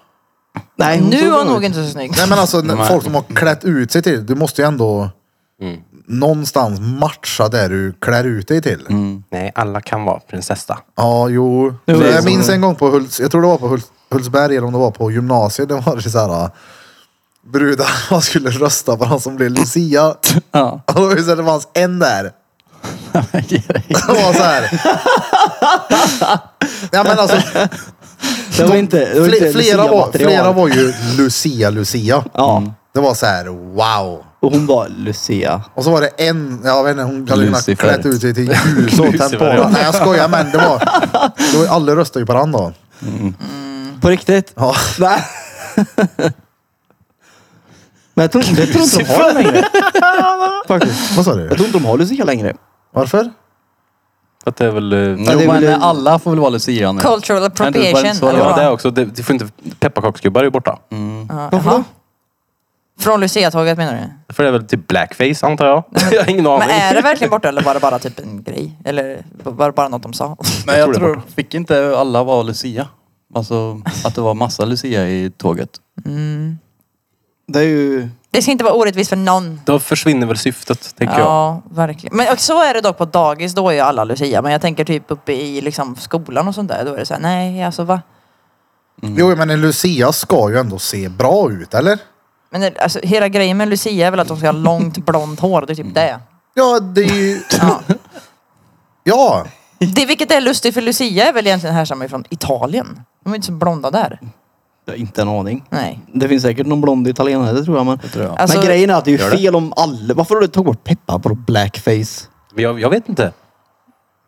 Speaker 5: Nej, hon
Speaker 4: Nu
Speaker 5: såg
Speaker 4: var hon
Speaker 5: bra
Speaker 4: nog
Speaker 5: ut.
Speaker 4: inte så snygg.
Speaker 1: Nej men alltså när
Speaker 2: Nej.
Speaker 1: folk som har klätt ut sig till, du måste ju ändå någonstans matcha där du klär ut dig till.
Speaker 3: Nej, alla kan vara prinsessa.
Speaker 1: Ja, jo.
Speaker 5: Jo, det är
Speaker 1: jag
Speaker 5: så.
Speaker 1: minns en gång på Hults, jag tror det var på Hults, Hultsberg eller om det var på gymnasiet. Det var det så här. Brudar man skulle rösta på han som blev Lucia.
Speaker 2: Ja.
Speaker 1: Och så det fanns en där.
Speaker 2: äh.
Speaker 1: Det var så här. Ja, men alltså,
Speaker 5: Det var inte, det var Mm.
Speaker 1: fle-
Speaker 5: inte
Speaker 1: flera, var,
Speaker 5: Lucia-material.
Speaker 1: flera var ju Lucia, Lucia.
Speaker 5: Ja,
Speaker 1: Det var så här, wow.
Speaker 5: och hon var Lucia.
Speaker 1: Och så var det en, jag vet inte, hon hade kunnat
Speaker 2: Lucifer.
Speaker 1: klätt ut sig till ljus och
Speaker 3: Lucifer,
Speaker 1: tempora.
Speaker 3: ja.
Speaker 1: Nej jag skojar men det var, det var alla röstade ju på varandra. då.
Speaker 5: På
Speaker 2: Mm.
Speaker 5: riktigt?
Speaker 1: Ja.
Speaker 5: Nej. Men jag tror, inte- jag tror inte de har det längre. Faktiskt.
Speaker 1: Vad sa du?
Speaker 5: Jag tror inte de har Lucia längre.
Speaker 1: Varför?
Speaker 5: Mm.
Speaker 3: Att det är väl... eh,
Speaker 2: Jo,
Speaker 5: det är
Speaker 2: men
Speaker 5: väl-
Speaker 2: eh, alla får väl vara Lucia nu.
Speaker 4: Cultural
Speaker 2: det var inte
Speaker 4: appropriation.
Speaker 2: så
Speaker 4: eller
Speaker 2: det
Speaker 3: Ja,
Speaker 4: vad?
Speaker 3: det är också. Det, det får inte, pepparkaksgubbar är ju borta.
Speaker 4: Ja, jaha. Från Lucia-tåget menar du?
Speaker 3: För det är väl typ blackface antar jag. jag har ingen aning.
Speaker 4: Men är det verkligen borta eller var det bara typ en grej? Eller var det bara något de sa?
Speaker 2: Men jag,
Speaker 3: Jag tror det är
Speaker 2: tror, fick inte alla vara Lucia? Alltså att det var massa Lucia i tåget.
Speaker 5: Det är ju...
Speaker 4: Det ska inte vara orättvist för någon.
Speaker 3: Då försvinner väl syftet, tänker jag.
Speaker 4: Ja, verkligen. Men så är det dock på dagis, då är ju alla Lucia. Men jag tänker typ uppe i liksom skolan och sånt där, då är det så här, nej alltså va?
Speaker 1: Jo men en Lucia ska ju ändå se bra ut eller?
Speaker 4: Men det, alltså, hela grejen med Lucia är väl att de ska ha långt blont hår, det är typ det.
Speaker 1: Ja det är ju...
Speaker 4: Ja.
Speaker 1: Ja!
Speaker 4: Det, vilket är lustigt för Lucia är väl egentligen härstammar från Italien. De är inte så blonda där.
Speaker 5: Jag har inte en aning.
Speaker 4: Nej.
Speaker 5: Det finns säkert någon blond italienare, det tror jag. Men,
Speaker 2: tror jag.
Speaker 4: Alltså-
Speaker 5: men grejen är att det är ju
Speaker 2: Gör det.
Speaker 5: fel om alla... Varför har du tagit bort peppar på blackface?
Speaker 3: Men jag, jag vet inte.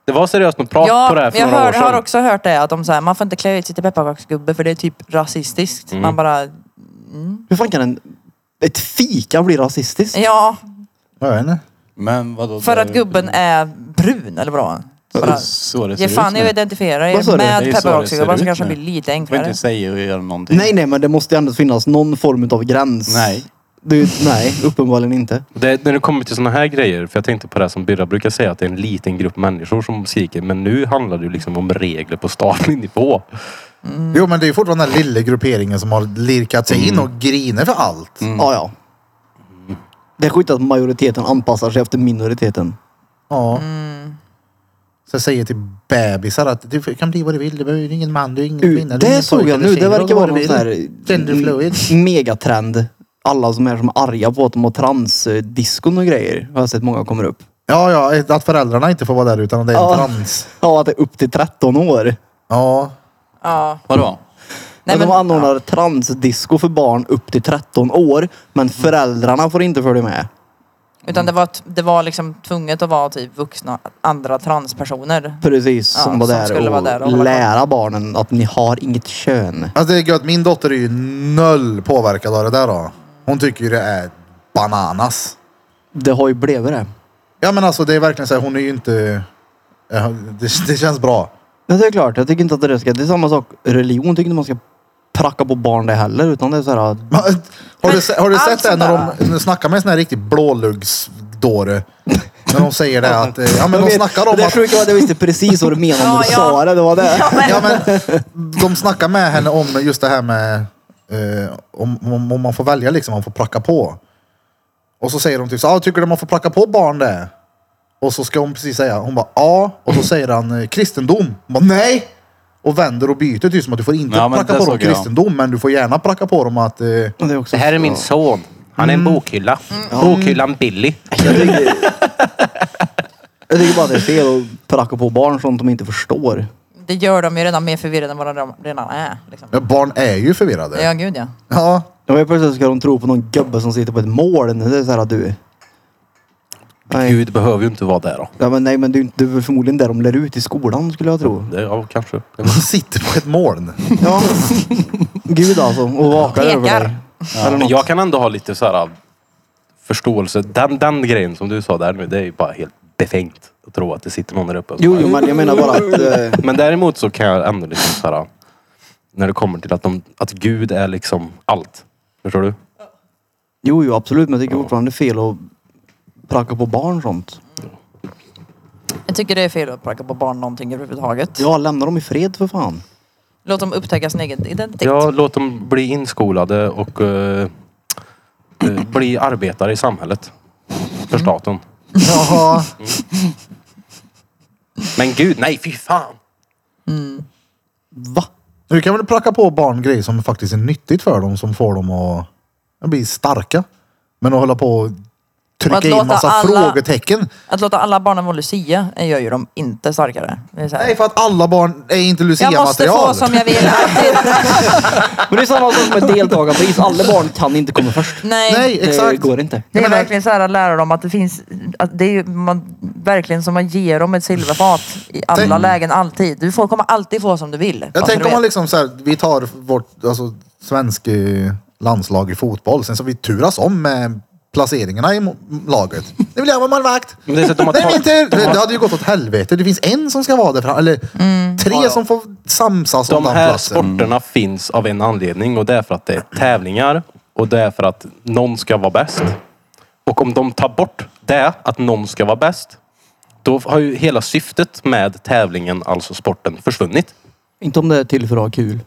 Speaker 3: Det var seriöst något prat på det här
Speaker 4: Ja,
Speaker 3: för
Speaker 4: jag
Speaker 3: några
Speaker 4: hör,
Speaker 3: år sedan.
Speaker 4: har också hört det att de säger man får inte klä ut sig till pepparkaksgubbe för det är typ rasistiskt.
Speaker 3: Mm.
Speaker 4: Man bara,
Speaker 5: Hur fan kan en, ett fika bli rasistiskt?
Speaker 4: ja,
Speaker 1: Jag vet inte.
Speaker 2: Men vadå?
Speaker 4: för
Speaker 2: det-
Speaker 4: att gubben är brun eller vadå? Bara
Speaker 2: Så det ser
Speaker 4: Ge
Speaker 2: ut
Speaker 4: fan i
Speaker 2: nu.
Speaker 4: att identifiera
Speaker 5: Vad sa
Speaker 4: er
Speaker 5: du?
Speaker 2: Det
Speaker 4: med
Speaker 2: är så det ser
Speaker 4: pepparkaksgubbar så
Speaker 2: ut
Speaker 4: kanske det
Speaker 2: nu.
Speaker 4: blir lite
Speaker 2: Du får
Speaker 4: enklare.
Speaker 2: inte säga och göra någonting.
Speaker 5: Nej, nej, men det måste ju ändå finnas någon form av gräns.
Speaker 2: Nej.
Speaker 5: Du, nej, uppenbarligen inte.
Speaker 3: Det, när det kommer till sådana här grejer, för jag tänkte på det som Birra brukar säga, att det är en liten grupp människor som skriker. Men nu handlar det ju liksom om regler på statlig nivå.
Speaker 1: Jo, men det är ju fortfarande den lilla grupperingen som har lirkat sig
Speaker 5: Mm.
Speaker 1: in och griner för allt.
Speaker 5: Ah, Ja, ja. Det är skit att majoriteten anpassar sig efter minoriteten.
Speaker 1: Ja. Så jag säger till bebisar att du kan bli vad du vill. Du behöver ju ingen man, du är ingen
Speaker 5: U,
Speaker 1: kvinna. du är
Speaker 5: det
Speaker 1: ingen
Speaker 5: såg
Speaker 1: pojke
Speaker 5: jag
Speaker 1: eller
Speaker 5: nu.
Speaker 1: tjej,
Speaker 5: Det verkar
Speaker 1: vad
Speaker 5: vara
Speaker 1: du
Speaker 5: någon
Speaker 1: vill.
Speaker 5: sån här
Speaker 1: Gender fluid.
Speaker 5: m- megatrend. Alla som är som är arga på att de har transdiskon och grejer. Jag har sett många kommer upp.
Speaker 1: Ja, ja, att föräldrarna inte får vara där utan att det är en
Speaker 5: Ja.
Speaker 1: trans.
Speaker 5: Ja, att det är upp till 13 år.
Speaker 1: Ja.
Speaker 4: Ja.
Speaker 2: Vadå?
Speaker 4: Nej,
Speaker 5: att Alltså, de
Speaker 4: men-
Speaker 5: anordnar transdisco för barn upp till 13 år. Men föräldrarna får inte följa med.
Speaker 4: Utan det var, t- det var liksom tvunget att vara typ vuxna, andra transpersoner.
Speaker 5: Precis,
Speaker 4: Ja,
Speaker 5: som var
Speaker 4: som
Speaker 5: där
Speaker 4: skulle
Speaker 5: och,
Speaker 4: vara där och hålla
Speaker 5: lära barnen att ni har inget kön.
Speaker 1: Alltså det är gött. Min dotter är ju noll påverkad av det där då. Hon tycker ju det är bananas.
Speaker 5: Det har ju blivit det.
Speaker 1: Ja men alltså det är verkligen så här, hon är ju inte... Ja, Det, det känns bra.
Speaker 5: Men det är klart, jag tycker inte att det ska... Det är samma sak, religion tycker inte man ska pracka på barn det heller. Utan det är så här... att-
Speaker 1: Men, Har du,
Speaker 4: Men
Speaker 1: se- har du
Speaker 4: allt
Speaker 1: sett det
Speaker 4: sånt
Speaker 1: när
Speaker 4: där-
Speaker 1: de när de snackar med en sån här riktig blåluggsdåre? När de säger det att... eh, Ja men de
Speaker 5: Jag vet,
Speaker 1: snackar om
Speaker 5: Det
Speaker 1: att...
Speaker 5: sjuka var att jag visste precis vad du menade när
Speaker 4: Ja,
Speaker 5: du
Speaker 4: ja.
Speaker 5: sa det. Det var det.
Speaker 4: Ja, men,
Speaker 1: Ja, men de snackar med henne om just det här med eh, om, om, om man får välja liksom, om man får pracka på. Och så säger de typ så ah, tycker du man får pracka på barn det? Och så ska hon precis säga, hon bara ja. Och så säger han eh, kristendom. Hon bara nej! Och vänder och byter typ som att du får inte
Speaker 2: Ja, men
Speaker 1: pracka
Speaker 2: det
Speaker 1: på dem
Speaker 2: såg jag.
Speaker 1: kristendom men du får gärna pracka på dem att eh,
Speaker 5: Men det är också-
Speaker 3: Det här är min son. Han är en bokhylla. Bokhyllan Billy.
Speaker 5: Jag tycker, jag tycker bara att det är fel att pracka på barn sånt de inte förstår.
Speaker 4: det gör de ju redan mer förvirrade än vad de redan är. Liksom.
Speaker 1: ja, barn är ju förvirrade.
Speaker 4: Ja, gud ja.
Speaker 1: Ja.
Speaker 5: Och helt plötsligt ska de tro på någon gubbe som sitter på ett moln. Det är så här att du... Nej,
Speaker 3: Gud behöver ju inte vara där då.
Speaker 5: ja, men, nej, men du, du är väl förmodligen där de lär ut i skolan skulle jag tro.
Speaker 3: Det, ja, kanske.
Speaker 1: Man sitter på ett moln.
Speaker 5: Ja. Gud alltså, och vakar över
Speaker 4: Pekar.
Speaker 5: dig. Eller
Speaker 3: Men
Speaker 5: något.
Speaker 3: jag kan ändå ha lite så här förståelse. Den, den grejen som du sa där nu, det är ju bara helt befängt att tro att det sitter någon där uppe. och så
Speaker 5: Jo,
Speaker 3: bara-
Speaker 5: jo, men jag menar bara att... Eh,
Speaker 3: Men däremot så kan jag ändå liksom så här, när det kommer till att, de, att Gud är liksom allt. Förstår du?
Speaker 5: jo, jo, absolut, men jag tycker fortfarande det är fel att pracka på barn sånt.
Speaker 4: Jag tycker det är fel att pracka på barn någonting överhuvudtaget.
Speaker 5: Ja, lämna dem i fred för fan.
Speaker 4: Låt dem upptäcka sin egen identitet.
Speaker 3: Ja, låt dem bli inskolade och eh, eh, bli arbetare i samhället. För staten.
Speaker 1: Jaha.
Speaker 3: Men gud, nej fy fan!
Speaker 5: Va?
Speaker 1: Du kan väl pracka på barn grejer som faktiskt är nyttigt för dem, som får dem att att bli starka. Men att hålla på och
Speaker 4: Och att
Speaker 1: trycka
Speaker 4: låta
Speaker 1: in massa
Speaker 4: alla-
Speaker 1: frågetecken.
Speaker 4: Att låta alla barnen vara Lucia gör ju dem inte starkare. Det är så här.
Speaker 1: Nej, för att alla barn är inte
Speaker 4: jag måste få
Speaker 1: Lucia-material.
Speaker 4: som jag vill. Alltid.
Speaker 5: Men det är samma sak med deltagarpris. Alla barn kan inte komma först.
Speaker 4: Nej.
Speaker 1: Nej,
Speaker 5: Det
Speaker 1: exakt.
Speaker 5: går inte.
Speaker 4: Det
Speaker 1: Jag
Speaker 4: är
Speaker 1: menar-
Speaker 4: verkligen så här att lära dem att det finns, att det är ju man, verkligen som man ger dem ett silverfat i alla
Speaker 1: Tänk-
Speaker 4: lägen alltid. Du får, kommer alltid få som du vill. bara
Speaker 1: Jag
Speaker 4: så
Speaker 1: tänker
Speaker 4: du
Speaker 1: om man
Speaker 4: vet.
Speaker 1: liksom så här, vi tar vårt alltså, svenska landslag i fotboll, sen så vi turas om med placeringarna i mo- laget. Nu vill jag vara målvakt.
Speaker 3: Men det är så att de har
Speaker 1: Nej,
Speaker 3: tagit-
Speaker 1: min tur! Det det hade ju gått åt helvete. Det finns en som ska vara där fram, eller
Speaker 4: Mm.
Speaker 1: tre som får samsas om
Speaker 3: De
Speaker 1: den
Speaker 3: här
Speaker 1: platsen.
Speaker 3: sporterna finns av en anledning och det är för att det är tävlingar och det är för att någon ska vara bäst. Och om de tar bort det, att någon ska vara bäst, då har ju hela syftet med tävlingen, alltså sporten, försvunnit.
Speaker 5: Inte om det är till för att ha kul.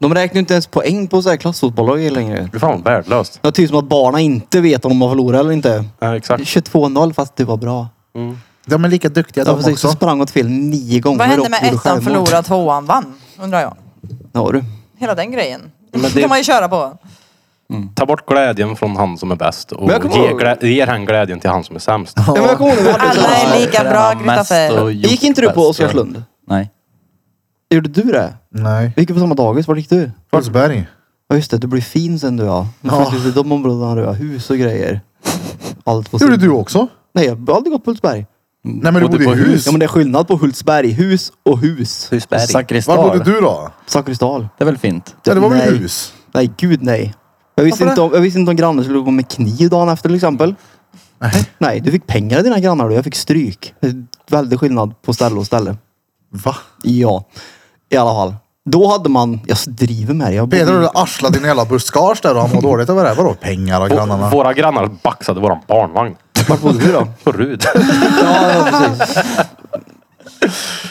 Speaker 5: De räknar ju inte ens poäng på så här klassfotboll längre.
Speaker 3: Fy fan vad värdelöst.
Speaker 5: Det är typ som att barnen inte vet om de har förlorat eller inte.
Speaker 3: Ja, exakt.
Speaker 5: 22-0 fast du var bra.
Speaker 1: De är lika duktiga
Speaker 5: Ja,
Speaker 1: de
Speaker 5: precis. Du
Speaker 1: också.
Speaker 5: sprang åt fel nio gånger.
Speaker 4: Vad hände
Speaker 5: och
Speaker 4: med
Speaker 5: gjorde
Speaker 4: ettan
Speaker 5: självmål.
Speaker 4: förlorad, tvåan vann? Undrar jag.
Speaker 5: Ja, du.
Speaker 4: Hela den grejen.
Speaker 3: Men det-
Speaker 4: det kan man ju köra på.
Speaker 3: Ta bort glädjen från han som är bäst och
Speaker 5: Men jag kommer
Speaker 3: ge,
Speaker 5: ihåg-
Speaker 3: glä- ger han glädjen till han som är sämst.
Speaker 5: Ja. men jag kommer ihåg när vi hade
Speaker 4: Alla
Speaker 5: sån-
Speaker 4: är lika bra,
Speaker 2: Träna mest
Speaker 4: Christopher.
Speaker 2: och gjort
Speaker 5: Gick inte du på
Speaker 2: bäst och-
Speaker 5: Oskarslund?
Speaker 2: Nej.
Speaker 5: Gjorde du det?
Speaker 1: Nej.
Speaker 5: Vi gick på samma dagis. Var gick du?
Speaker 1: Karlsberg.
Speaker 5: Ja just det, du blir fin sen du ja. Du
Speaker 1: Ja.
Speaker 5: flyttade till de områdena du ja. Hus och grejer. Allt på
Speaker 1: Det gjorde
Speaker 5: sin-
Speaker 1: du också.
Speaker 5: Nej, jag har aldrig gått på Hultsberg.
Speaker 1: Nej men du bodde i hus.
Speaker 5: Ja men det är skillnad på Hultsberg, hus och hus.
Speaker 2: Sakristal.
Speaker 1: Var bodde du då?
Speaker 5: Zakrisdal.
Speaker 2: Det är väl fint?
Speaker 1: Ja, det var väl
Speaker 5: Nej.
Speaker 1: hus?
Speaker 5: Nej, gud nej. Jag visste,
Speaker 1: Varför
Speaker 5: inte om, jag visste inte om grannen skulle gå med kniv dagen efter till exempel.
Speaker 1: Nej.
Speaker 5: Nej, du fick pengar av dina grannar och jag fick stryk. Det är Väldig skillnad på ställe och ställe.
Speaker 1: Va?
Speaker 5: Ja, i alla fall. Då hade man, jag driver med det. Jag bodde-
Speaker 1: Peter du arslade din hela buskage där och han mår dåligt över det. Vadå pengar och grannarna?
Speaker 3: Och Våra grannar baxade våran barnvagn.
Speaker 5: Vart bodde du då?
Speaker 3: På Rud.
Speaker 5: Ja, ja, precis.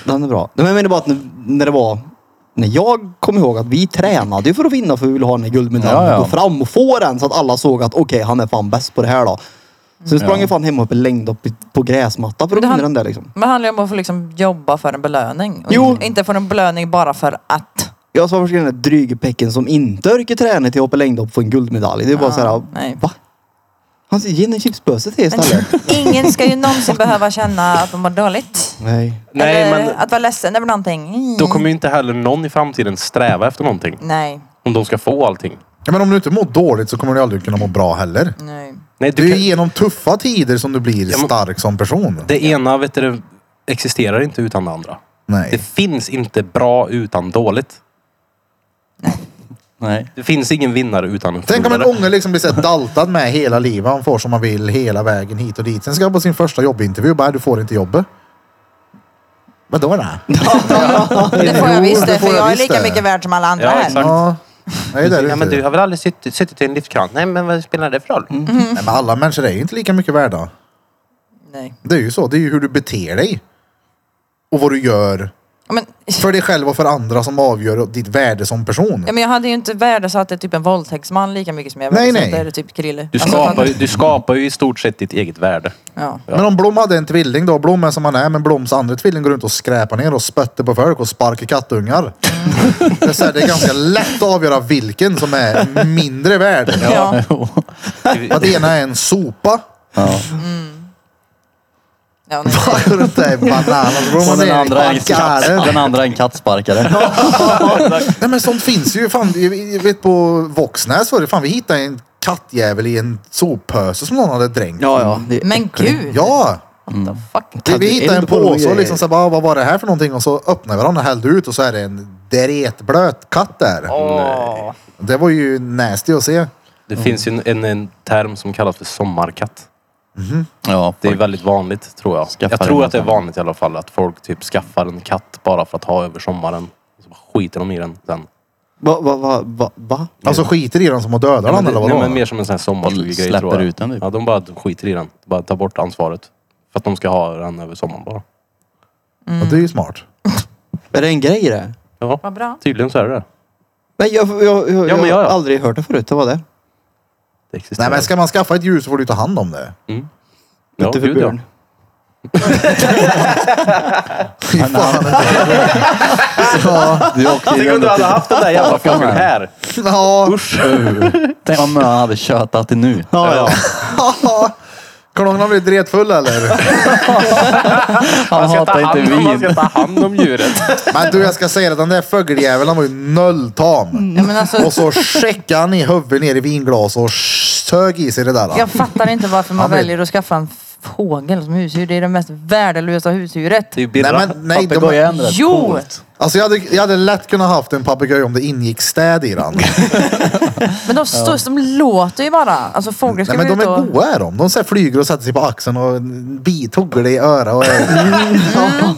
Speaker 5: Den är bra. Men jag menar bara att när- när det var... När jag kommer ihåg att vi tränade ju för att vinna för vi ville ha den här guldmedaljen.
Speaker 2: Ja, ja.
Speaker 5: Gå fram och få den så att alla såg att okej, han är fan bäst på det här då. Så vi sprang ju fan hem upp i längd upp i- på gräsmatta för att
Speaker 4: Det
Speaker 5: vinna
Speaker 4: han-
Speaker 5: den där liksom.
Speaker 4: Men det handlar ju om att få liksom jobba för en belöning. Och
Speaker 5: Jo.
Speaker 4: inte- Inte för en belöning bara för att.
Speaker 5: Jag sa först den där dryge pecken som inte orkar träna till att hoppa längdhopp få en guldmedalj. Det är bara
Speaker 4: Ja,
Speaker 5: så här,
Speaker 4: nej.
Speaker 5: va? Han säger, ge henne chipspöset till
Speaker 4: Men
Speaker 5: istället.
Speaker 4: ingen ska ju någonsin behöva känna att de mår dåligt.
Speaker 5: Nej.
Speaker 3: Nej,
Speaker 4: Eller
Speaker 3: men
Speaker 4: att vara ledsen över någonting. Mm.
Speaker 3: då kommer ju inte heller någon i framtiden sträva efter någonting.
Speaker 4: Nej.
Speaker 3: Om de ska få allting.
Speaker 1: Ja, men om du inte mår dåligt så kommer du aldrig kunna må bra heller.
Speaker 4: Nej.
Speaker 3: Nej,
Speaker 1: Det är
Speaker 3: du
Speaker 1: ju
Speaker 3: kan,
Speaker 1: genom tuffa tider som du blir
Speaker 3: men-
Speaker 1: stark som person.
Speaker 3: det ena vet du, existerar inte utan det andra. Det
Speaker 1: Nej.
Speaker 3: finns inte bra utan dåligt.
Speaker 2: Nej.
Speaker 3: Det finns ingen vinnare utan en
Speaker 1: Tänk om en
Speaker 3: förlorare.
Speaker 1: unge liksom blir så här daltad med hela livet. Han får som han vill hela vägen hit och dit. Sen ska han på sin första jobbintervju och bara, du får inte jobbet. Vadå då?
Speaker 4: Det får jag
Speaker 1: Jo,
Speaker 4: visst
Speaker 1: det
Speaker 4: det,
Speaker 1: får
Speaker 4: för
Speaker 1: jag
Speaker 4: jag är
Speaker 1: visst
Speaker 4: lika
Speaker 1: det.
Speaker 4: mycket värd som alla andra
Speaker 3: Ja,
Speaker 4: här.
Speaker 3: exakt.
Speaker 1: Ja. Nej, det är det
Speaker 3: Ja, men
Speaker 1: inte.
Speaker 3: du har väl aldrig suttit, suttit i en lyftkran? Nej, men vad spelar det för roll?
Speaker 1: Nej, men alla människor är ju inte lika mycket värda.
Speaker 4: Nej.
Speaker 1: Det är ju så. Det är ju hur du beter dig. Och vad du gör
Speaker 4: Men,
Speaker 1: för dig själv och för andra som avgör ditt värde som person.
Speaker 4: ja, men jag hade ju inte värdesatt det typ en våldtäktsman lika mycket som jag
Speaker 1: Nej,
Speaker 4: värdesatte
Speaker 1: nej.
Speaker 4: det typ Krille.
Speaker 3: Du
Speaker 4: Alltså,
Speaker 3: skapar,
Speaker 4: att-
Speaker 3: ju- du skapar ju i stort sett ditt eget värde.
Speaker 4: Ja.
Speaker 1: Men om Blom hade en tvilling då, Blom är som han är, men Bloms andra tvilling går runt och skräpar ner och spötter på folk och sparkar kattungar. Det, är så här, det är ganska lätt att avgöra vilken som är mindre värd.
Speaker 4: Ja.
Speaker 1: Att ena är en sopa
Speaker 2: Ja.
Speaker 4: Ja, nej.
Speaker 1: och den där är bananas. Blom
Speaker 2: Och
Speaker 1: han
Speaker 2: den
Speaker 1: är en
Speaker 2: andra, är en
Speaker 1: backare.
Speaker 2: katt, den andra är en kattsparkare.
Speaker 1: Nej men sånt finns ju. Fan, jag jag vet på Våxnäs var det, fan vi hittade en kattjävel i en soppöse som någon hade drängt.
Speaker 5: Ja, ja. det-
Speaker 4: Men gud!
Speaker 1: Ja,
Speaker 4: Fuck.
Speaker 1: vi, vi
Speaker 5: Hade
Speaker 1: hittade en
Speaker 5: eld på dem och
Speaker 1: påse och
Speaker 5: grejer.
Speaker 1: liksom så bara, vad var det här för någonting? Och så öppnade vi den och hällde ut och så är det en dretblöt katt där.
Speaker 3: Nej.
Speaker 1: Det var ju nasty att se.
Speaker 3: Det finns ju en, en, en term som kallas för sommarkatt.
Speaker 2: Ja,
Speaker 3: Det är
Speaker 2: fuck.
Speaker 3: väldigt vanligt tror jag.
Speaker 2: Skaffar
Speaker 3: jag tror
Speaker 2: en
Speaker 3: att det är
Speaker 2: sån.
Speaker 3: vanligt i alla fall att folk typ skaffar en katt bara för att ha över sommaren. Så bara skiter de i den sen.
Speaker 5: Va, va, va, va, va?
Speaker 1: Alltså skiter i den som har dödat
Speaker 3: Nej,
Speaker 1: den
Speaker 3: men,
Speaker 1: eller
Speaker 3: det, nej,
Speaker 1: vadå?
Speaker 3: men mer som en sån här sommarstugegrej
Speaker 2: Släpper
Speaker 3: tror jag.
Speaker 2: ut den, typ.
Speaker 3: Ja, de bara skiter i den. Bara tar bort ansvaret. För att de ska ha den över sommaren bara.
Speaker 1: Ja, det är ju smart.
Speaker 5: Är det en grej det?
Speaker 3: Ja,
Speaker 4: Vad bra.
Speaker 3: tydligen så är det det.
Speaker 5: Nej, jag, jag, jag, jag,
Speaker 3: men ja,
Speaker 5: har
Speaker 3: ja.
Speaker 5: aldrig hört det förut. Det var det.
Speaker 3: Det existerar.
Speaker 1: Nej men ska man skaffa ett djur så får du ta hand om det.
Speaker 3: ja,
Speaker 5: inte för
Speaker 3: gud, ja.
Speaker 5: björn.
Speaker 1: Fy fan.
Speaker 2: Du åkte ju
Speaker 3: Tänk om du hade
Speaker 2: ändå
Speaker 3: haft den där jävla
Speaker 2: Fucking
Speaker 3: fågeln här.
Speaker 1: Ja,
Speaker 3: Usch.
Speaker 2: till- Tänk om han hade tjötat till nu.
Speaker 5: Ja, ja.
Speaker 1: Karlongen har blivit dretfull eller?
Speaker 2: Han
Speaker 3: Man ska, ta
Speaker 2: hatar
Speaker 3: hand
Speaker 2: inte
Speaker 3: om, man ska
Speaker 2: vin.
Speaker 3: ta hand om djuret.
Speaker 1: Men du jag ska säga att den där fågeljäveln han var ju nolltam.
Speaker 4: Ja, men alltså,
Speaker 1: Och så checkade han i huvudet ner i vinglas och sög i sig det där.
Speaker 4: jag fattar inte varför man
Speaker 1: Ja, men-
Speaker 4: väljer att skaffa en fågel som husdjur. Det är det mest värdelösa husdjuret.
Speaker 3: Det är ju
Speaker 1: Nej
Speaker 3: Birra.
Speaker 1: men nej, de,
Speaker 2: Papegoja är ändå rätt
Speaker 4: Jo!
Speaker 2: coolt.
Speaker 1: Alltså jag hade, jag hade lätt kunnat haft en papegoja om det ingick städ i den.
Speaker 4: Men de, står, de låter ju bara. Alltså fåglar ska
Speaker 1: Nej, men
Speaker 4: väl
Speaker 1: de
Speaker 4: ut och...
Speaker 1: är goa är de. De så här flyger och sätter sig på axeln och bituggar dig i öra och
Speaker 4: Mm.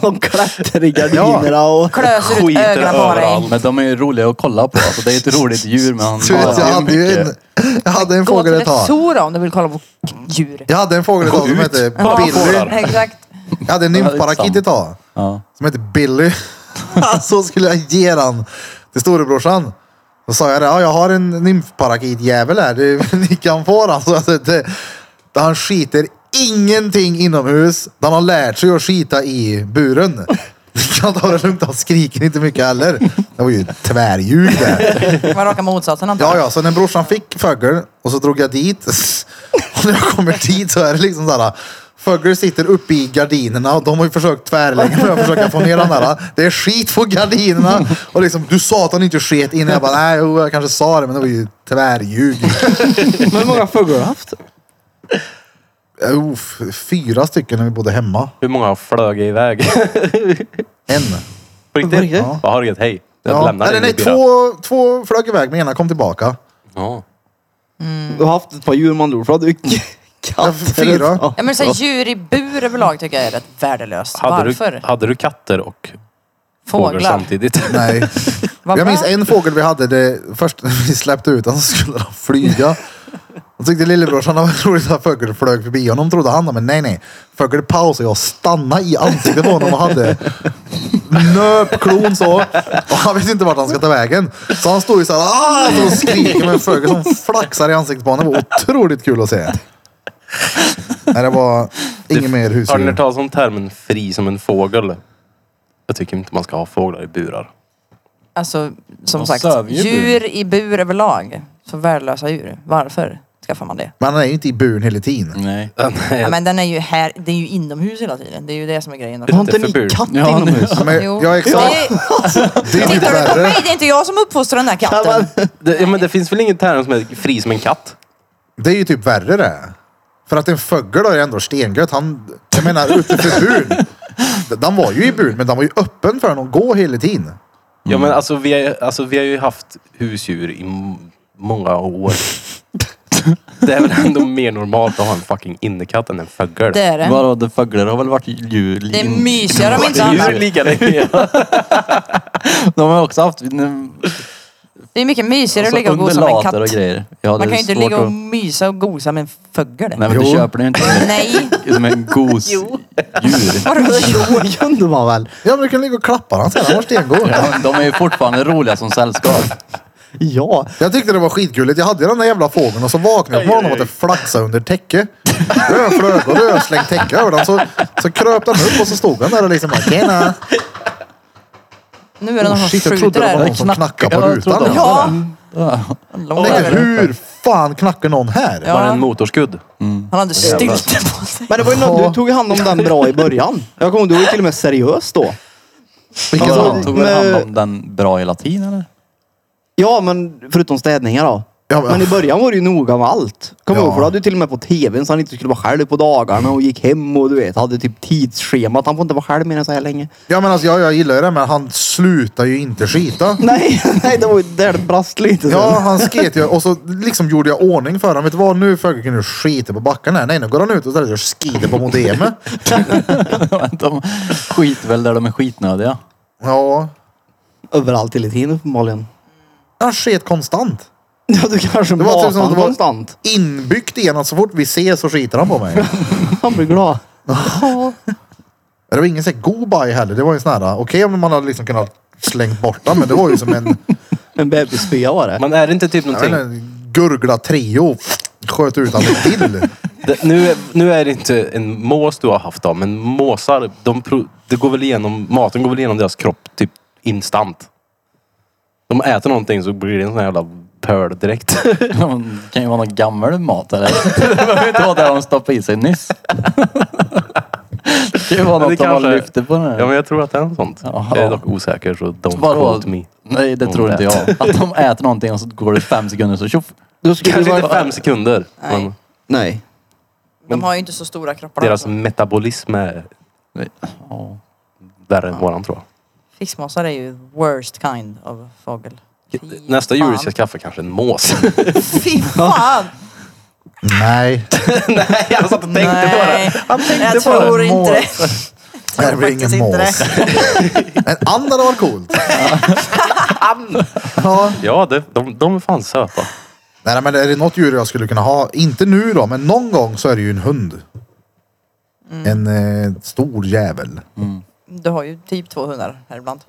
Speaker 5: De klättrar i gardinerna och...
Speaker 4: Klöser ut
Speaker 3: Skiter
Speaker 4: ögonen på dig.
Speaker 3: överallt.
Speaker 2: Men de är ju roliga att kolla på. Alltså, det är ett roligt djur men han
Speaker 1: Du vet, jag
Speaker 2: hatar
Speaker 1: hade ju en, jag hade en
Speaker 4: Gå till
Speaker 1: fågel ett
Speaker 4: ett
Speaker 1: tag.
Speaker 4: zoo då om du vill kolla på djur.
Speaker 1: Jag hade en fågel ett tag som hette
Speaker 4: Ja,
Speaker 1: Billy.
Speaker 4: Exakt.
Speaker 1: Jag hade en
Speaker 2: Ja, det är
Speaker 1: nymfparakit
Speaker 2: sant.
Speaker 1: ett tag.
Speaker 2: Ja.
Speaker 1: Som hette Billy. Så skulle jag ge den till storebrorsan. Då sa jag det, ja, jag har en nymfparakitjävel här. Du, ni kan få den. Så alltså, det, det, han skiter ingenting inomhus. Den har lärt sig att skita i buren. Ni kan ta det lugnt, han skriker inte mycket heller. Det var ju tvärljud där.
Speaker 4: Man råkar motsatsen antar
Speaker 1: Ja, ja, så när brorsan fick fågel och så drog jag dit. Och när jag kommer dit så är det liksom såhär. Fågel sitter uppe i gardinerna och de har ju försökt tvärlänge för att försöka få ner den där. Det är skit på gardinerna. Och liksom, du sa att han inte sket innan. Jag bara, nej, jo, jag kanske sa det, men det var ju tvärljug.
Speaker 5: Men hur många fåglar har du haft?
Speaker 1: Oh, f- fyra stycken när vi bodde hemma.
Speaker 3: Hur många flög iväg?
Speaker 1: En.
Speaker 3: På
Speaker 5: På riktigt?
Speaker 3: riktigt? Ja. Vad har du gett? Hej. Jag
Speaker 1: Ja.
Speaker 3: lämnar
Speaker 1: Eller
Speaker 3: dig
Speaker 1: nej,
Speaker 3: med Birra.
Speaker 1: två, två flög iväg, men ena kom tillbaka.
Speaker 3: Ja.
Speaker 4: Mm.
Speaker 5: Du har haft ett par djur man tror. För att du Katt.
Speaker 1: Fyra.
Speaker 5: Ja.
Speaker 4: Ja, men så här, djur i bur överlag tycker jag är rätt värdelöst.
Speaker 3: Hade
Speaker 4: Varför?
Speaker 3: du, hade du katter och fåglar,
Speaker 4: Fåglar.
Speaker 3: samtidigt?
Speaker 1: Nej.
Speaker 4: Vad
Speaker 1: Jag minns
Speaker 4: bra.
Speaker 1: en fågel vi hade, det, först när vi släppte ut honom så skulle han flyga. Då tyckte lillebrorsan det var roligt att fågeln flög förbi honom trodde han men nej nej. Fågeln pausade och jag stannade i ansiktet på honom och hade nöpklon så. Och han visste inte vart han ska ta vägen. Så han stod ju såhär "Ah!" och skriker med en fågel som flaxar i ansiktet på honom. Det var otroligt kul att se. Nej det var inget mer
Speaker 3: Har ni hört
Speaker 1: husdjur.
Speaker 3: talas om termen fri som en fågel? Jag tycker inte man ska ha fåglar i burar.
Speaker 4: Alltså, som
Speaker 2: De
Speaker 4: sagt,
Speaker 2: söver ju
Speaker 4: djur i bur överlag. Så värdelösa djur. Varför skaffar man det?
Speaker 1: Men han är ju inte i buren hela tiden.
Speaker 2: Nej.
Speaker 4: Ja, men den är ju här, det är ju inomhus hela tiden. Det är ju det som är grejen.
Speaker 5: Har inte
Speaker 3: Lite
Speaker 5: ni
Speaker 3: förbud.
Speaker 5: katt
Speaker 2: Ja,
Speaker 5: inomhus?
Speaker 1: Ja, Men,
Speaker 4: Jo.
Speaker 1: ja exakt.
Speaker 4: Det är-
Speaker 1: Det är ju
Speaker 4: Tittar du på
Speaker 1: värre.
Speaker 4: mig? Det är inte jag som uppfostrar den där katten.
Speaker 3: Det, ja, men det finns väl ingen term som är fri som en katt?
Speaker 1: Det är ju typ värre det. För att en fågel då är ändå stengött. Han, jag menar utanför buren. Den var ju i buren men den var ju öppen för honom att gå hela tiden.
Speaker 3: Ja, men alltså, vi är, alltså vi har ju haft husdjur i m- många år. det är väl ändå mer normalt att ha en fucking innekatt än en fågel?
Speaker 4: Det är det.
Speaker 2: Vadå, det fåglar har väl varit djur?
Speaker 4: Det är mysigare om inte annat.
Speaker 3: Djur lika länge.
Speaker 2: De har också haft nu,
Speaker 4: Det är mycket mysigare att
Speaker 2: alltså,
Speaker 4: ligga och gosa med en
Speaker 2: undulater och
Speaker 4: katt.
Speaker 2: grejer. Ja, det
Speaker 4: Man
Speaker 2: är
Speaker 4: kan ju inte
Speaker 2: svårt
Speaker 4: ligga och
Speaker 2: att-
Speaker 4: mysa och gosa med en fågel.
Speaker 2: Nej men det
Speaker 1: Jo.
Speaker 2: köper ni ju inte. som
Speaker 4: Nej.
Speaker 2: en- Som en gos
Speaker 4: Jo.
Speaker 2: djur.
Speaker 4: Vadå?
Speaker 5: Jo, det kunde man väl?
Speaker 1: Ja men du kan ligga och klappa den sen. Han var stengod.
Speaker 2: Ja, de är ju fortfarande roliga som sällskap.
Speaker 5: Ja.
Speaker 1: Jag tyckte det var skitgulligt. Jag hade ju den där jävla fågeln och så vaknade jag på morgonen av att det flaxade under täcket. Jag flög och öslängt täcke över den. Så, så kröp den upp och så stod den där och liksom bara tjena.
Speaker 4: Nu är det någon
Speaker 1: Oh,
Speaker 4: som
Speaker 1: shit, jag
Speaker 4: skjuter
Speaker 1: trodde det var
Speaker 4: där.
Speaker 1: någon som knackade på
Speaker 2: Ja, jag trodde
Speaker 1: rutan.
Speaker 2: det.
Speaker 4: Ja!
Speaker 1: Jag
Speaker 4: Lång
Speaker 1: tänkte,
Speaker 4: över.
Speaker 1: hur fan knackar någon här?
Speaker 4: Ja.
Speaker 3: Bara en motorskudd.
Speaker 4: Han hade stylte på sig.
Speaker 5: Men det var ju någon, du tog hand om den bra i början. Jag kommer ihåg, du var ju till och med seriös då.
Speaker 1: Vilken
Speaker 2: Ja,
Speaker 3: Alltså,
Speaker 1: sån-
Speaker 2: de tog väl hand om
Speaker 5: Men-
Speaker 2: den bra hela tiden eller?
Speaker 5: Ja, men förutom städningar då.
Speaker 1: Ja, men-
Speaker 5: men i början var du ju noga med allt. Kommer
Speaker 1: Ja.
Speaker 5: ja. ihåg? För då hade du till och med på tvn så han inte skulle vara själv på dagarna och gick hem och du vet, hade typ tidsschemat. Han får inte vara själv mer än så här länge.
Speaker 1: Ja men alltså jag, jag gillar ju det men han slutar ju inte skita.
Speaker 5: Nej, nej det var ju där det brast lite. sen.
Speaker 1: Ja, han sket ju och så liksom gjorde jag ordning för honom. Vet du vad, nu Fögge kan du skita på backen här. Nej, nu går han ut och ställer sig och skiter på modemet.
Speaker 2: De skiter väl där de är skitnödiga.
Speaker 1: Ja,
Speaker 5: Överallt hela tiden uppenbarligen.
Speaker 1: han sket konstant.
Speaker 5: Ja, du kanske
Speaker 1: Det var typ
Speaker 5: matar
Speaker 1: som att det
Speaker 5: honom
Speaker 1: var-
Speaker 5: konstant.
Speaker 1: Inbyggt i honom att så fort vi ses så skiter han på mig.
Speaker 5: Han blir glad.
Speaker 1: Det var ingen sån här god baj heller. Det var ju sån här, okej om man hade liksom kunnat slängt bort den, men det var ju som en,
Speaker 5: En bebisspya var det.
Speaker 3: Men är det inte typ
Speaker 1: jag vet
Speaker 3: någonting...
Speaker 1: inte, en gurgla trio. Sköt ut honom till.
Speaker 3: Det, nu, är- nu är det inte en mås du har haft då, men måsar, de, pro- det går väl igenom, maten går väl igenom deras kropp typ instant. De äter någonting så blir det en sån här jävla pöl direkt.
Speaker 2: De kan ju vara någon gammal mat eller? Det behöver inte vara det de stoppade i sig nyss. Det kan ju vara
Speaker 3: Men det
Speaker 2: något de har
Speaker 3: kanske-
Speaker 2: lyft på den här.
Speaker 3: ja men jag tror att det är något sånt.
Speaker 2: Jaha.
Speaker 3: Jag är dock Oh, osäker så don't
Speaker 2: Vadå?
Speaker 3: quote me.
Speaker 2: Nej det
Speaker 3: Om
Speaker 2: tror
Speaker 3: det.
Speaker 2: inte jag. Att de äter någonting och så går det fem sekunder så tjoff.
Speaker 5: Då skulle
Speaker 3: Kanske
Speaker 5: det
Speaker 3: inte
Speaker 5: vara...
Speaker 3: fem sekunder.
Speaker 4: Nej.
Speaker 3: Men
Speaker 5: Nej.
Speaker 4: De har ju inte så stora kroppar.
Speaker 3: deras
Speaker 4: alltså.
Speaker 3: metabolism är
Speaker 2: Ja.
Speaker 3: värre än våran tror jag.
Speaker 4: Fiskmåsar är ju worst kind av fågel. Fy
Speaker 3: Nästa djur
Speaker 4: fan.
Speaker 3: vi ska skaffa kanske är en mås.
Speaker 4: Fy fan!
Speaker 1: Nej,
Speaker 3: Nej, jag satt och tänkte på det.
Speaker 4: Nej,
Speaker 3: Han tänkte
Speaker 4: jag
Speaker 3: på det.
Speaker 4: tror inte det.
Speaker 1: det blir ingen
Speaker 4: Faktiskt inte
Speaker 1: mås. En and hade varit coolt. Ja.
Speaker 3: Ja, det, de, de är fan söta.
Speaker 1: Nej men är det något djur jag skulle kunna ha, inte nu då, men någon gång så är det ju en hund. En eh, stor jävel.
Speaker 4: Du har ju typ två hundar här ibland.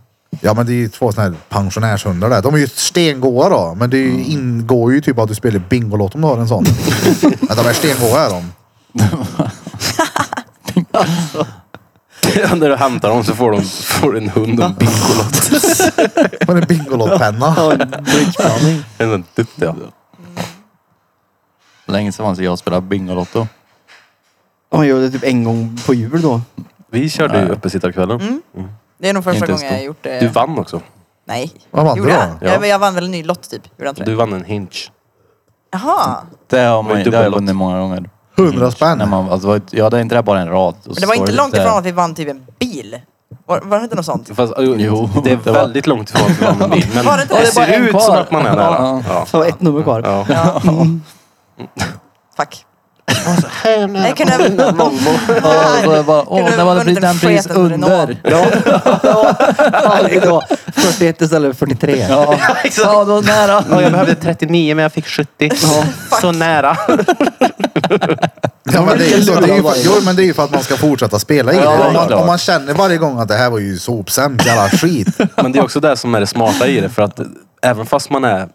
Speaker 1: Ja men det är ju två sådana här pensionärshundar där. De är ju stengoa då, men det är ju, ingår ju typ att du spelar Bingolotto om du har en sån. men de är stengoa är de.
Speaker 3: När du hämtar dem så får de får du en hund och en bingolott.
Speaker 1: Men en Bingolottpenna.
Speaker 3: En sån duktig. ja.
Speaker 2: Länge sedan var det så jag spelade Bingolotto.
Speaker 5: Han gör det typ en gång på jul då.
Speaker 3: Vi körde ju uppesittarkvällen.
Speaker 4: Mm. Det är nog första
Speaker 2: Inte ens
Speaker 4: gången jag
Speaker 2: då.
Speaker 4: har gjort det.
Speaker 3: Du vann också.
Speaker 4: Nej.
Speaker 1: Vad vann
Speaker 4: Gjorde
Speaker 1: du då?
Speaker 4: jag?
Speaker 3: Ja.
Speaker 4: Ja. men Jag vann väl en ny lott typ? Gjorde jag inte
Speaker 3: Du
Speaker 4: det?
Speaker 3: vann en hinch.
Speaker 4: Jaha.
Speaker 2: Det har, man,
Speaker 3: ju
Speaker 2: det har jag
Speaker 3: dubbellott.
Speaker 2: vunnit många gånger.
Speaker 1: Hundra
Speaker 6: Ah,
Speaker 2: När
Speaker 1: spänn.
Speaker 2: man, alltså, det var ett- ja, det är inte det bara en rad. Och så
Speaker 4: Men det var
Speaker 2: står
Speaker 4: inte långt
Speaker 2: lite-
Speaker 4: ifrån att vi vann typ en bil. Var, var det inte något sånt?
Speaker 3: Fast, jo,
Speaker 2: Jo,
Speaker 3: det är
Speaker 2: det var-
Speaker 3: väldigt långt ifrån att du vann en bil. Men
Speaker 4: Var det inte
Speaker 3: det,
Speaker 4: det?
Speaker 3: ser
Speaker 4: Det är bara en
Speaker 3: ut
Speaker 2: kvar.
Speaker 3: som att man är nära.
Speaker 2: Ja.
Speaker 3: Ja.
Speaker 5: Så det var ett nummer kvar.
Speaker 3: Ja.
Speaker 4: Ja. Fuck.
Speaker 3: Det var så här nära
Speaker 4: Mm. Jag kunde-
Speaker 3: att vinna Volvo.
Speaker 7: Ja, så jag bara,
Speaker 4: Kunde
Speaker 7: åh, den
Speaker 4: vunnit
Speaker 7: hade blivit
Speaker 4: en
Speaker 7: en pris
Speaker 4: fet under
Speaker 7: under. Ja. Fan, det var 41 istället för 43. Ja, ja då nära.
Speaker 3: Ja, jag behövde 39 men jag fick 70. Så nära.
Speaker 1: Ja, men det är ju så, det är ju för,
Speaker 7: Ja.
Speaker 1: jo, men det är ju för att man ska fortsätta spela i det.
Speaker 3: Ja, det är
Speaker 1: Om man,
Speaker 3: klart.
Speaker 1: om man känner varje gång att det här var ju sopsämt, jävla skit.
Speaker 3: Men det är också det som är det smarta i det. För att även fast man är...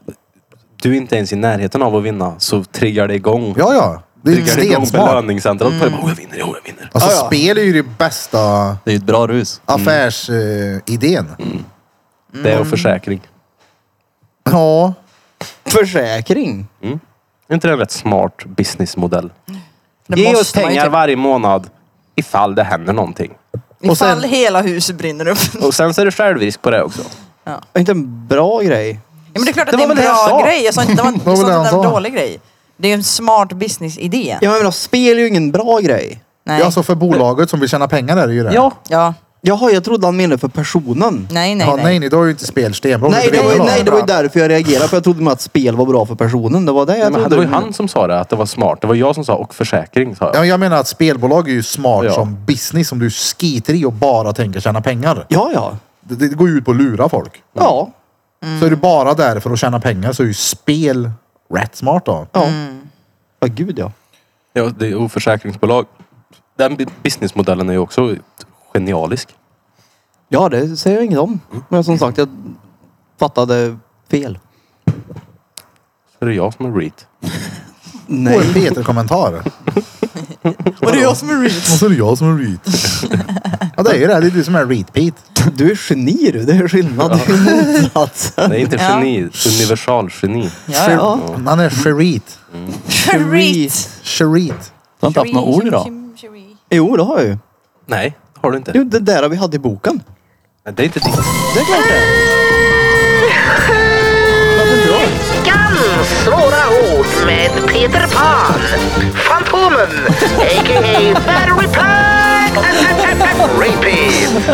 Speaker 3: Du är inte ens i närheten av att vinna så triggar det igång.
Speaker 1: Ja, ja. Det är ju
Speaker 3: Triggar det igång
Speaker 1: stensmart.
Speaker 3: belöningscentret. Mm. Oh, jag vinner, oh, jag vinner.
Speaker 1: Alltså
Speaker 2: Ja, ja.
Speaker 1: spel är ju det bästa
Speaker 2: Det är ju ett bra rus.
Speaker 1: affärsidén.
Speaker 3: Det är en försäkring.
Speaker 1: Ja.
Speaker 5: Försäkring.
Speaker 3: Är inte det en rätt smart businessmodell?
Speaker 4: Det
Speaker 3: Ge
Speaker 4: måste
Speaker 3: oss
Speaker 4: man ju
Speaker 3: pengar
Speaker 4: typ-
Speaker 3: varje månad ifall det händer någonting.
Speaker 1: Och sen-
Speaker 4: Ifall hela huset brinner upp.
Speaker 3: Och sen så är det självrisk på det också.
Speaker 5: Inte en bra grej.
Speaker 4: Ja, men det är klart att
Speaker 3: Det
Speaker 4: det är
Speaker 3: var väl
Speaker 4: en
Speaker 3: det jag
Speaker 4: bra
Speaker 3: sa.
Speaker 4: grej. Jag sa inte det var,
Speaker 1: var
Speaker 4: jag sa
Speaker 1: väl
Speaker 4: inte
Speaker 1: det
Speaker 4: att
Speaker 1: han
Speaker 4: det var en
Speaker 1: sa.
Speaker 4: dålig grej. Det är ju en smart businessidé.
Speaker 5: Ja, men jag menar, spel är ju ingen bra grej.
Speaker 4: Nej.
Speaker 1: ja, så för bolaget som vill tjäna pengar är det ju det.
Speaker 3: Ja,
Speaker 4: Ja.
Speaker 5: Jaha, jag trodde han menade för personen.
Speaker 4: Nej, nej,
Speaker 1: ja,
Speaker 4: nej.
Speaker 1: nej, nej, då är ju inte spel stenbra.
Speaker 5: Nej, det var, ju-
Speaker 1: bra.
Speaker 5: nej, det var ju därför jag reagerade. För jag trodde med att spel var bra för personen. Det var det jag
Speaker 3: Nej, men
Speaker 5: trodde.
Speaker 3: det var ju han som sa det, att det var smart. Det var jag som sa och försäkring sa
Speaker 1: Ja,
Speaker 3: jag.
Speaker 1: men jag menar att spelbolag är ju smart
Speaker 3: Ja.
Speaker 1: som business som du skiter i och bara tänker tjäna pengar.
Speaker 5: Ja, ja.
Speaker 1: Det, det går ju ut på att lura folk.
Speaker 5: Ja.
Speaker 1: Så är du bara där för att tjäna pengar så är ju spel rätt smart då.
Speaker 5: Ja. Ja, gud ja.
Speaker 3: Ja, det är och försäkringsbolag. Den bu- businessmodellen är ju också genialisk.
Speaker 5: Ja, det säger jag inget om. Men som sagt, jag fattade fel.
Speaker 3: Så är det jag som är REIT.
Speaker 1: Och en Peter-kommentar.
Speaker 4: Och det är jag som är real.
Speaker 1: Och så är det jag som är reet. ja, det är ju det. Det är du som är reet Pete.
Speaker 5: Du är geni du. Det är skillnad. Det är motsatsen.
Speaker 3: Det är inte
Speaker 4: Ja.
Speaker 3: geni, universalgeni.
Speaker 4: Ja, ja.
Speaker 1: Han är shereet.
Speaker 4: Shreet.
Speaker 1: Shereet.
Speaker 2: Du har inte haft några ord idag.
Speaker 5: Jo, det har jag ju.
Speaker 3: Nej, det har du inte.
Speaker 5: Jo, det där vi hade i boken.
Speaker 3: Nej, Det är inte ditt.
Speaker 5: Det är klart det.
Speaker 8: Veckans svåra ord med Peter Pan. Fantomen, a.k.a. Battery Plug Repeat.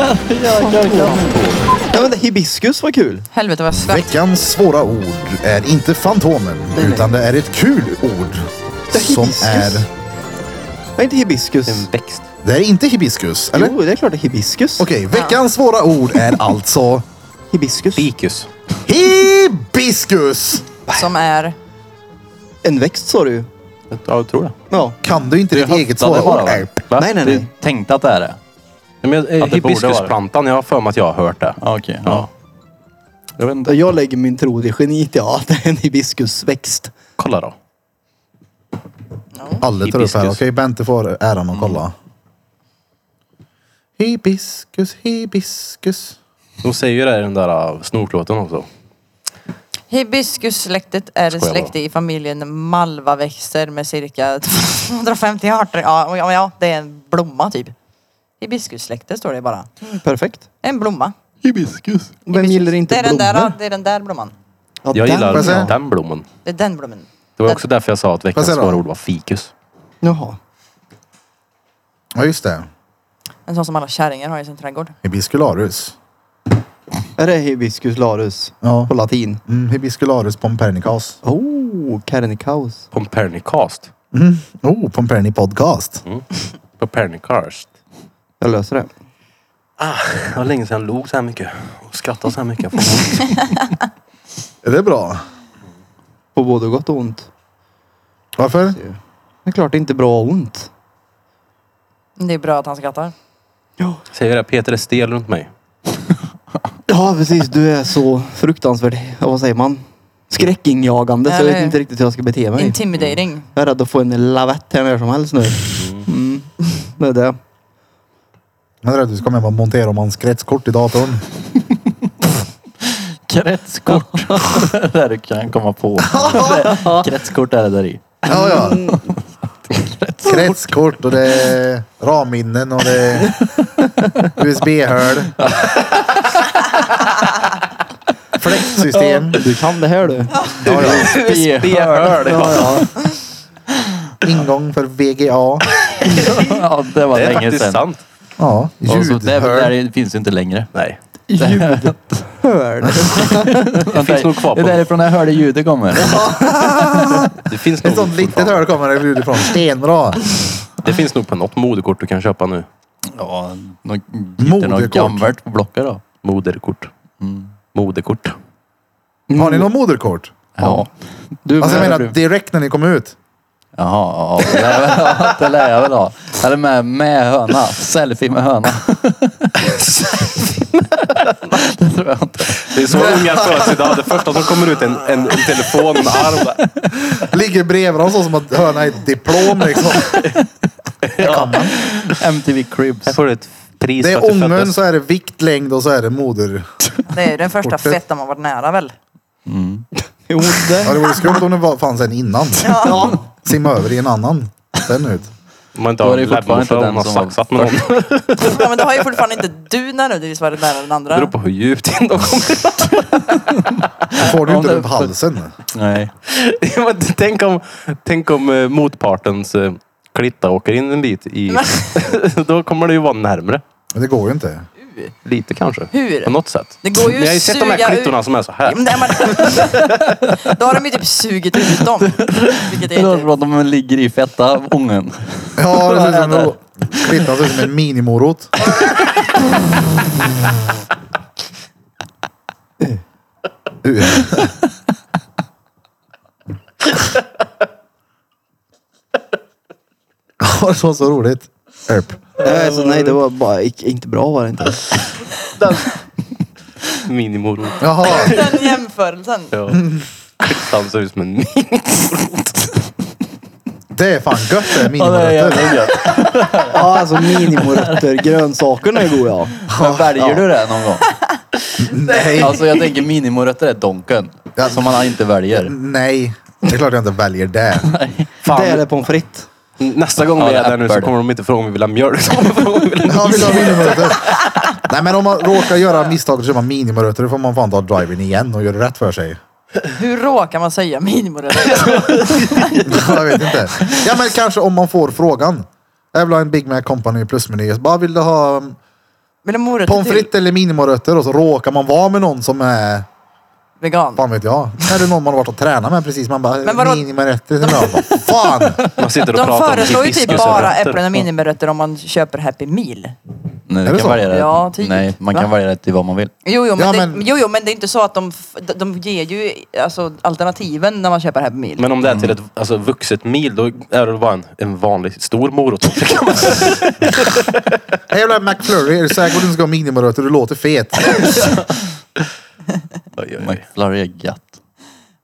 Speaker 5: Ja, men det, hibiskus var kul.
Speaker 4: Helvete vad jag svett.
Speaker 1: Veckans svåra ord är inte Fantomen, utan det är ett kul ord. Som är...
Speaker 5: Nej, inte hibiskus.
Speaker 3: En växt.
Speaker 1: Det är inte hibiskus, eller?
Speaker 5: Jo, det är klart det är hibiskus.
Speaker 1: Okej, veckans svåra ord är alltså
Speaker 5: Hibiskus.
Speaker 3: Ficus.
Speaker 1: hibiskus!
Speaker 4: Som är...
Speaker 5: En växt sa du ju.
Speaker 3: Ja, jag tror det.
Speaker 5: Ja.
Speaker 1: Kan du inte ditt eget
Speaker 2: höftade
Speaker 1: svåra ord?
Speaker 2: bara, va?
Speaker 1: Nej.
Speaker 2: Va?
Speaker 5: Nej, nej, nej.
Speaker 2: Du tänkte att det är det?
Speaker 3: Ja, Men, eh,
Speaker 2: Att det borde
Speaker 3: hibiskusplantan, jag har för mig att jag har hört det.
Speaker 2: Ja, Okej. ja. Jag vet inte.
Speaker 5: Jag lägger min tro till geniet, ja. Att det är en hibiskusväxt.
Speaker 3: Kolla då.
Speaker 1: Alla tar upp här. Okej,
Speaker 3: Hibiskus.
Speaker 1: Bente får äran att kolla. Mm. Hibiskus, hibiskus.
Speaker 3: De säger ju det i den där uh, snorklåten också.
Speaker 4: Hibiskussläktet är ett
Speaker 3: Skojar bara.
Speaker 4: släkte i familjen malvaväxter med cirka 250 arter. Ja, och ja, ja, det är en blomma typ. Hibiskussläkte står det bara.
Speaker 5: Perfekt.
Speaker 4: En blomma.
Speaker 2: Hibiskus.
Speaker 5: Vem gillar inte
Speaker 4: det är
Speaker 5: blommor?
Speaker 4: Den där, det är den där blomman.
Speaker 5: ja,
Speaker 3: Jag
Speaker 5: den,
Speaker 3: gillar
Speaker 1: jag säga?
Speaker 5: ja.
Speaker 3: den blommen.
Speaker 4: Det är den blomman.
Speaker 3: Det var
Speaker 4: Den-
Speaker 3: också därför jag sa att veckans
Speaker 1: Vad säger du?
Speaker 3: svåra ord var fikus.
Speaker 5: Jaha.
Speaker 1: Ja, just det.
Speaker 4: En sån som alla kärringar har i sin trädgård.
Speaker 1: Hibiscularus.
Speaker 5: Är det hibiscus larus?
Speaker 1: Ja.
Speaker 5: På latin.
Speaker 1: Mm, hibiscularus pompernicas.
Speaker 5: Oh, Carnicaus.
Speaker 3: Pompernicast.
Speaker 1: Oh, Pomperni podcast.
Speaker 3: Pompernicast.
Speaker 5: Jag löser det.
Speaker 3: Det var länge sedan jag log så här mycket och skrattade så här mycket.
Speaker 1: Är det bra?
Speaker 5: På både gott och ont.
Speaker 1: Varför?
Speaker 5: Det är klart det är inte bra och ont.
Speaker 4: Det är bra att han skrattar.
Speaker 3: Säger det, Peter är stel runt mig.
Speaker 5: Ja, precis. Du är så fruktansvärt, ja, vad säger man? Skräckinjagande så jag
Speaker 4: Eller-
Speaker 5: vet inte riktigt hur jag ska bete mig.
Speaker 4: Intimidating.
Speaker 5: jag är rädd att få en lavett här när som helst nu. Mm. Det är det.
Speaker 1: Jag är rädd du ska med och montera om hans kretskort i datorn.
Speaker 2: Kretskort. det är det du kan komma på. Kretskort är det där i.
Speaker 1: Ja, ja. Mm. Kretskort och det är ramminnen och det är USB-hål. Fläktsystem.
Speaker 5: Du kan det här du.
Speaker 1: Ja, ja.
Speaker 2: USB-hörd.
Speaker 5: Ja,
Speaker 1: Ingång för VGA.
Speaker 2: Ja, det var
Speaker 3: Det är
Speaker 2: länge
Speaker 3: faktiskt
Speaker 2: sedan.
Speaker 3: sant.
Speaker 1: Ja,
Speaker 2: Och så, det,
Speaker 1: ljudhål.
Speaker 2: där finns ju inte längre.
Speaker 3: Nej.
Speaker 5: ja.
Speaker 7: hörd.
Speaker 3: Det finns nog kvar
Speaker 6: Det
Speaker 3: på.
Speaker 6: är därifrån jag hörde ljudet kommer.
Speaker 3: Det finns
Speaker 1: Ett
Speaker 3: nog,
Speaker 1: sånt litet hörn kommer det ljud ifrån. Stenbra.
Speaker 3: det finns nog på något moderkort du kan köpa nu.
Speaker 2: Ja, något,
Speaker 1: Moderkort.
Speaker 2: inte något gammalt på Blocket då.
Speaker 3: Moderkort. Mm. Moderkort.
Speaker 1: Har ni något moderkort?
Speaker 2: Ja.
Speaker 5: Du,
Speaker 1: Alltså jag
Speaker 5: men,
Speaker 1: menar direkt när ni kom ut.
Speaker 6: Jaha, ja, det lär jag väl ha. Det lär jag väl ha. Eller med, med höna. Selfie med höna. det tror jag inte.
Speaker 3: Det är så unga föds idag. Det första som kommer ut är en, en, en telefon, en arm.
Speaker 1: Ligger bredvid dem så som att hörna är ett diplom liksom.
Speaker 6: MTV Cribs.
Speaker 3: Här får du ett pris
Speaker 1: Det
Speaker 3: för att
Speaker 1: är
Speaker 3: du
Speaker 1: ångern,
Speaker 3: föddes.
Speaker 1: så är det vikt, längd och så är det moder.
Speaker 4: Det är ju den första
Speaker 1: Kortet.
Speaker 4: fettan man varit nära väl?
Speaker 5: jo,
Speaker 1: Ja
Speaker 5: det.
Speaker 1: det vore skumt om det var- fanns en innan. Simma över i en annan. Sen ut.
Speaker 3: Om man inte
Speaker 6: Då
Speaker 3: har
Speaker 6: är det
Speaker 3: en
Speaker 6: fortfarande
Speaker 3: läbbmorsa
Speaker 6: inte
Speaker 3: och
Speaker 6: den
Speaker 3: har
Speaker 6: som var
Speaker 3: saxat med någon. Det
Speaker 4: Ja, men då har ju fortfarande inte du nödvändigtvis varit nära den
Speaker 3: beror
Speaker 4: andra.
Speaker 3: på hur djupt in de kommer.
Speaker 1: Då får du ju inte
Speaker 6: det-
Speaker 1: runt halsen.
Speaker 6: Nej.
Speaker 3: Ja, men tänk om, tänk om eh, motpartens eh, klitta åker in en bit i... Då kommer det ju vara närmre.
Speaker 1: Men det går ju inte.
Speaker 3: Lite kanske.
Speaker 4: Hur?
Speaker 3: På något sätt.
Speaker 4: Det går ju
Speaker 3: Men jag har ju sett de
Speaker 4: suga
Speaker 3: här
Speaker 4: ut-
Speaker 3: klittorna som är så här.
Speaker 4: Ja, men det är man- Då har de ju typ sugit ut dem. Vilket
Speaker 6: Det
Speaker 4: är
Speaker 6: låter som
Speaker 4: inte...
Speaker 6: att de ligger i fetta ången.
Speaker 1: Ja, det ser ut som en... Klittan ser ut som en minimorot. Du. Ja, det var så roligt. Erp.
Speaker 5: Nej, alltså, nej, det var bara ick- inte bra var det inte.
Speaker 3: Minimorot.
Speaker 1: Jaha.
Speaker 4: Den jämförelsen.
Speaker 3: Ja. Klittan ser ut som en mini.
Speaker 1: Det är fan gött det, minimorötter.
Speaker 6: jävligt gött.
Speaker 5: Ja, alltså minimorötter. Grönsakerna är goda. Ja.
Speaker 6: Men väljer du det någon gång?
Speaker 1: Nej.
Speaker 6: Alltså jag tänker minimorötter är donken.
Speaker 1: Ja.
Speaker 6: Som man inte väljer.
Speaker 1: Nej. Det är klart jag inte väljer det.
Speaker 5: Det är det pommes frites.
Speaker 3: Nästa gång vi
Speaker 6: Ja, det
Speaker 3: är
Speaker 6: är
Speaker 3: där nu så
Speaker 6: äpple.
Speaker 3: kommer de inte fråga om vi vill ha mjölk. De kommer fråga om vi vill ha
Speaker 1: Ja, vill du ha minimorötter? Nej, men om man råkar göra misstaget att köpa minimorötter, då får man fan ta drivern igen och göra rätt för sig.
Speaker 4: Hur råkar man säga minimorötter?
Speaker 1: jag vet inte. Ja men kanske om man får frågan. Jag vill ha en Big Mac Company plusmeny. Bara vill du ha um,
Speaker 4: Vill du ha morötter
Speaker 1: pommes frites eller minimorötter? Och så råkar man vara med någon som är,
Speaker 4: till? Vegan.
Speaker 1: fan vet jag. Eller någon man har varit och tränat med precis. Man
Speaker 4: Men
Speaker 1: bara,
Speaker 4: vadå?
Speaker 1: minimorötter. Sen bara, vad fan!
Speaker 3: Man sitter och
Speaker 4: De
Speaker 3: pratar om
Speaker 4: föreslår ju typ
Speaker 3: hibiskus och
Speaker 4: bara
Speaker 3: rötter.
Speaker 4: äpplen och minimorötter om man köper Happy Meal.
Speaker 6: Nej,
Speaker 1: Är
Speaker 6: du kan
Speaker 1: det så?
Speaker 6: välja det.
Speaker 4: Ja, typ.
Speaker 6: Nej, man kan
Speaker 4: Va?
Speaker 6: välja det till vad man vill.
Speaker 4: Jo, jo, men,
Speaker 1: Ja,
Speaker 4: det,
Speaker 1: men-
Speaker 4: Jo, jo, men det är inte så att de, f- de- de ger ju alltså, alternativen när man köper Happy Meal.
Speaker 3: Men om det är till ett alltså, vuxet mil, då är det bara en, en vanlig stor morot. Det kan man säga.
Speaker 1: Jag vill ha en McFlurry. Är du säker på att du inte ska ha minimorötter? Du låter fet.
Speaker 6: McFlurry är gött.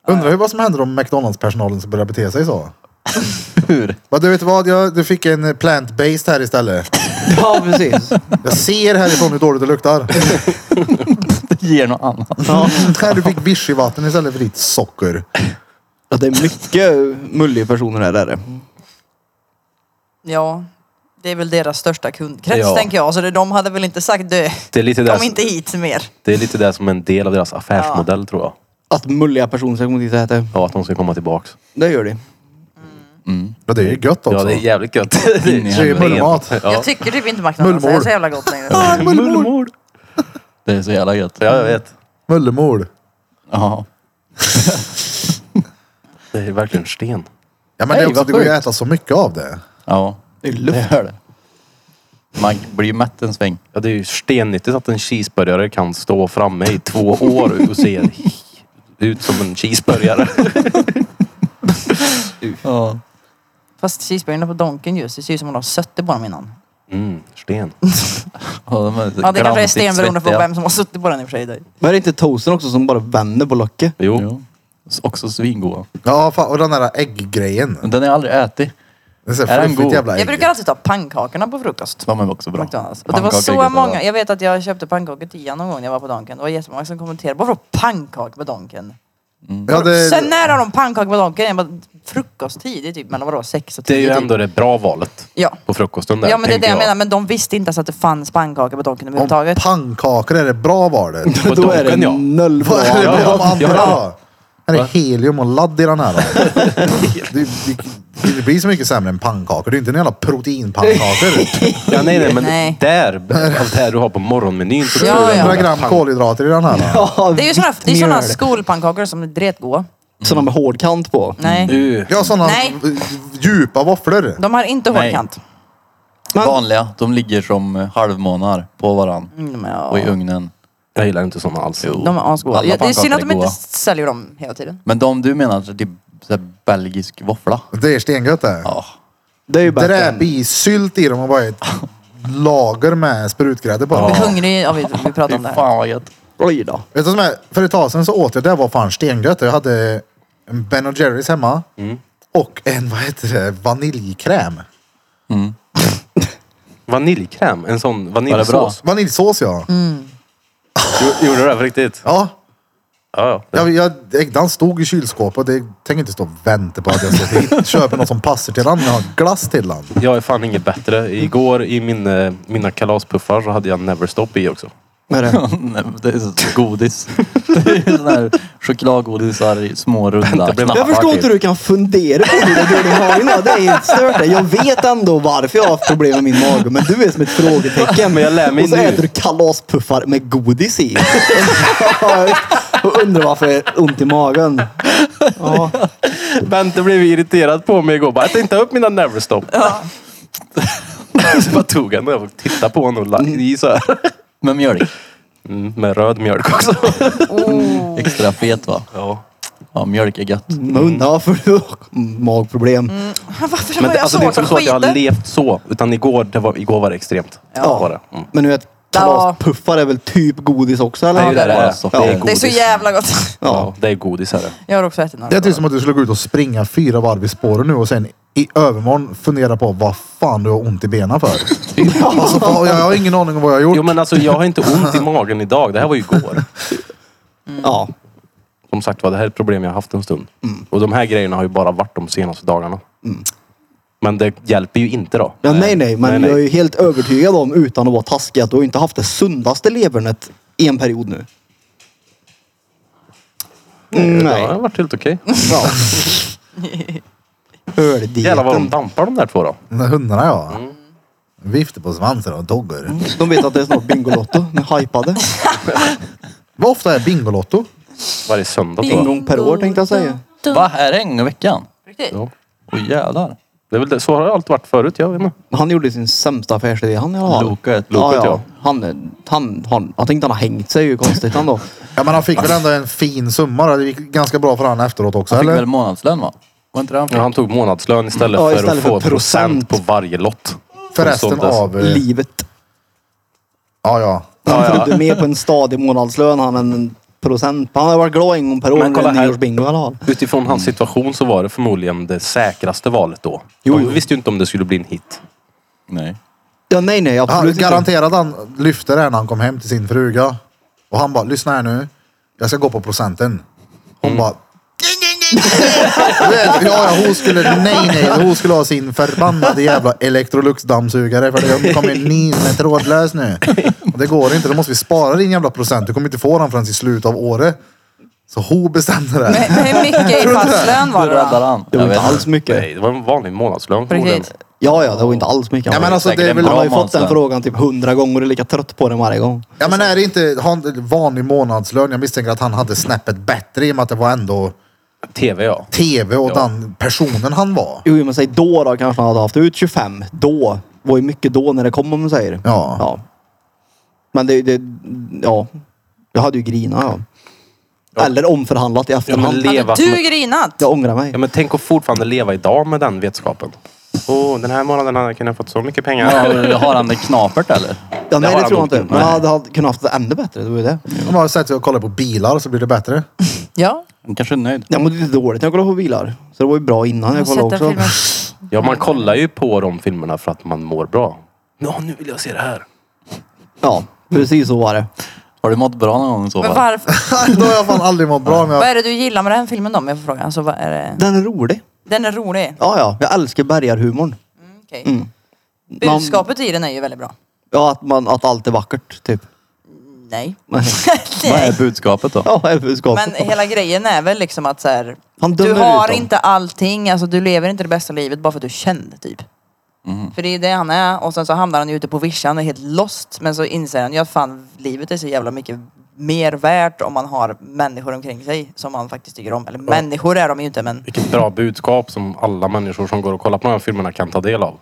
Speaker 1: Undrar ju vad som händer om McDonalds-personalen ska börja bete sig så.
Speaker 6: Hur?
Speaker 1: Men du vet vad, jag, du fick en plant-based här istället.
Speaker 5: Ja, precis.
Speaker 1: Jag ser härifrån hur dåligt det luktar.
Speaker 6: Det ger något annat.
Speaker 1: Här du fick vichyvatten istället för ditt socker.
Speaker 5: Ja, det är mycket mulliga personer här. Där. är det.
Speaker 4: Ja, det är väl deras största kundkrets
Speaker 3: Ja.
Speaker 4: tänker jag. Så det, de hade väl inte sagt du,
Speaker 3: Det är lite
Speaker 4: kom
Speaker 3: där,
Speaker 4: inte hit mer.
Speaker 3: det är lite där som en del av deras affärsmodell tror jag.
Speaker 5: Att mulliga personer ska komma dit och äta.
Speaker 3: Ja, att de ska komma tillbaks.
Speaker 5: Det gör de.
Speaker 1: Ja, det är ju gött också.
Speaker 3: Ja, det är jävligt gött. Det
Speaker 6: i
Speaker 1: Det är ju
Speaker 6: helvete.
Speaker 1: bullmat.
Speaker 3: Ja.
Speaker 4: Jag tycker typ inte McDonalds är
Speaker 1: Mullmord.
Speaker 4: så jävla gott längre.
Speaker 3: Mullmord.
Speaker 6: Det är så jävla gött.
Speaker 3: Ja, jag vet.
Speaker 1: Mullemol.
Speaker 6: Ja.
Speaker 3: Det är verkligen sten.
Speaker 1: Ja men det, är
Speaker 6: Hej,
Speaker 1: också,
Speaker 6: vad
Speaker 1: det går ju
Speaker 6: sjukt.
Speaker 1: att äta så mycket av det.
Speaker 6: Ja. Det är luft. Det gör det. Man blir ju mätt en sväng.
Speaker 3: Ja, det är ju stennyttigt att en cheeseburgare kan stå framme i två år och se ut som en cheeseburgare.
Speaker 6: Ja.
Speaker 4: Fast cheeseburgarna på Donken just, det ser ju som om de har suttit på dem innan.
Speaker 3: Mm, sten.
Speaker 6: de är
Speaker 4: Ja, det kanske är
Speaker 6: grantigt
Speaker 4: sten beroende på
Speaker 6: svettiga.
Speaker 4: vem som har suttit på den i och för sig.
Speaker 5: Men är det inte toasten också som bara vänder på locket?
Speaker 3: Jo.
Speaker 6: Jo. Också svingoda.
Speaker 1: Ja fan, och den där ägggrejen.
Speaker 6: Men Den har jag aldrig ätit.
Speaker 1: Det är så
Speaker 6: Är den
Speaker 1: fluffigt
Speaker 6: god?
Speaker 1: jävla ägg.
Speaker 4: Jag brukar alltid ta pannkakorna på frukost.
Speaker 6: De är också bra.
Speaker 4: McDonald's. Och det var
Speaker 6: Pannkakor är
Speaker 4: så
Speaker 6: gött,
Speaker 4: många. Jag vet att jag köpte pannkakor till Ian någon gång när jag var på Donken. Det var jättemånga som kommenterade. Varför pannkakor på Donken?
Speaker 1: Ja,
Speaker 5: Eh,
Speaker 1: det,
Speaker 4: Sen när har de pannkakor på Donken? Jag bara, frukosttid? Det är typ mellan vadå, sex och
Speaker 3: Det är
Speaker 4: tio?
Speaker 3: ju
Speaker 4: typ.
Speaker 3: ändå det bra valet
Speaker 4: Ja.
Speaker 3: på frukosten där.
Speaker 4: Ja men det är det
Speaker 3: tänker
Speaker 4: jag menar. Men de visste inte ens att det fanns pannkakor på Donken
Speaker 1: om
Speaker 4: överhuvudtaget.
Speaker 1: pannkakor är det bra var det.
Speaker 3: På
Speaker 5: Då är det
Speaker 3: donken, ja.
Speaker 5: noll bra.
Speaker 1: Vad är det
Speaker 3: Ja,
Speaker 1: bra
Speaker 3: ja,
Speaker 1: om andra
Speaker 3: ja.
Speaker 1: då? Är det helium och ladd i den här då? Det, det, Det inte blir så mycket sämre än pannkakor. Det är inte en jävla proteinpannkakor.
Speaker 3: Ja, nej, nej, men
Speaker 4: Nej.
Speaker 3: där, av det här du har på morgonmenyn. Så
Speaker 4: Ja,
Speaker 3: tror jag
Speaker 4: ja.
Speaker 1: 100
Speaker 3: att
Speaker 1: gram
Speaker 3: pan-
Speaker 1: kolhydrater i den här. då.
Speaker 4: Det är ju såna, det är såna
Speaker 7: Vittmjöl.
Speaker 4: skolpannkakor som är dretgoda.
Speaker 5: Sådana med hård kant på.
Speaker 4: Nej,
Speaker 3: Du,
Speaker 1: Jag har sådana
Speaker 4: Nej.
Speaker 1: djupa våfflor.
Speaker 4: de har inte
Speaker 2: Nej.
Speaker 4: hårdkant.
Speaker 6: Vanliga. De ligger som eh, halvmånar på varann.
Speaker 4: Mm, men ja.
Speaker 6: Och i ugnen.
Speaker 3: jag gillar inte såna alls.
Speaker 4: De är asgoda.
Speaker 6: Alla
Speaker 4: Ja, Det är synd
Speaker 6: pannkakor
Speaker 4: att de
Speaker 6: är
Speaker 4: inte
Speaker 6: goda.
Speaker 4: säljer dem hela tiden.
Speaker 6: Men de du menar, att det är så här belgisk våffla?
Speaker 1: Det är stengött det.
Speaker 6: Ja.
Speaker 5: Det är ju bättre.
Speaker 1: Dräp
Speaker 5: än-
Speaker 1: i sylt i dem och bara ett lager med sprutgrädde på.
Speaker 4: Jag
Speaker 1: dem.
Speaker 4: blir hungrig av att vi pratar om
Speaker 6: Fy
Speaker 4: det här.
Speaker 6: fan vad gött.
Speaker 5: Oj då.
Speaker 1: Vet du vad som är? För ett tag sedan så åt jag, det var fan stengött. Jag hade en Ben Jerrys hemma och en, vad heter det, vaniljkräm.
Speaker 3: Vaniljkräm, en sån
Speaker 6: bra?
Speaker 3: vaniljsås.
Speaker 1: Vaniljsås ja.
Speaker 3: Jo- Gjorde du det här på riktigt?
Speaker 1: Ja,
Speaker 3: Ja, ja.
Speaker 1: jag, jag, den stod i kylskåpet. Det- Jag tänker inte stå och vänta på att jag ska hit- köpa något som passar till den. Jag har glass till den.
Speaker 3: Jag är fan inget bättre. Igår i min, eh, mina kalaspuffar så hade jag Neverstop i också.
Speaker 5: Vad är det?
Speaker 6: Nej, men det är så godis. Det är sån här chokladgodisar i små runda
Speaker 3: Det blev-
Speaker 6: knappar.
Speaker 5: Jag förstår inte
Speaker 6: typ.
Speaker 5: hur du kan fundera på hur det går i magen. då. Det är helt stört. det. Jag vet ändå varför jag har haft problem med min mage. Men du är som ett frågetecken.
Speaker 3: Men jag lär mig
Speaker 5: Och så
Speaker 3: nu.
Speaker 5: äter du kalaspuffar med godis i. och undrar varför jag har ont i magen. Ja.
Speaker 3: Bente blev irriterad på mig igår. Bara, jag tänkte upp mina Neverstop. så bara tog han den och tittade på honom och la i så här.
Speaker 6: Med mjölk.
Speaker 3: Mm, med röd mjölk också.
Speaker 6: Extra fet va?
Speaker 3: Ja.
Speaker 6: Ja, mjölk är gött.
Speaker 4: Mm.
Speaker 5: Men undrar varför du har magproblem.
Speaker 3: Mm.
Speaker 4: Varför
Speaker 3: Men
Speaker 4: har
Speaker 3: det,
Speaker 4: jag
Speaker 3: alltså, det är inte
Speaker 4: svårt att
Speaker 3: så att jag har
Speaker 4: skita?
Speaker 3: levt så. Utan igår, det var, igår var det extremt.
Speaker 5: Ja.
Speaker 3: Var det. Mm.
Speaker 5: Men du vet, kalaspuffar är väl typ godis också eller?
Speaker 3: Det är ju det det är.
Speaker 6: socker.
Speaker 3: Det är
Speaker 6: Det är
Speaker 4: Det är så
Speaker 3: godis.
Speaker 4: jävla gott.
Speaker 3: Ja, det är godis här.
Speaker 4: Jag har också ätit några.
Speaker 1: Det är typ som att du skulle gå ut och springa fyra varv i spåren nu och sen i övermorgon fundera på vad fan du har ont i benen för. alltså, fan, jag har ingen aning om vad jag har gjort.
Speaker 3: Jo men alltså jag har inte ont i magen idag. Det här var ju igår.
Speaker 5: Ja.
Speaker 3: Som sagt var, det här är ett problem jag har haft en stund.
Speaker 5: Mm.
Speaker 3: Och de här grejerna har ju bara varit de senaste dagarna. Men det hjälper ju inte då.
Speaker 5: Ja, nej, nej, men
Speaker 3: Nej, nej.
Speaker 5: jag är helt övertygad om, utan att vara taskig, att du har inte haft det sundaste levernet i en period nu.
Speaker 3: Det
Speaker 5: Nej.
Speaker 3: har varit helt okej.
Speaker 5: Ja.
Speaker 3: Jävlar vad de
Speaker 5: Öldieten.
Speaker 3: dampar de där två då.
Speaker 1: De där hundarna ja. Viftar på svansen och doggar.
Speaker 5: De vet att det är snart Bingolotto. De är hypade.
Speaker 1: Vad ofta är Bingolotto?
Speaker 3: Varje söndag tror
Speaker 5: En
Speaker 3: jag.
Speaker 5: gång per år tänkte jag säga.
Speaker 6: Va? Är det en gång i veckan?
Speaker 4: Riktigt?
Speaker 3: Ja.
Speaker 6: Åh jävlar.
Speaker 3: Det är väl det. Så har det alltid varit förut. Jag vet inte.
Speaker 5: Han gjorde sin sämsta affärsidé han i alla fall.
Speaker 6: Loket.
Speaker 5: Ja,
Speaker 3: Loket,
Speaker 5: ja.
Speaker 3: ja.
Speaker 5: Han, han, han, jag tänkte han har hängt sig. Det är ju konstigt ändå.
Speaker 1: Ja men han fick väl ändå en fin summa då. Det gick ganska bra för han efteråt också
Speaker 6: Han fick
Speaker 1: eller?
Speaker 6: väl månadslön va? Var inte det han fick?
Speaker 3: Ja, han tog månadslön istället,
Speaker 5: Ja,
Speaker 3: för
Speaker 5: istället
Speaker 3: att få
Speaker 5: för procent.
Speaker 3: procent på varje lott.
Speaker 1: För
Speaker 3: som
Speaker 1: resten
Speaker 3: såldes.
Speaker 1: av... eh,
Speaker 5: Livet.
Speaker 1: Ja ja.
Speaker 5: Han trodde mer på en stadig månadslön han än en procent. Han har varit glad en gång per år.
Speaker 3: Men kolla
Speaker 5: med
Speaker 3: här.
Speaker 5: Nyårsbingo i alla fall.
Speaker 3: Utifrån hans situation så var det förmodligen det säkraste valet då.
Speaker 5: Jo,
Speaker 3: De
Speaker 5: jo.
Speaker 3: visste ju inte om det skulle bli en hit.
Speaker 6: Nej.
Speaker 5: Ja, nej, nej.
Speaker 1: Han,
Speaker 5: Absolut inte.
Speaker 1: garanterat han lyfte det här när han kom hem till sin fruga. Och han bara, lyssna här nu. Jag ska gå på procenten. Hon
Speaker 6: Mm.
Speaker 1: bara... Du vet, ja, ja, hon skulle, nej, nej, hon skulle ha sin förbannade jävla Electrolux-dammsugare för det kommer en ny som är trådlös nu. Och det går inte, då måste vi spara din jävla procent. Du kommer inte få den förrän i slutet av året. Så hon bestämde det.
Speaker 4: Men hur mycket i fast lön var
Speaker 6: Hur
Speaker 4: det då?
Speaker 6: räddade han?
Speaker 5: Det var inte alls mycket.
Speaker 3: Nej, det var en vanlig månadslön
Speaker 4: På
Speaker 3: förmodligen.
Speaker 4: riktigt?
Speaker 5: Ja, ja, det var inte alls mycket.
Speaker 1: Ja, men alltså,
Speaker 6: Säkert
Speaker 1: det är
Speaker 6: en
Speaker 1: väl-
Speaker 6: bra
Speaker 5: han har ju fått den
Speaker 6: månadslön.
Speaker 5: frågan typ hundra gånger och är lika trött på den varje gång.
Speaker 1: Ja men är det inte har han en vanlig månadslön? Jag misstänker att han hade snäppet bättre i och med att det var ändå
Speaker 3: TV ja.
Speaker 1: tv och
Speaker 3: Ja.
Speaker 1: den personen han var.
Speaker 5: Jo, men säg då då kanske han hade haft ut 25. Då var ju mycket då när det kom om man säger.
Speaker 1: Ja.
Speaker 5: Men det, det ja. Jag hade ju grinat ja. Eller omförhandlat i
Speaker 3: Ja,
Speaker 5: efterhand.
Speaker 3: men le-
Speaker 4: Hade
Speaker 3: Leva-
Speaker 4: du grinat?
Speaker 5: jag ångrar mig.
Speaker 3: Ja men tänk att fortfarande leva idag med den vetskapen. Åh, den här månaden hade jag kunnat fått så mycket pengar.
Speaker 6: Ja, har han det knapert eller?
Speaker 5: Ja, nej,
Speaker 3: har
Speaker 5: det
Speaker 3: han
Speaker 5: tror jag
Speaker 3: nog
Speaker 5: inte.
Speaker 3: inte.
Speaker 5: Men jag hade hade kunnat haft det ännu bättre. Det var ju det.
Speaker 1: Om man sätter sig och kollar på bilar så blir det bättre.
Speaker 4: Ja.
Speaker 6: Han kanske är nöjd.
Speaker 5: Jag mådde lite dåligt när jag kollade på bilar. Så det var ju bra innan jag kollade också.
Speaker 3: Ja, man kollar ju på de filmerna för att man mår bra. Ja, nu vill jag se det här.
Speaker 5: Ja, precis så var det.
Speaker 6: Har du mått bra någon gång så
Speaker 4: Men
Speaker 6: fall?
Speaker 4: varför?
Speaker 1: Då har jag fan aldrig mått bra. Men
Speaker 4: Vad
Speaker 1: jag,
Speaker 4: är det du gillar med den filmen då om jag får fråga? Alltså, vad är det?
Speaker 5: Den är rolig.
Speaker 4: Den är rolig.
Speaker 5: Ja, ja. Jag älskar bergarhumorn.
Speaker 4: Okej.
Speaker 5: Mm. Man-
Speaker 4: Budskapet i den är ju väldigt bra.
Speaker 5: Ja, att, man, att allt är vackert typ.
Speaker 4: Nej.
Speaker 2: Vad
Speaker 4: Nej.
Speaker 2: är budskapet då?
Speaker 5: Ja, budskapet.
Speaker 4: Men hela grejen är väl liksom att så här,
Speaker 5: Han
Speaker 4: du
Speaker 5: dömer ut
Speaker 4: har
Speaker 5: dem.
Speaker 4: inte allting, alltså du lever inte det bästa livet bara för att du känner typ. För det är det han är och sen så hamnar han ju ute på vischan och är helt lost. Men så inser han ju att fan livet är så jävla mycket mer värt om man har människor omkring sig som man faktiskt tycker om. Eller människor är de ju inte men
Speaker 3: Vilket bra budskap som alla människor som går och kollar på de här filmerna kan ta del av.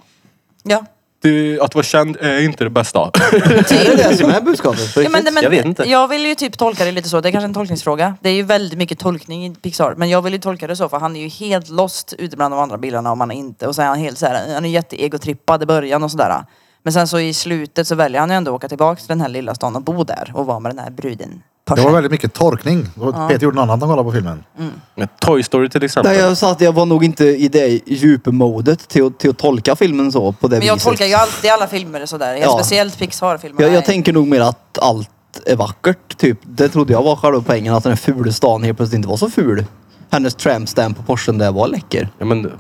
Speaker 4: ja.
Speaker 3: Du, att vara känd är inte det bästa.
Speaker 7: Det är det som är budskapet. på
Speaker 4: ja men,
Speaker 7: riktigt.
Speaker 4: men,
Speaker 3: Jag vet inte.
Speaker 4: Jag vill ju typ tolka det lite så. Det är kanske en tolkningsfråga. Det är ju väldigt mycket tolkning i Pixar. Men jag vill ju tolka det så för han är ju helt lost ute bland de andra bilarna om han inte. Och så är han helt så här, han är jätteegotrippad i början och sådär. Men sen så i slutet så väljer han ju ändå att åka tillbaka till den här lilla stan och bo där och vara med den här bruden.
Speaker 1: Det var väldigt mycket torkning. Det var- Peter gjorde något annat när han kollade på filmen.
Speaker 3: Med Toy Story till exempel.
Speaker 5: Nej, jag sa att jag var nog inte i det djupmodet till, att- till att tolka filmen så på det
Speaker 4: Men jag
Speaker 5: viset.
Speaker 4: tolkar ju alltid alla filmer sådär. Ja.
Speaker 5: Ja.
Speaker 4: Speciellt Pixar-filmer.
Speaker 5: jag, jag tänker nog mer att allt är vackert, typ. Det trodde jag var själva poängen, att den fula stan helt plötsligt inte var så ful. Hennes trampstamp på Porschen där var läcker.
Speaker 3: Ja, men,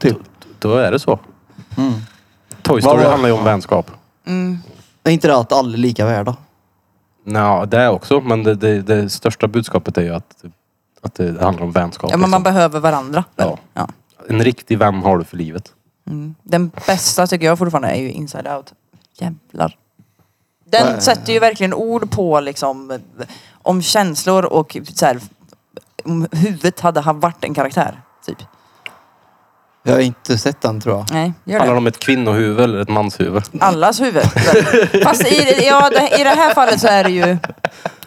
Speaker 5: Typ.
Speaker 3: då, då är det så.
Speaker 4: Mm.
Speaker 3: Toy Story
Speaker 6: Vad var-
Speaker 3: handlar ju om vänskap.
Speaker 5: Det är inte det att alla är lika värda.
Speaker 3: Nå, det också, men det, det, det största budskapet är ju att, att det handlar om vänskap.
Speaker 4: Ja men man
Speaker 3: liksom.
Speaker 4: behöver varandra.
Speaker 3: Ja.
Speaker 4: Ja.
Speaker 3: En riktig vän har du för livet.
Speaker 4: Mm. Den bästa tycker jag fortfarande är ju Inside Out. Jävlar. Den sätter ju verkligen ord på liksom om känslor och så här, om huvudet hade han varit en karaktär. Typ.
Speaker 5: Jag har inte sett den tror jag.
Speaker 4: Nej, gör
Speaker 3: Handlar det
Speaker 4: det.
Speaker 3: om ett kvinnohuvud eller ett manshuvud?
Speaker 4: Allas huvud. Fast i, ja, det- i det här fallet så är det ju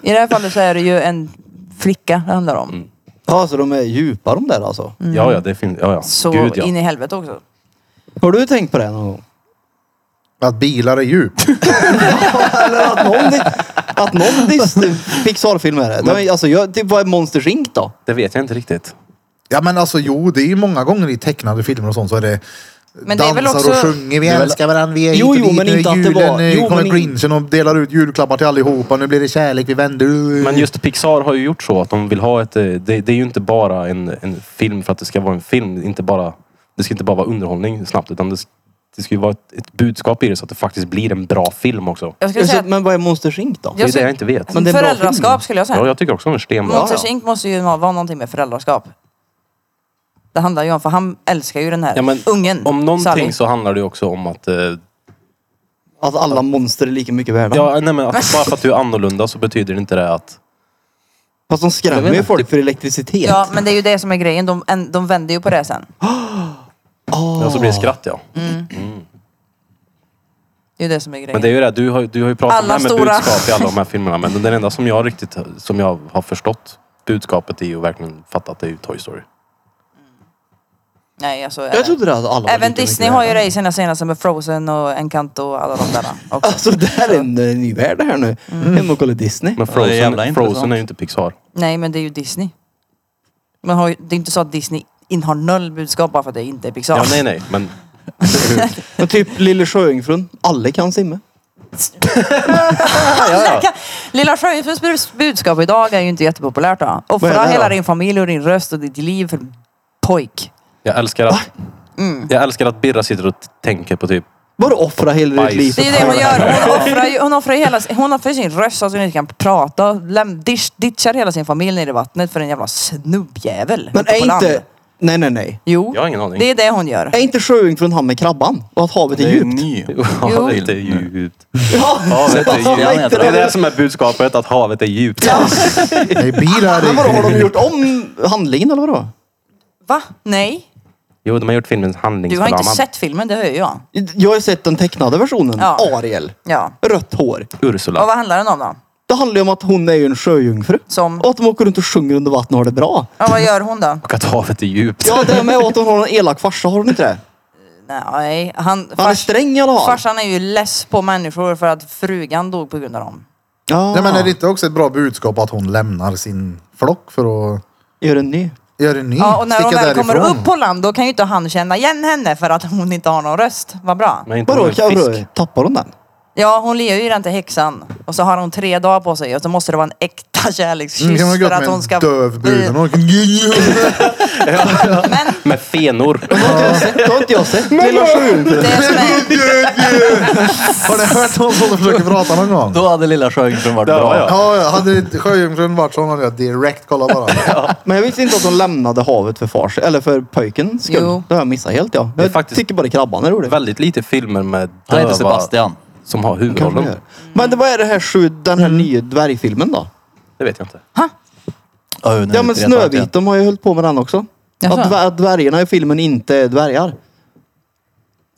Speaker 4: i det här fallet så är det ju en flicka det handlar om.
Speaker 3: Mm.
Speaker 5: Ja, så de är djupa de där alltså.
Speaker 3: Ja, ja, det finns... Ja, ja.
Speaker 4: Mm. Så
Speaker 3: Gud ja.
Speaker 4: in i helvete också.
Speaker 5: Har du tänkt på det någon gång?
Speaker 1: Att bilar är djup.
Speaker 5: Eller att någon, di- att någon dis- Pixar-film är det? det var, alltså, jag, typ, vad är Monsters Inc då?
Speaker 3: Det vet jag inte riktigt.
Speaker 1: Ja men alltså jo, det är ju många gånger i tecknade filmer och sånt så är det
Speaker 4: Men det är väl
Speaker 1: dansar
Speaker 4: också-
Speaker 1: och sjunger, vi älskar varandra, vi är
Speaker 5: Jo,
Speaker 1: hit och dit,
Speaker 5: jo, men
Speaker 1: nu är
Speaker 5: inte att det
Speaker 1: julen,
Speaker 5: var-
Speaker 1: nu
Speaker 5: jo,
Speaker 1: kommer
Speaker 5: men in-
Speaker 1: grinchen och delar ut julklappar till allihopa, nu blir det kärlek, vi vänder.
Speaker 4: Mm.
Speaker 3: Men just Pixar har ju gjort så att de vill ha ett... eh, Det, det är ju inte bara en, en film för att det ska vara en film. Det är Inte bara, det ska inte bara vara underhållning snabbt utan det, det ska ju vara ett, ett budskap i det så att det faktiskt blir en bra film också.
Speaker 4: Jag skulle
Speaker 5: Alltså,
Speaker 4: säga att
Speaker 5: men vad är Monsters Inc då?
Speaker 3: Det är det
Speaker 4: skulle-
Speaker 3: jag inte vet.
Speaker 5: Men det är en bra film.
Speaker 4: föräldraskap skulle jag säga.
Speaker 3: Ja, jag tycker också om en stenbra.
Speaker 4: Monsters Inc måste ju vara någonting med föräldraskap. Det handlar ju om, för han älskar ju den här
Speaker 3: Ja, men
Speaker 4: ungen.
Speaker 3: Om
Speaker 4: Sally.
Speaker 3: någonting så handlar det ju också om att... eh,
Speaker 5: Att alla monster är lika mycket värda.
Speaker 3: Ja, nej, men att bara för att du är annorlunda så betyder det inte det att...
Speaker 5: Fast de
Speaker 3: Jag
Speaker 5: skrämmer
Speaker 3: vet
Speaker 5: ju
Speaker 3: inte,
Speaker 5: folk för elektricitet.
Speaker 4: Ja, men det är ju det som är grejen. De, en- de vänder ju på det sen.
Speaker 3: Ja, så blir alltså, det skratt ja.
Speaker 4: Mm. Det är ju det som är grejen.
Speaker 3: Men det är ju det, du har, ju- du har ju pratat om det
Speaker 4: Alla
Speaker 3: här med
Speaker 4: stora-
Speaker 3: budskap i alla de här filmerna. Men den enda som jag riktigt som jag har förstått budskapet i och verkligen fattat det är ju Toy Story.
Speaker 4: Nej, alltså, även,
Speaker 5: Jag trodde det att alla var
Speaker 4: även
Speaker 5: lika
Speaker 4: Disney
Speaker 5: mycket
Speaker 4: har ju
Speaker 5: värda.
Speaker 4: det i sina senaste med Frozen och Encanto och alla de där. också.
Speaker 5: Alltså det här är en eh, ny värld det här nu.
Speaker 4: Mm.
Speaker 5: Hem och kolla Disney.
Speaker 3: Men
Speaker 6: Ja, det är
Speaker 3: Frozen,
Speaker 6: jävla intressant.
Speaker 3: Frozen är ju inte Pixar.
Speaker 4: Nej, men det är ju Disney. Man har ju, det är inte så att Disney in har noll budskap bara för att det inte är Pixar.
Speaker 3: Ja, nej, nej. Men
Speaker 5: Men typ Lille Sjöjungfrun. Alla kan simma.
Speaker 4: Lilla Sjöjungfruns bus- budskap idag är ju inte jättepopulärt då.
Speaker 5: Vad är
Speaker 4: Offra
Speaker 5: det då?
Speaker 4: hela din familj och din röst och ditt liv för en pojk.
Speaker 3: jag älskar att...
Speaker 4: Mm.
Speaker 3: Jag älskar att Birra sitter och t- tänker på typ...
Speaker 5: Vadå offra hela ditt
Speaker 3: Bajs.
Speaker 5: liv?
Speaker 4: Det är ju det hon gör. Hon offrar, ju, hon offrar, ju hela, hon offrar ju sin röst så att hon inte kan prata. Läm, dish, ditchar hela sin familj ner i vattnet för en jävla snubbjävel.
Speaker 5: Men
Speaker 4: ute
Speaker 5: är
Speaker 4: på land.
Speaker 5: inte... Nej, nej, nej.
Speaker 4: Jo,
Speaker 3: Jag har ingen aning.
Speaker 4: det är det hon gör.
Speaker 5: Är inte Sjöjungfrun han med krabban? Och att havet är
Speaker 6: Det är
Speaker 5: djupt?
Speaker 6: ny.
Speaker 3: Ja, det är djupt.
Speaker 5: Ja,
Speaker 6: Sebastian
Speaker 5: jag
Speaker 6: heter
Speaker 3: Det är
Speaker 5: inte
Speaker 3: det som är budskapet, att havet är djupt.
Speaker 1: Nej, bilar
Speaker 5: Men vadå, har
Speaker 1: är
Speaker 5: de
Speaker 1: djup.
Speaker 5: gjort om handlingen eller vadå?
Speaker 4: Va? Nej.
Speaker 3: Jo, de har gjort filmen
Speaker 4: Du har
Speaker 3: handlingsförlamad.
Speaker 4: inte sett filmen, det hör ju jag.
Speaker 5: Jag har ju sett den tecknade versionen.
Speaker 4: Ja.
Speaker 5: Ariel.
Speaker 4: Ja.
Speaker 5: Rött hår.
Speaker 4: Och
Speaker 3: Ursula.
Speaker 4: vad handlar den om då?
Speaker 5: Det handlar ju om att hon är ju en sjöjungfru.
Speaker 4: Som-
Speaker 5: Och att de åker runt och sjunger under vattnet och har det bra.
Speaker 4: Ja, vad gör hon då?
Speaker 3: Och att havet är djupt.
Speaker 5: Ja, det är med och att hon har en elak farsa, har hon inte det?
Speaker 4: Nej, han...
Speaker 5: Han är
Speaker 4: fars-
Speaker 5: sträng i alla fall.
Speaker 4: Farsan är ju less på människor för att frugan dog på grund av dem.
Speaker 5: Ja.
Speaker 1: Nej, men är det inte också ett bra budskap att hon lämnar sin flock för att
Speaker 5: Gör en ny.
Speaker 1: göra en ny?
Speaker 5: Mm,
Speaker 4: Ja, och när hon
Speaker 1: Sticka
Speaker 4: väl kommer
Speaker 1: därifrån?
Speaker 4: upp på land då kan ju inte han känna igen henne för att hon inte har någon röst. Vad bra.
Speaker 3: Men inte
Speaker 5: Vadå,
Speaker 3: hon en fisk.
Speaker 5: Kauru? Tappar hon den?
Speaker 4: Ja, hon lever ju den till häxan. Och så har hon tre dagar på sig och så måste det vara en äkta
Speaker 1: Mm,
Speaker 4: kärlekskyss
Speaker 1: kan man
Speaker 4: för
Speaker 1: gått
Speaker 4: att
Speaker 1: med
Speaker 4: hon ska... Mm,
Speaker 1: en döv brud. Hon åker-
Speaker 4: Men
Speaker 3: Med fenor.
Speaker 7: Det har inte jag sett. Lilla sjukt.
Speaker 4: det som är...
Speaker 1: Har ni hört någon som försöker prata någon gång?
Speaker 6: Då hade lilla sjöjungfrun varit
Speaker 3: Där var
Speaker 6: bra.
Speaker 3: jag.
Speaker 1: Ja, ja, hade sjöjungfrun varit sån hade jag direkt kollat bara.
Speaker 5: Men jag visste inte att de lämnade havet för fars eller för pojken skull.
Speaker 4: Jo.
Speaker 5: Det har jag missat helt ja.
Speaker 3: är
Speaker 5: Jag
Speaker 3: faktiskt-
Speaker 5: tycker bara krabban är rolig.
Speaker 3: Väldigt lite filmer med
Speaker 6: Han
Speaker 3: döva
Speaker 6: heter Sebastian.
Speaker 3: som har
Speaker 5: Kanske det
Speaker 3: huvudrollen.
Speaker 5: är. Men det, vad är det här sju, den här nya dvärgfilmen då?
Speaker 3: Det vet jag inte.
Speaker 6: Öh, nu
Speaker 5: Ja men
Speaker 6: vet jag verkligen.
Speaker 5: Snövit, de har ju hållit på med den också.
Speaker 4: Jaså?
Speaker 5: Att, dvär- att dvärgarna i filmen inte är dvärgar.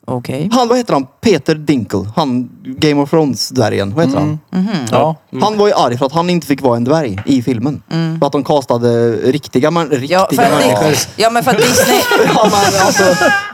Speaker 4: Okej.
Speaker 5: Han, vad heter han? Peter Dinkle. Han Game of Thrones-dvärgen. Vad heter
Speaker 1: Mm.
Speaker 5: han?
Speaker 6: Ja.
Speaker 5: Han var ju arg för att han inte fick vara en dvärg i filmen. För att de castade riktiga, men, riktiga
Speaker 4: Mm. Ja, för att
Speaker 5: människor.
Speaker 4: Dis- ja, men för att Disney...
Speaker 5: Ja, men alltså,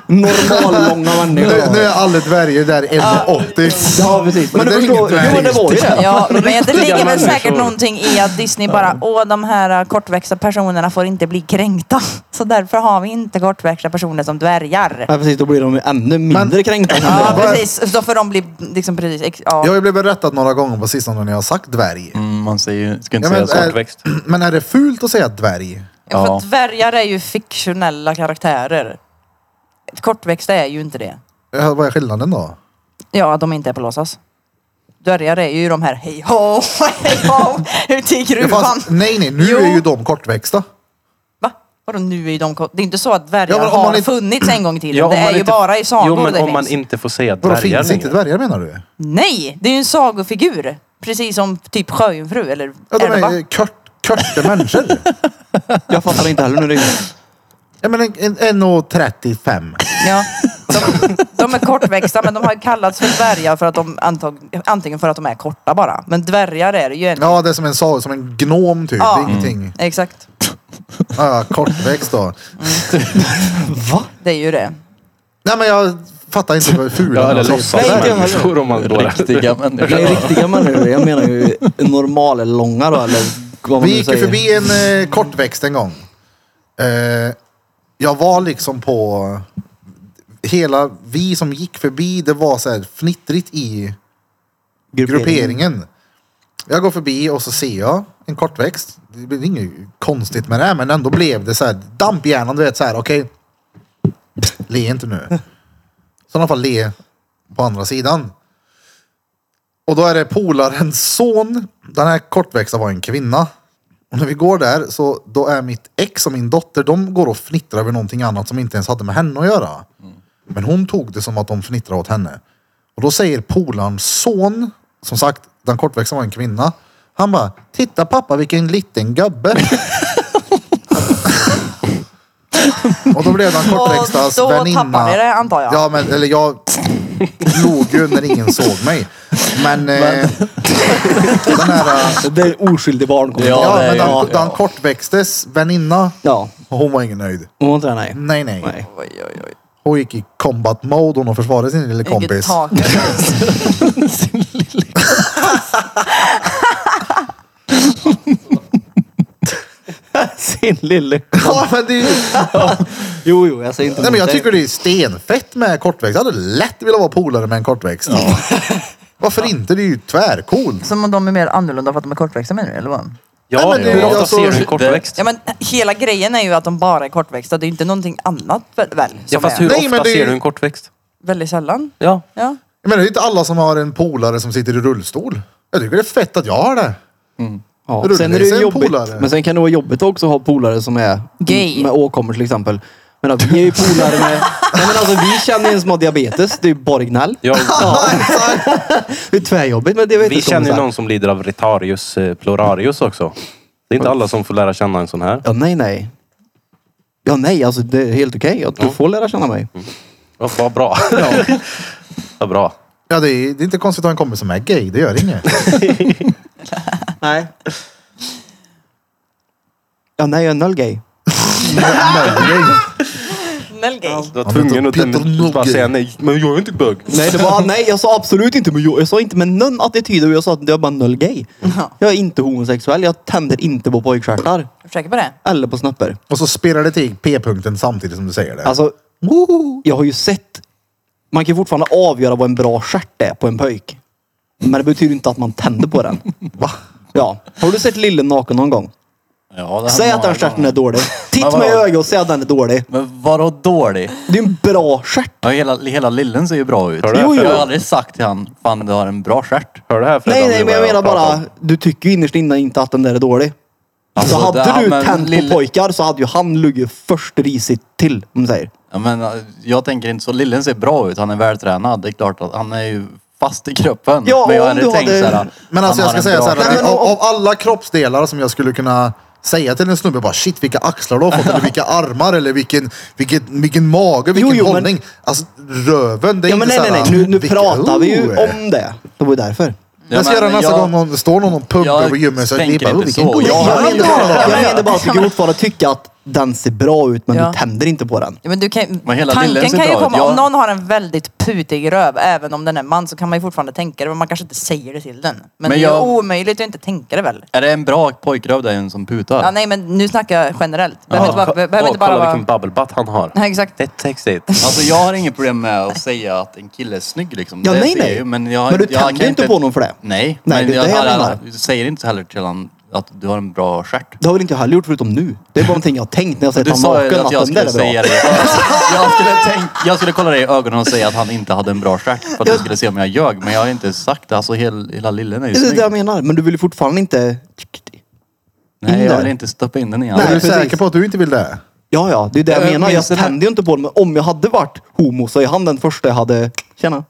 Speaker 5: normallånga människor.
Speaker 1: Nu, nu är alla dvärgar där 1,80.
Speaker 7: Ja precis.
Speaker 5: Men
Speaker 1: Men
Speaker 5: du
Speaker 1: det är
Speaker 5: förstår,
Speaker 1: ingen
Speaker 5: jo det var ju det.
Speaker 4: Ja, men det ligger väl
Speaker 7: människor.
Speaker 4: säkert någonting i att Disney bara, åh de här äh, kortväxta personerna får inte bli kränkta. Så därför har vi inte kortväxta personer som dvärgar.
Speaker 5: Ja precis, då blir de ju ännu mindre kränkta.
Speaker 4: Ja, precis. Så för de blir liksom precis... ex- Ja.
Speaker 1: Jag har ju blivit rättad några gånger på sistone när jag har sagt dvärg.
Speaker 6: Mm, man säger ju, ska inte säga
Speaker 1: Ja, men,
Speaker 6: så.
Speaker 5: eh,
Speaker 1: är-
Speaker 3: Kortväxt.
Speaker 1: men är det fult att säga dvärg?
Speaker 4: Ja, för
Speaker 6: Ja.
Speaker 4: att dvärgar är ju fiktionella karaktärer. Kortväxta är ju inte det.
Speaker 1: Ja, Vad är skillnaden då?
Speaker 4: Ja, att de inte är på låtsas. Dvärgar är ju de här hej ho, hej ho, ute i
Speaker 1: Ja,
Speaker 4: gruvan.
Speaker 1: fast- nej, nej, nu
Speaker 4: Jo.
Speaker 1: är ju de kortväxta.
Speaker 4: Va? Vadå nu är de kort... Det är inte så att dvärgar
Speaker 1: Ja, men om man
Speaker 4: har
Speaker 1: inte-
Speaker 4: funnits en gång i tiden.
Speaker 3: om
Speaker 4: det är
Speaker 3: man
Speaker 4: ju
Speaker 3: inte-
Speaker 4: bara i sagor
Speaker 3: Jo, men
Speaker 4: det
Speaker 3: om man
Speaker 4: finns.
Speaker 3: inte får säga
Speaker 1: Vadå,
Speaker 3: dvärgar
Speaker 1: finns inte
Speaker 3: längre.
Speaker 1: dvärgar menar du?
Speaker 4: Nej, det är ju en sagofigur. Precis som typ sjöjungfru eller
Speaker 1: Ja, de
Speaker 4: elva.
Speaker 1: är kört, körte människor.
Speaker 5: Jag fattar inte heller nu riktigt.
Speaker 1: Ja, men en, en, 1,35.
Speaker 4: Ja. De, de är kortväxta men de har ju kallats för dvärgar för att de antag, antingen för att de är korta bara. Men dvärgar är det ju en...
Speaker 1: Ja, det är som en, sa- som en gnom typ.
Speaker 4: Ja.
Speaker 1: Det är ingenting.
Speaker 4: Exakt.
Speaker 1: Ja, kortväxt då.
Speaker 4: Det är ju det.
Speaker 1: Nej, men jag fattar inte vad fula
Speaker 3: Ja, eller
Speaker 1: de är.
Speaker 3: låtsas
Speaker 5: Nej, inte jag
Speaker 3: människor om man går
Speaker 6: Riktiga människor.
Speaker 5: Nej, riktiga människor. Jag menar ju normallånga långa då eller vad man
Speaker 1: Vi
Speaker 5: nu
Speaker 1: gick ju
Speaker 5: säger.
Speaker 1: förbi en eh, kortväxt en gång. Eh, jag var liksom på... Hela vi som gick förbi, det var så här fnittrigt i grupperingen. Jag går förbi och så ser jag en kortväxt. Det blir inget konstigt med det här, men ändå blev det så här damp i hjärnan. Du vet så här, okej. le inte nu. Så i alla fall le på andra sidan. Och då är det polarens son. Den här kortväxta var en kvinna. Och när vi går där så då är mitt ex och min dotter, de går och fnittrar över någonting annat som inte ens hade med henne att göra. Men hon tog det som att de fnittrade åt henne. Och då säger polarens son, som sagt, den kortväxta var en kvinna. Han bara, titta pappa vilken liten gubbe. och då blev den kortväxtas
Speaker 4: Och då
Speaker 1: väninna.
Speaker 4: tappade ni det, antar jag.
Speaker 1: Ja, men eller jag log ju när ingen såg mig. Men... Eh, den här, eh,
Speaker 5: Det är en oskyldig barnkonflikt.
Speaker 6: Ja,
Speaker 1: ja,
Speaker 6: det är
Speaker 1: men den,
Speaker 6: ju-
Speaker 1: den kortväxtes väninna,
Speaker 5: Ja.
Speaker 1: hon var ingen nöjd.
Speaker 5: Hon var inte det, nej.
Speaker 1: Nej, nej.
Speaker 5: Mm. Nej.
Speaker 4: Oj, oj, oj.
Speaker 1: Hon gick i combat mode, hon och försvarade sin lille
Speaker 4: Vilket
Speaker 1: kompis.
Speaker 4: tak.
Speaker 5: Sin lille...
Speaker 1: Ja, men det, är ju-
Speaker 5: Jo, jo, jag säger inte
Speaker 1: nej, men
Speaker 5: emot
Speaker 1: jag
Speaker 5: dig.
Speaker 1: tycker det är stenfett med kortväxt. Jag hade lätt velat vara polare med en kortväxt. Varför inte? Det är ju tvärcoolt.
Speaker 4: Som om de är mer annorlunda för att de är kortväxta menar du eller vad?
Speaker 1: Nej,
Speaker 3: Ja,
Speaker 1: men det-
Speaker 3: hur ofta
Speaker 1: alltså,
Speaker 3: ser du en
Speaker 1: det-
Speaker 3: kortväxt?
Speaker 4: Ja men hela grejen är ju att de bara är kortväxta. Det är ju inte någonting annat väl? väl,
Speaker 3: Ja,
Speaker 4: Som
Speaker 3: fast
Speaker 4: är.
Speaker 3: hur
Speaker 1: Nej, men
Speaker 3: ofta
Speaker 1: det-
Speaker 3: ser du en kortväxt?
Speaker 4: Väldigt sällan.
Speaker 3: Ja.
Speaker 4: Ja.
Speaker 1: Jag menar, det är inte alla som har en polare som sitter i rullstol. Jag tycker det är fett att jag har det.
Speaker 5: Ja.
Speaker 1: Rulle,
Speaker 5: Sen är det
Speaker 1: sen
Speaker 5: ju jobbigt.
Speaker 1: polare.
Speaker 5: Men sen kan det vara jobbigt också att ha polare som är
Speaker 4: Gay.
Speaker 5: Med åkommor till exempel. Men att vi är ju polare med... Nej, men alltså, vi känner ju en som har diabetes. Det är ju bara gnäll.
Speaker 3: Jag,
Speaker 5: Det är tvärjobbigt med
Speaker 3: vi
Speaker 5: diabeteskompisar.
Speaker 3: känner ju någon som lider av retarius eh, plurarius också. Det är inte alla som får lära känna en sån här.
Speaker 5: Ja, nej, nej. Ja, nej, alltså det är helt okej. att Du får lära känna mig.
Speaker 3: Vad vad bra. Vad bra.
Speaker 1: Ja, det är, det är inte konstigt att ha en kompis som är gay. Det gör inget.
Speaker 5: Nej. Ja, nej, jag är noll gay.
Speaker 4: Nullgay.
Speaker 3: Du var
Speaker 1: men
Speaker 3: tvungen
Speaker 1: då
Speaker 3: att
Speaker 1: Peter
Speaker 3: den- bara
Speaker 1: Nogge.
Speaker 3: säga nej. Men jag är inte bög.
Speaker 5: Nej, det var, nej, jag sa absolut inte med jo. Jag sa inte med någon attityd. och Jag sa att jag är bara noll gay. Jag är inte homosexuell. Jag tänder inte på pojkstjärtar.
Speaker 4: Är du säker på det?
Speaker 5: Eller på snoppar.
Speaker 1: Och så spelar det till p-punkten samtidigt som du säger det.
Speaker 5: Alltså, jag har ju sett... Man kan ju fortfarande avgöra vad en bra stjärt är på en pojk. Men det betyder inte att man tänder på den. Va? Ja. Har du sett Lille naken någon gång?
Speaker 2: Ja, det
Speaker 5: Säg att den stjärten är dålig. Titta
Speaker 2: vadå?
Speaker 5: mig i ögat och säg att den är dålig.
Speaker 2: Men vadå dålig?
Speaker 5: Det är en bra stjärt.
Speaker 2: Ja, hela, hela lillen ser ju bra ut.
Speaker 3: Hör du det,
Speaker 5: Jo, jo.
Speaker 2: Jag har aldrig sagt till han, fan du har en bra stjärt.
Speaker 3: Hör du här Freddan,
Speaker 5: Nej,
Speaker 3: nu
Speaker 5: nej,
Speaker 3: vad
Speaker 5: men jag menar
Speaker 3: pratar
Speaker 5: bara,
Speaker 3: om?
Speaker 5: du tycker ju innerst inne inte att den där är dålig.
Speaker 2: Alltså,
Speaker 5: så hade
Speaker 2: det- ja,
Speaker 5: du
Speaker 2: men
Speaker 5: tänt
Speaker 2: lille-
Speaker 5: på pojkar så hade ju han luggit först risigt till, om man säger.
Speaker 2: Ja, men eh, jag tänker inte så. Lillen ser bra ut, han är vältränad. Det är klart att han är ju fast i kroppen.
Speaker 5: Ja,
Speaker 2: men jag
Speaker 5: om
Speaker 2: hade
Speaker 5: du
Speaker 2: tänkt
Speaker 5: hade-
Speaker 2: såhär.
Speaker 1: Men alltså jag ska säga så här,
Speaker 5: Nej, men
Speaker 1: av,
Speaker 5: om-
Speaker 1: av alla kroppsdelar som jag skulle kunna säga till en snubbe bara shit vilka axlar du har fått eller vilka armar eller vilken, vilken, vilken mage, vilken
Speaker 5: jo, men-
Speaker 1: hållning. Alltså röven, det är
Speaker 5: Ja, men
Speaker 1: inte
Speaker 5: nej, nej,
Speaker 1: så
Speaker 5: nej.
Speaker 1: här,
Speaker 5: Nu, nu
Speaker 1: vilka-
Speaker 5: pratar vi ju
Speaker 1: oh.
Speaker 5: om det. Det var ju därför.
Speaker 1: Jag ska göra nästa gång någon, det står någon och pump
Speaker 2: jag
Speaker 1: på gymmet så att vi
Speaker 2: tänker
Speaker 1: bara, oh,
Speaker 2: inte
Speaker 1: vilken
Speaker 2: så.
Speaker 1: god
Speaker 2: Jag-
Speaker 5: Jag
Speaker 1: jävel
Speaker 5: menar
Speaker 1: du har.
Speaker 5: bara, jag
Speaker 4: men-
Speaker 5: menar bara att du kan fortfarande tycka att den ser bra ut, men
Speaker 4: Ja.
Speaker 5: du tänder inte på den.
Speaker 4: Ja, men du kan,
Speaker 2: Men hela lillen
Speaker 4: tanken
Speaker 2: ser
Speaker 4: kan ju
Speaker 2: bra ut.
Speaker 4: komma,
Speaker 2: Jag-
Speaker 4: om någon har en väldigt putig röv, även om den är man, så kan man ju fortfarande tänka det. Men man kanske inte säger det till den. Men,
Speaker 2: Men
Speaker 4: det är ju
Speaker 2: jag-
Speaker 4: omöjligt att inte tänka det väl?
Speaker 2: Är det en bra pojkröv det är en som putar?
Speaker 4: Ja, nej, men nu snackar jag generellt. Behöver inte
Speaker 3: Åh,
Speaker 4: bara, behöver inte bara
Speaker 3: kolla
Speaker 4: vara...
Speaker 3: vilken bubblebutt han har.
Speaker 4: Nej, exakt.
Speaker 3: Det är textigt.
Speaker 2: Alltså jag har inget problem med att säga att en kille är snygg liksom.
Speaker 5: Ja,
Speaker 2: Det
Speaker 5: nej,
Speaker 2: ser jag
Speaker 5: nej.
Speaker 2: ju, men, jag,
Speaker 5: Men du
Speaker 2: jag
Speaker 5: tänder
Speaker 2: kan
Speaker 5: inte på någon för det.
Speaker 2: Nej,
Speaker 5: Nej,
Speaker 2: men
Speaker 5: det är
Speaker 2: jag,
Speaker 5: det jag
Speaker 2: jag,
Speaker 5: menar.
Speaker 2: säger inte heller till honom att du har en bra stjärt.
Speaker 5: Det har väl inte jag heller gjort förutom nu. Det är bara någonting jag har tänkt när jag sett
Speaker 2: Du
Speaker 5: han
Speaker 2: sa ju
Speaker 5: naken,
Speaker 2: att jag
Speaker 5: att den där
Speaker 2: skulle
Speaker 5: är
Speaker 2: säga
Speaker 5: bra.
Speaker 2: det. Jag skulle, tänk, jag skulle kolla dig i ögonen och säga att han inte hade en bra stjärt för att du skulle se om jag ljög. Men jag har inte sagt det. Alltså hela, hela lillen är ju
Speaker 5: Det är det
Speaker 2: snygg.
Speaker 5: jag menar, men du vill ju fortfarande inte...
Speaker 2: Nej, jag
Speaker 5: där.
Speaker 2: vill inte stoppa in den igen.
Speaker 1: Är
Speaker 5: Nej,
Speaker 1: du
Speaker 5: precis.
Speaker 1: säker på att du inte vill det?
Speaker 5: Ja, ja, det är det jag
Speaker 2: Jag
Speaker 5: menar. Jag
Speaker 2: minns det där.
Speaker 5: tände ju inte på den, men om jag hade varit homo så är han den första jag hade... Tjena.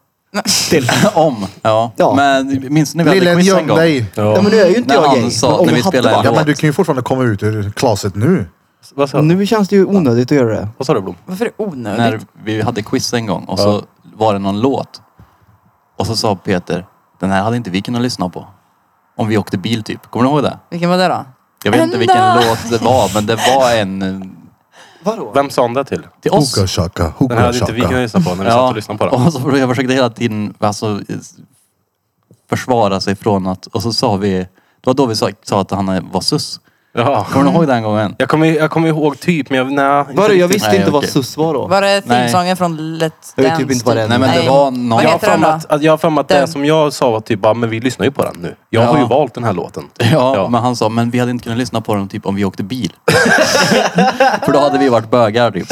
Speaker 5: Till.
Speaker 2: Om. Ja.
Speaker 5: Ja.
Speaker 2: Men minns ni vi hade
Speaker 1: Lillen,
Speaker 2: quiz en
Speaker 1: göm
Speaker 2: gång?
Speaker 1: dig.
Speaker 5: Ja, men nu är ju inte
Speaker 2: När
Speaker 5: jag
Speaker 2: han
Speaker 5: gay.
Speaker 2: sa
Speaker 5: men
Speaker 2: att
Speaker 5: om
Speaker 2: när
Speaker 5: jag
Speaker 2: vi
Speaker 5: hade
Speaker 2: spelar en
Speaker 5: varit-
Speaker 1: Ja,
Speaker 2: Förlåt.
Speaker 1: men du kan ju fortfarande komma ut ur klaset nu.
Speaker 3: Vad sa du?
Speaker 5: Nu känns det ju onödigt att göra det.
Speaker 3: Vad sa du Blom?
Speaker 4: Varför är det onödigt?
Speaker 2: när vi hade quiz en gång och så var det någon låt. Och så sa Peter, den här hade inte vi kunnat lyssna på. Om vi åkte bil typ. Kommer du ihåg det?
Speaker 4: Vilken var det då?
Speaker 2: Jag vet inte vilken
Speaker 4: Ända.
Speaker 2: låt det var men det var en eh,
Speaker 3: Vem sa han det till?
Speaker 2: till oss.
Speaker 1: Hookah shaka,
Speaker 3: Den här
Speaker 1: hookah
Speaker 3: hade inte vi kunnat
Speaker 1: shaka.
Speaker 3: lyssna på när vi satt och lyssnade på den.
Speaker 2: och så försökte- jag försökte hela tiden alltså, is- försvara sig från att... Och så sa vi... Det var då vi sa, sa att han eh, var sus.
Speaker 3: Ja.
Speaker 2: Kommer du ihåg den gången?
Speaker 3: Jag kommer, jag kommer ihåg typ, men jag... Nej, inte
Speaker 5: Vadå, jag
Speaker 3: riktigt.
Speaker 5: visste
Speaker 2: Nej,
Speaker 5: inte vad
Speaker 2: okej.
Speaker 5: SUS var då.
Speaker 4: Var det
Speaker 2: Nej.
Speaker 4: filmsången från Let's
Speaker 5: Jag
Speaker 4: Dance?
Speaker 5: vet typ inte vad det är.
Speaker 2: Nej men det
Speaker 4: Nej.
Speaker 2: var någon...
Speaker 4: Vad
Speaker 3: Jag har
Speaker 4: heter
Speaker 3: för
Speaker 4: den
Speaker 3: mig
Speaker 4: då?
Speaker 3: att- att, jag har för mig att det
Speaker 4: Den.
Speaker 3: som jag sa var typ, bara, men vi lyssnar ju på den nu. Jag har
Speaker 2: Ja.
Speaker 3: ju valt den här låten.
Speaker 2: Ja, men han sa, men vi hade inte kunnat lyssna på den typ om vi åkte bil. För då hade vi varit bögar typ.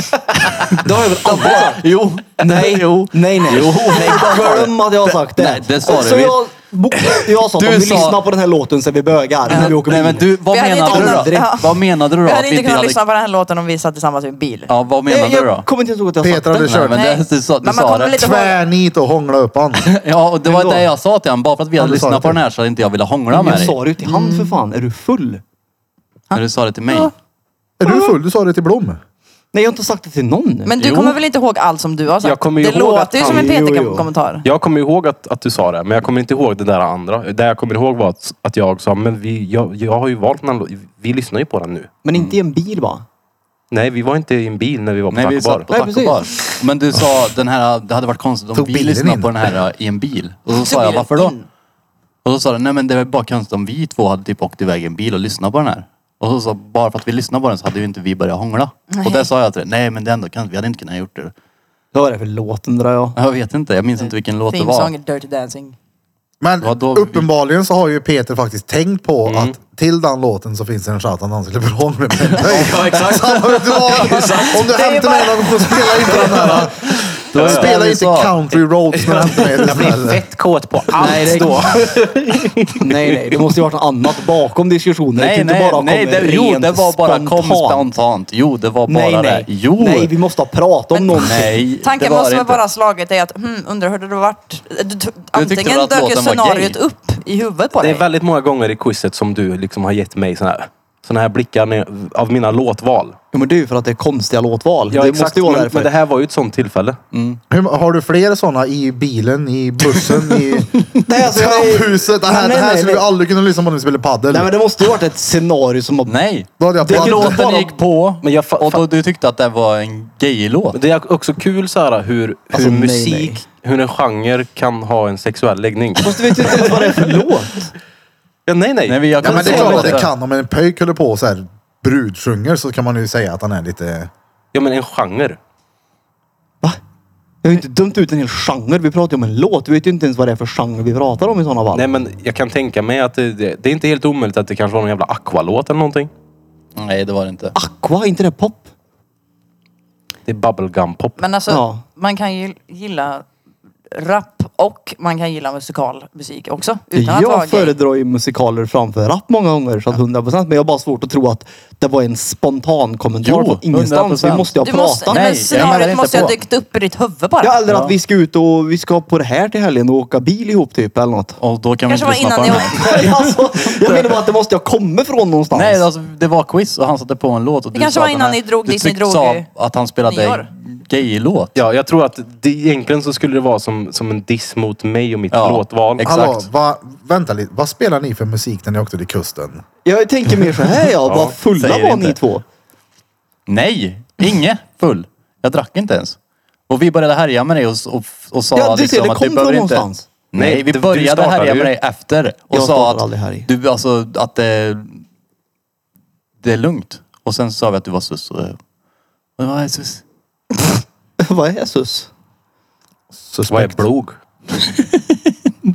Speaker 5: Det har jag väl aldrig sagt?
Speaker 2: Jo.
Speaker 5: Nej,
Speaker 2: Jo.
Speaker 5: nej, nej.
Speaker 2: Jo.
Speaker 5: nej glöm att jag har sagt det.
Speaker 2: Nej, det sa
Speaker 5: Så
Speaker 2: du.
Speaker 5: jag, bo- jag sa att
Speaker 2: Du
Speaker 5: om vi
Speaker 2: sa-
Speaker 5: lyssnar på den här låten så är vi bögar när vi åker
Speaker 2: Nej
Speaker 5: bil.
Speaker 2: men du, vad
Speaker 4: Vi hade
Speaker 2: menade
Speaker 4: inte
Speaker 2: du då?
Speaker 4: kunnat- ja.
Speaker 2: Vad menade du då?
Speaker 4: Vi
Speaker 2: Att
Speaker 4: hade
Speaker 2: vi
Speaker 4: inte kunnat liksom-
Speaker 2: hade-
Speaker 4: lyssna på den här låten om vi satt tillsammans i en bil.
Speaker 2: Ja, vad
Speaker 5: Nej,
Speaker 2: menade du då?
Speaker 5: jag kommer inte ihåg att jag har sagt
Speaker 1: Peter hade
Speaker 5: det.
Speaker 2: Nej, men
Speaker 1: kört
Speaker 2: det, du sa, du
Speaker 4: Men man
Speaker 2: sa
Speaker 4: kommer
Speaker 2: det.
Speaker 4: lite-
Speaker 1: tvärnit och hånglat upp han.
Speaker 2: Ja, och det
Speaker 5: Men
Speaker 2: var
Speaker 5: då-
Speaker 2: det jag sa till honom. Bara för att vi
Speaker 1: Ja,
Speaker 2: hade
Speaker 1: du sa det
Speaker 2: lyssnat på
Speaker 1: till-
Speaker 2: den här så hade inte jag velat hångla med
Speaker 5: Jag
Speaker 2: dig.
Speaker 5: sa det ju till han för fan. Är du full?
Speaker 2: När du sa det till mig.
Speaker 1: Är du full? Du sa det till Blom.
Speaker 5: Nej, jag har inte sagt det till någon.
Speaker 4: Men du
Speaker 2: Jo.
Speaker 4: kommer väl inte ihåg allt som du har sagt?
Speaker 3: Jag kommer ju
Speaker 4: det
Speaker 3: ihåg att
Speaker 4: låter ju som en
Speaker 5: han- Jo, jo.
Speaker 4: PT-kommentar.
Speaker 3: Jag kommer ihåg att, att du sa det, men jag kommer inte ihåg det där andra. Det jag kommer ihåg var att, att jag sa, men vi, jag, jag har ju valt den här låten. Vi lyssnar ju på den nu.
Speaker 5: Men inte i en bil va?
Speaker 3: Nej, vi var inte i en bil när vi var på
Speaker 2: Nej, vi
Speaker 3: Taco Bar.
Speaker 2: satt på
Speaker 5: Nej,
Speaker 2: Taco
Speaker 5: precis.
Speaker 2: Bar. Men du sa den här, det hade varit konstigt om
Speaker 1: Tog
Speaker 2: vi
Speaker 1: bilen
Speaker 2: lyssnade
Speaker 1: in.
Speaker 2: på den här äh, i en bil. Och så sa jag,
Speaker 4: bilen
Speaker 2: varför då?
Speaker 4: in.
Speaker 2: Och så sa du, nej men det var bara konstigt om vi två hade typ åkt iväg i en bil och lyssnat på den här. Och så sa bara för att vi lyssnade på den så hade ju inte vi börjat hångla. Och det sa jag till dig, nej men det är ändå konstigt, vi hade inte kunnat gjort det.
Speaker 5: Vad är det för låt undrar jag?
Speaker 2: Jag vet inte, jag minns inte vilken låt det var.
Speaker 4: Filmsång, Dirty Dancing.
Speaker 1: Men
Speaker 2: Vadå?
Speaker 1: uppenbarligen så har ju Peter faktiskt tänkt på att till den låten så finns det en chans att han skulle bli hånglig med dig. ja, exakt. Så han bara, du har, om du
Speaker 4: är
Speaker 1: hämtar mig
Speaker 4: bara-
Speaker 1: någon gång, spela inte den här.
Speaker 2: är det
Speaker 1: Spela
Speaker 2: vi
Speaker 1: inte
Speaker 2: sa.
Speaker 1: Country Roads när du hämtar mig.
Speaker 3: Jag blir fett kåt på allt
Speaker 5: Nej, det-
Speaker 3: då.
Speaker 5: Nej, nej. Det måste ju varit något annat bakom diskussionen. Det kan
Speaker 2: Nej,
Speaker 5: inte
Speaker 2: nej,
Speaker 5: bara ha
Speaker 2: nej,
Speaker 5: kommit
Speaker 2: det, jo,
Speaker 5: rent
Speaker 2: det var bara kom spontant. Jo, det var bara
Speaker 5: Nej, nej.
Speaker 2: det. Jo.
Speaker 5: Nej, vi måste prata om någonting.
Speaker 2: Nej, det
Speaker 4: Tanken
Speaker 2: var
Speaker 4: måste
Speaker 2: det
Speaker 4: väl
Speaker 2: inte.
Speaker 4: bara ha slagit dig att, hmm, undrar hur det hade varit. Du, t-
Speaker 2: tyckte väl
Speaker 4: antingen
Speaker 2: att
Speaker 4: dök ju
Speaker 2: låten var
Speaker 4: scenariot
Speaker 2: gay?
Speaker 4: upp i huvudet på
Speaker 3: Det
Speaker 4: dig.
Speaker 3: är väldigt många gånger i quizet som du liksom har gett mig såna här, såna här blickar när, av mina låtval.
Speaker 5: Jo, men det är ju för att det är konstiga låtval.
Speaker 3: Ja,
Speaker 5: det
Speaker 3: exakt,
Speaker 5: måste ju vara
Speaker 3: men,
Speaker 5: därför.
Speaker 3: men det här var ju ett sånt tillfälle.
Speaker 1: Hur, har du fler sådana i bilen, i bussen, i
Speaker 5: Nej, alltså, nej.
Speaker 1: trapphuset? Det här,
Speaker 5: Nej,
Speaker 1: det här
Speaker 5: nej,
Speaker 1: skulle vi
Speaker 5: nej.
Speaker 1: aldrig kunna lyssna på när vi spelar padel.
Speaker 5: Nej men det måste ju varit ett scenario som har...
Speaker 2: Nej.
Speaker 1: Då hade jag
Speaker 5: Det är
Speaker 1: padel.
Speaker 5: låt-
Speaker 2: Låten
Speaker 5: bara-
Speaker 2: gick på
Speaker 3: Men jag fa-
Speaker 2: och då, du tyckte att det var en gay-låt.
Speaker 3: Men Det är också kul så här, hur, hur
Speaker 5: Alltså, nej,
Speaker 3: musik,
Speaker 5: nej.
Speaker 3: hur en genre kan ha en sexuell läggning.
Speaker 5: Fast du vet ju inte ens vad det är för låt.
Speaker 3: Ja, nej, nej.
Speaker 2: Nej, men jag
Speaker 1: Ja,
Speaker 2: kan
Speaker 1: men det är
Speaker 2: säga
Speaker 1: klart att
Speaker 2: det.
Speaker 1: det kan. Om en pöjk håller på och så här brudsjunger så kan man ju säga att han är lite...
Speaker 3: Ja, men en genre.
Speaker 5: Jag har ju inte dömt ut en hel genre. Vi pratar ju om en låt. Vi vet ju inte ens vad det är för genre vi pratar om i sådana fall.
Speaker 3: Nej men jag kan tänka mig att det, det, det är inte helt omöjligt att det kanske var någon jävla Aqua-låt eller någonting.
Speaker 6: Nej, det var det inte.
Speaker 5: Aqua, inte det pop?
Speaker 3: Det är bubblegum-pop.
Speaker 4: Men alltså,
Speaker 5: Ja.
Speaker 4: man kan ju gilla rap och man kan gilla musikal musik också. Utan att vara
Speaker 5: Jag
Speaker 4: gay.
Speaker 5: föredrar ju musikaler framför rap många gånger, så att 100 procent. Men jag har bara svårt att tro att det var en spontan kommentar
Speaker 6: Jo,
Speaker 5: från ingenstans.
Speaker 6: 100%.
Speaker 5: Vi måste ju ha
Speaker 4: Du måste,
Speaker 5: pratat.
Speaker 4: nej,
Speaker 6: Nej, jag
Speaker 4: men
Speaker 6: menar
Speaker 4: scenariot
Speaker 6: inte
Speaker 4: måste ha
Speaker 6: på.
Speaker 4: dykt upp i ditt huvud bara.
Speaker 5: Ja, eller att vi ska ut och vi ska på det här till helgen och åka bil ihop typ eller något.
Speaker 6: Och då kan vi
Speaker 4: Kanske
Speaker 6: inte
Speaker 4: var
Speaker 6: lyssna på
Speaker 4: innan
Speaker 6: den
Speaker 4: ni
Speaker 6: här.
Speaker 4: åkte.
Speaker 5: alltså, jag menar bara att det måste jag komma från någonstans.
Speaker 6: Nej, alltså, det var quiz och han satte på en låt. Och det
Speaker 4: kanske var innan ni drog
Speaker 6: du
Speaker 4: dit ni
Speaker 6: tyck-
Speaker 4: drog
Speaker 6: sa
Speaker 4: ju
Speaker 6: att han spelade
Speaker 4: nyår.
Speaker 6: gay-låt.
Speaker 3: Ja, jag tror att det, egentligen så skulle det vara som, som en diss mot mig och mitt
Speaker 6: Ja,
Speaker 3: låtval.
Speaker 6: exakt.
Speaker 1: Hallå, va, vänta lite. Vad spelar ni för musik när ni åkte till kusten?
Speaker 5: Jag tänker mer så här ja, vad fulla
Speaker 6: säger
Speaker 5: var
Speaker 6: inte.
Speaker 5: ni två?
Speaker 6: Nej, inget full. Jag drack inte ens. Och vi började härja med dig och, och, och sa
Speaker 5: Ja, du ser,
Speaker 6: liksom
Speaker 5: det
Speaker 6: att du
Speaker 5: kom
Speaker 6: behöver
Speaker 5: från
Speaker 6: inte...
Speaker 5: någonstans.
Speaker 6: Nej,
Speaker 3: Nej,
Speaker 6: vi
Speaker 3: du- du
Speaker 6: började
Speaker 3: startade
Speaker 6: härja
Speaker 3: ju.
Speaker 6: med dig efter och
Speaker 5: Jag
Speaker 6: sa
Speaker 5: startar
Speaker 6: att,
Speaker 5: aldrig härj.
Speaker 6: du, alltså, att det, det är lugnt. Och sen sa vi att du var sus. Och, och, jag var sus.
Speaker 5: vad är sus?
Speaker 3: Vad är blog?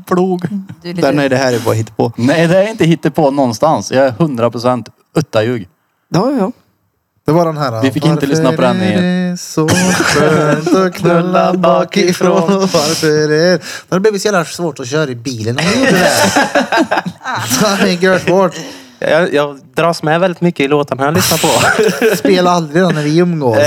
Speaker 6: Plog.
Speaker 4: Du är
Speaker 5: Där, nej,
Speaker 4: lite,
Speaker 5: det här är bara hittepå.
Speaker 6: Nej, det är inte hittepå någonstans. Jag är 100 procent uttaljug.
Speaker 5: Ja, ja.
Speaker 1: Det var den här...
Speaker 6: Vi fick inte
Speaker 1: Varför
Speaker 6: lyssna på den i-
Speaker 1: är det så skönt att knulla bakifrån? Varför är det... Det blev så jävla svårt att köra i bilen när vi gjorde det. här. Det är görsvårt.
Speaker 3: Jag, jag dras med väldigt mycket i låtarna jag lyssnar på.
Speaker 1: Spela aldrig den när vi umgås.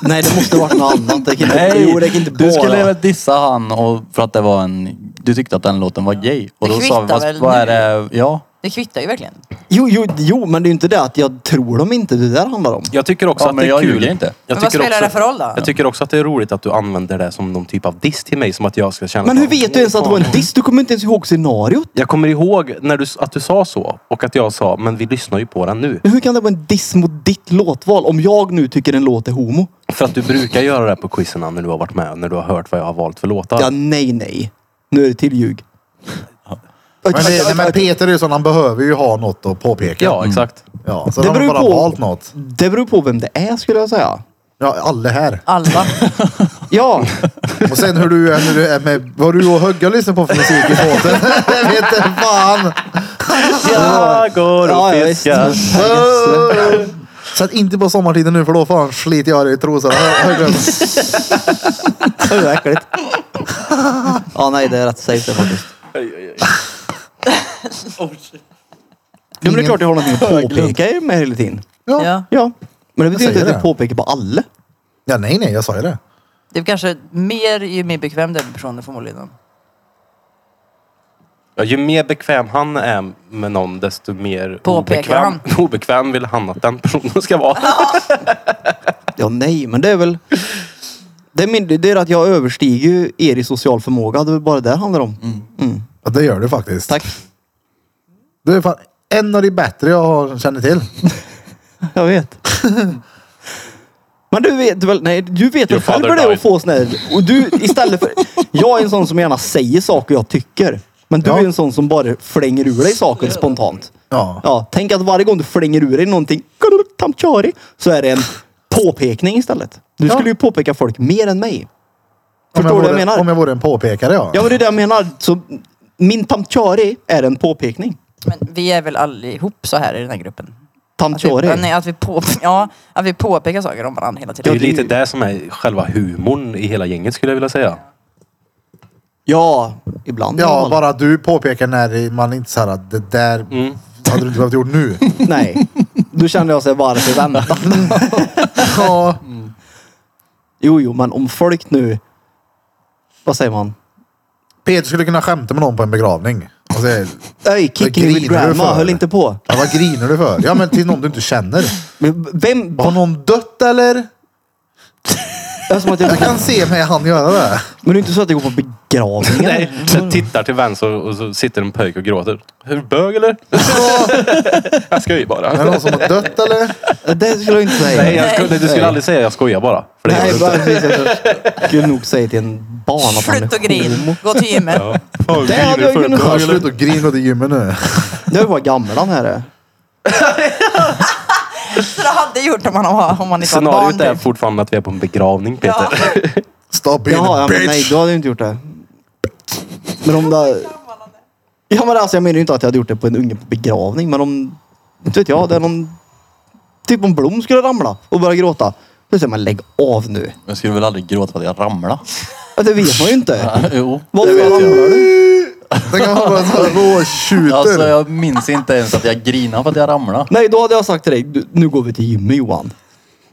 Speaker 5: Nej, det måste varit något annat. Det kan inte,
Speaker 6: Nej,
Speaker 5: jo, det kan inte bara...
Speaker 6: du skulle väl dissa han och, för att det var en... Du tyckte att den låten var gay. Och
Speaker 4: Det
Speaker 6: då sa vi,
Speaker 4: kvittar
Speaker 6: vad,
Speaker 4: väl
Speaker 6: vad är
Speaker 4: nu?"
Speaker 6: det? Ja.
Speaker 4: det kvittar ju verkligen.
Speaker 5: Jo, jo, jo, men det är ju inte det att jag tror dem inte. Det där handlar om.
Speaker 3: Jag tycker också
Speaker 6: Ja,
Speaker 3: att
Speaker 6: men
Speaker 3: det är
Speaker 6: jag
Speaker 3: kul.
Speaker 6: ljuger inte.
Speaker 3: Jag
Speaker 4: Men vad
Speaker 3: tycker
Speaker 4: spelar
Speaker 3: också-
Speaker 4: det för roll då?
Speaker 3: Jag tycker också att det är roligt att du använder det som någon typ av diss till mig. Som att jag ska känna...
Speaker 5: Men hur
Speaker 3: att-
Speaker 5: vet du ens att det var en diss? Du kommer inte ens ihåg scenariot.
Speaker 3: Jag kommer ihåg när du, att du sa så och att jag sa, men vi lyssnar ju på den nu.
Speaker 5: Men Hur kan det vara en diss mot ditt låtval om jag nu tycker en låt är homo?
Speaker 3: För att du brukar göra det här på quizen när du har varit med, när du har hört vad jag har valt för låtar.
Speaker 5: Ja, nej, nej. Nu är det till ljug.
Speaker 1: Men, det, nej, men Peter är ju sån, han behöver ju ha något att påpeka.
Speaker 3: Ja, exakt.
Speaker 1: Ja, så
Speaker 5: Det
Speaker 1: de har
Speaker 5: beror
Speaker 1: bara
Speaker 5: på.
Speaker 1: valt något.
Speaker 5: Det beror på vem det är skulle jag säga.
Speaker 1: Ja, alla här.
Speaker 4: Alva.
Speaker 5: Ja,
Speaker 1: Och sen hur du är, när du är med, vad du och Högga lyssnar på för musik i båten. Det vet inte fan.
Speaker 3: Jag går
Speaker 5: Ja,
Speaker 3: och
Speaker 5: ja,
Speaker 3: fiskar.
Speaker 1: Så att inte på sommartiden nu för då fan sliter jag dig i trosorna. Högga.
Speaker 5: det är äckligt. Ja, nej, det är rätt safe det faktiskt. Ja, men det är klart jag har någonting att påpeka med hela tiden.
Speaker 1: Ja.
Speaker 4: Ja.
Speaker 5: Ja, men det betyder
Speaker 1: säger
Speaker 5: inte att jag
Speaker 1: det.
Speaker 5: påpekar på alla.
Speaker 1: ja, nej, nej, jag sa ju det.
Speaker 4: Det är kanske mer ju mer bekväm den personen förmodligen.
Speaker 3: Ja, ju mer bekväm han är med någon, desto mer
Speaker 4: Påpekar
Speaker 3: obekväm, obekväm vill han att den personen ska vara.
Speaker 5: Ja, nej, men det är väl... Det är, min, det är att jag överstiger ju er i social förmåga. Det är väl bara det det handlar om.
Speaker 3: Mm.
Speaker 1: Ja, det gör du faktiskt.
Speaker 5: Tack.
Speaker 1: Du är fan en av de bättre jag har- känner till.
Speaker 5: Jag vet. Men du vet väl, nej du vet
Speaker 3: Your
Speaker 5: väl själv
Speaker 3: father
Speaker 5: vad det är
Speaker 3: died.
Speaker 5: att få sån här, och du istället för, jag är en sån som gärna säger saker jag tycker. Men du
Speaker 1: Ja.
Speaker 5: är en sån som bara flänger ur dig saker spontant.
Speaker 1: Ja.
Speaker 5: Ja, tänk att varje gång du flänger ur dig någonting, tamtjari, så är det en påpekning istället. Du skulle ju påpeka folk mer än mig.
Speaker 1: Om
Speaker 5: Förstår du
Speaker 1: jag,
Speaker 5: vad
Speaker 1: vore,
Speaker 5: jag menar?
Speaker 1: om jag vore en påpekare ja.
Speaker 5: Ja men det är det jag menar. Så min tamtjari är en påpekning.
Speaker 4: Men vi är väl allihop så här i den här gruppen? Att vi,
Speaker 5: Tamtjari.
Speaker 4: nej, att vi, på, ja, att vi påpekar saker om varandra hela
Speaker 3: Det är
Speaker 4: tiden.
Speaker 3: ju lite det som är själva humorn i hela gänget skulle jag vilja säga.
Speaker 5: Ja, ibland. i alla
Speaker 1: Ja,
Speaker 5: fall.
Speaker 1: bara du påpekar när man inte såhär, det där hade du inte behövt gjort nu.
Speaker 5: Nej. Då kände jag så här, varför vänta?
Speaker 1: Ja.
Speaker 5: Jo, jo, men om folk nu... Vad säger man?
Speaker 1: Peter skulle kunna skämta med någon på en begravning. Och säga,
Speaker 5: Öj,
Speaker 1: Vad
Speaker 5: kicken with
Speaker 1: grinar du
Speaker 5: grandma,
Speaker 1: för?
Speaker 5: höll inte på.
Speaker 1: ja, vad griner du för? Ja men till någon du inte känner.
Speaker 5: Men Vem...
Speaker 1: Har någon dött eller?
Speaker 5: Det är som att
Speaker 1: Jag
Speaker 5: jag,
Speaker 1: kan se mig han göra det.
Speaker 5: men det är inte så att jag går på begravningar.
Speaker 3: Nej, så tittar till vänster och så sitter en pöjk och gråter. Är du bög eller? jag skojar
Speaker 1: Är
Speaker 3: bara.
Speaker 1: det någon som har dött eller?
Speaker 5: Det skulle jag inte säga.
Speaker 3: Nej, jag sko- nej, du skulle aldrig säga jag skojar bara. För det gör
Speaker 5: Nej,
Speaker 3: du
Speaker 5: bara precis. Jag skulle nog säga till en barn att han
Speaker 4: Slut och
Speaker 5: är homo.
Speaker 4: grin. Gå till gymmet.
Speaker 3: Fan,
Speaker 5: Det hade
Speaker 3: griner
Speaker 5: jag
Speaker 3: för
Speaker 5: kunnat
Speaker 3: bög,
Speaker 1: Ja,
Speaker 5: ha
Speaker 3: eller?
Speaker 1: slut och grin och till gymmet nu.
Speaker 5: Det är bara gamlan här. är.
Speaker 4: Så det hade gjort om man, har- om man inte var barn.
Speaker 3: Scenariot är
Speaker 4: typ.
Speaker 3: fortfarande att vi är på en begravning Peter.
Speaker 4: Ja.
Speaker 1: Stop being
Speaker 5: Jaha,
Speaker 1: a
Speaker 5: ja, men
Speaker 1: bitch!
Speaker 5: nej, då hade jag inte gjort det. Men om det... Ja, men alltså jag menar ju inte att jag hade gjort det på en unge på begravning, men om... Inte vet jag, det är någon... Typ om Blom skulle ramla och börja gråta. Då säger man lägg av nu.
Speaker 6: Jag skulle väl aldrig gråta för att jag ramlade.
Speaker 5: Ja, Det vet man ju inte.
Speaker 6: jo.
Speaker 5: Varför ramlar du?
Speaker 1: Den kan ha en sån här råtjuter.
Speaker 6: Alltså jag minns inte ens att jag grinade för att jag ramlade.
Speaker 5: Nej, då hade jag sagt till dig, du, nu går vi till gymmet Johan.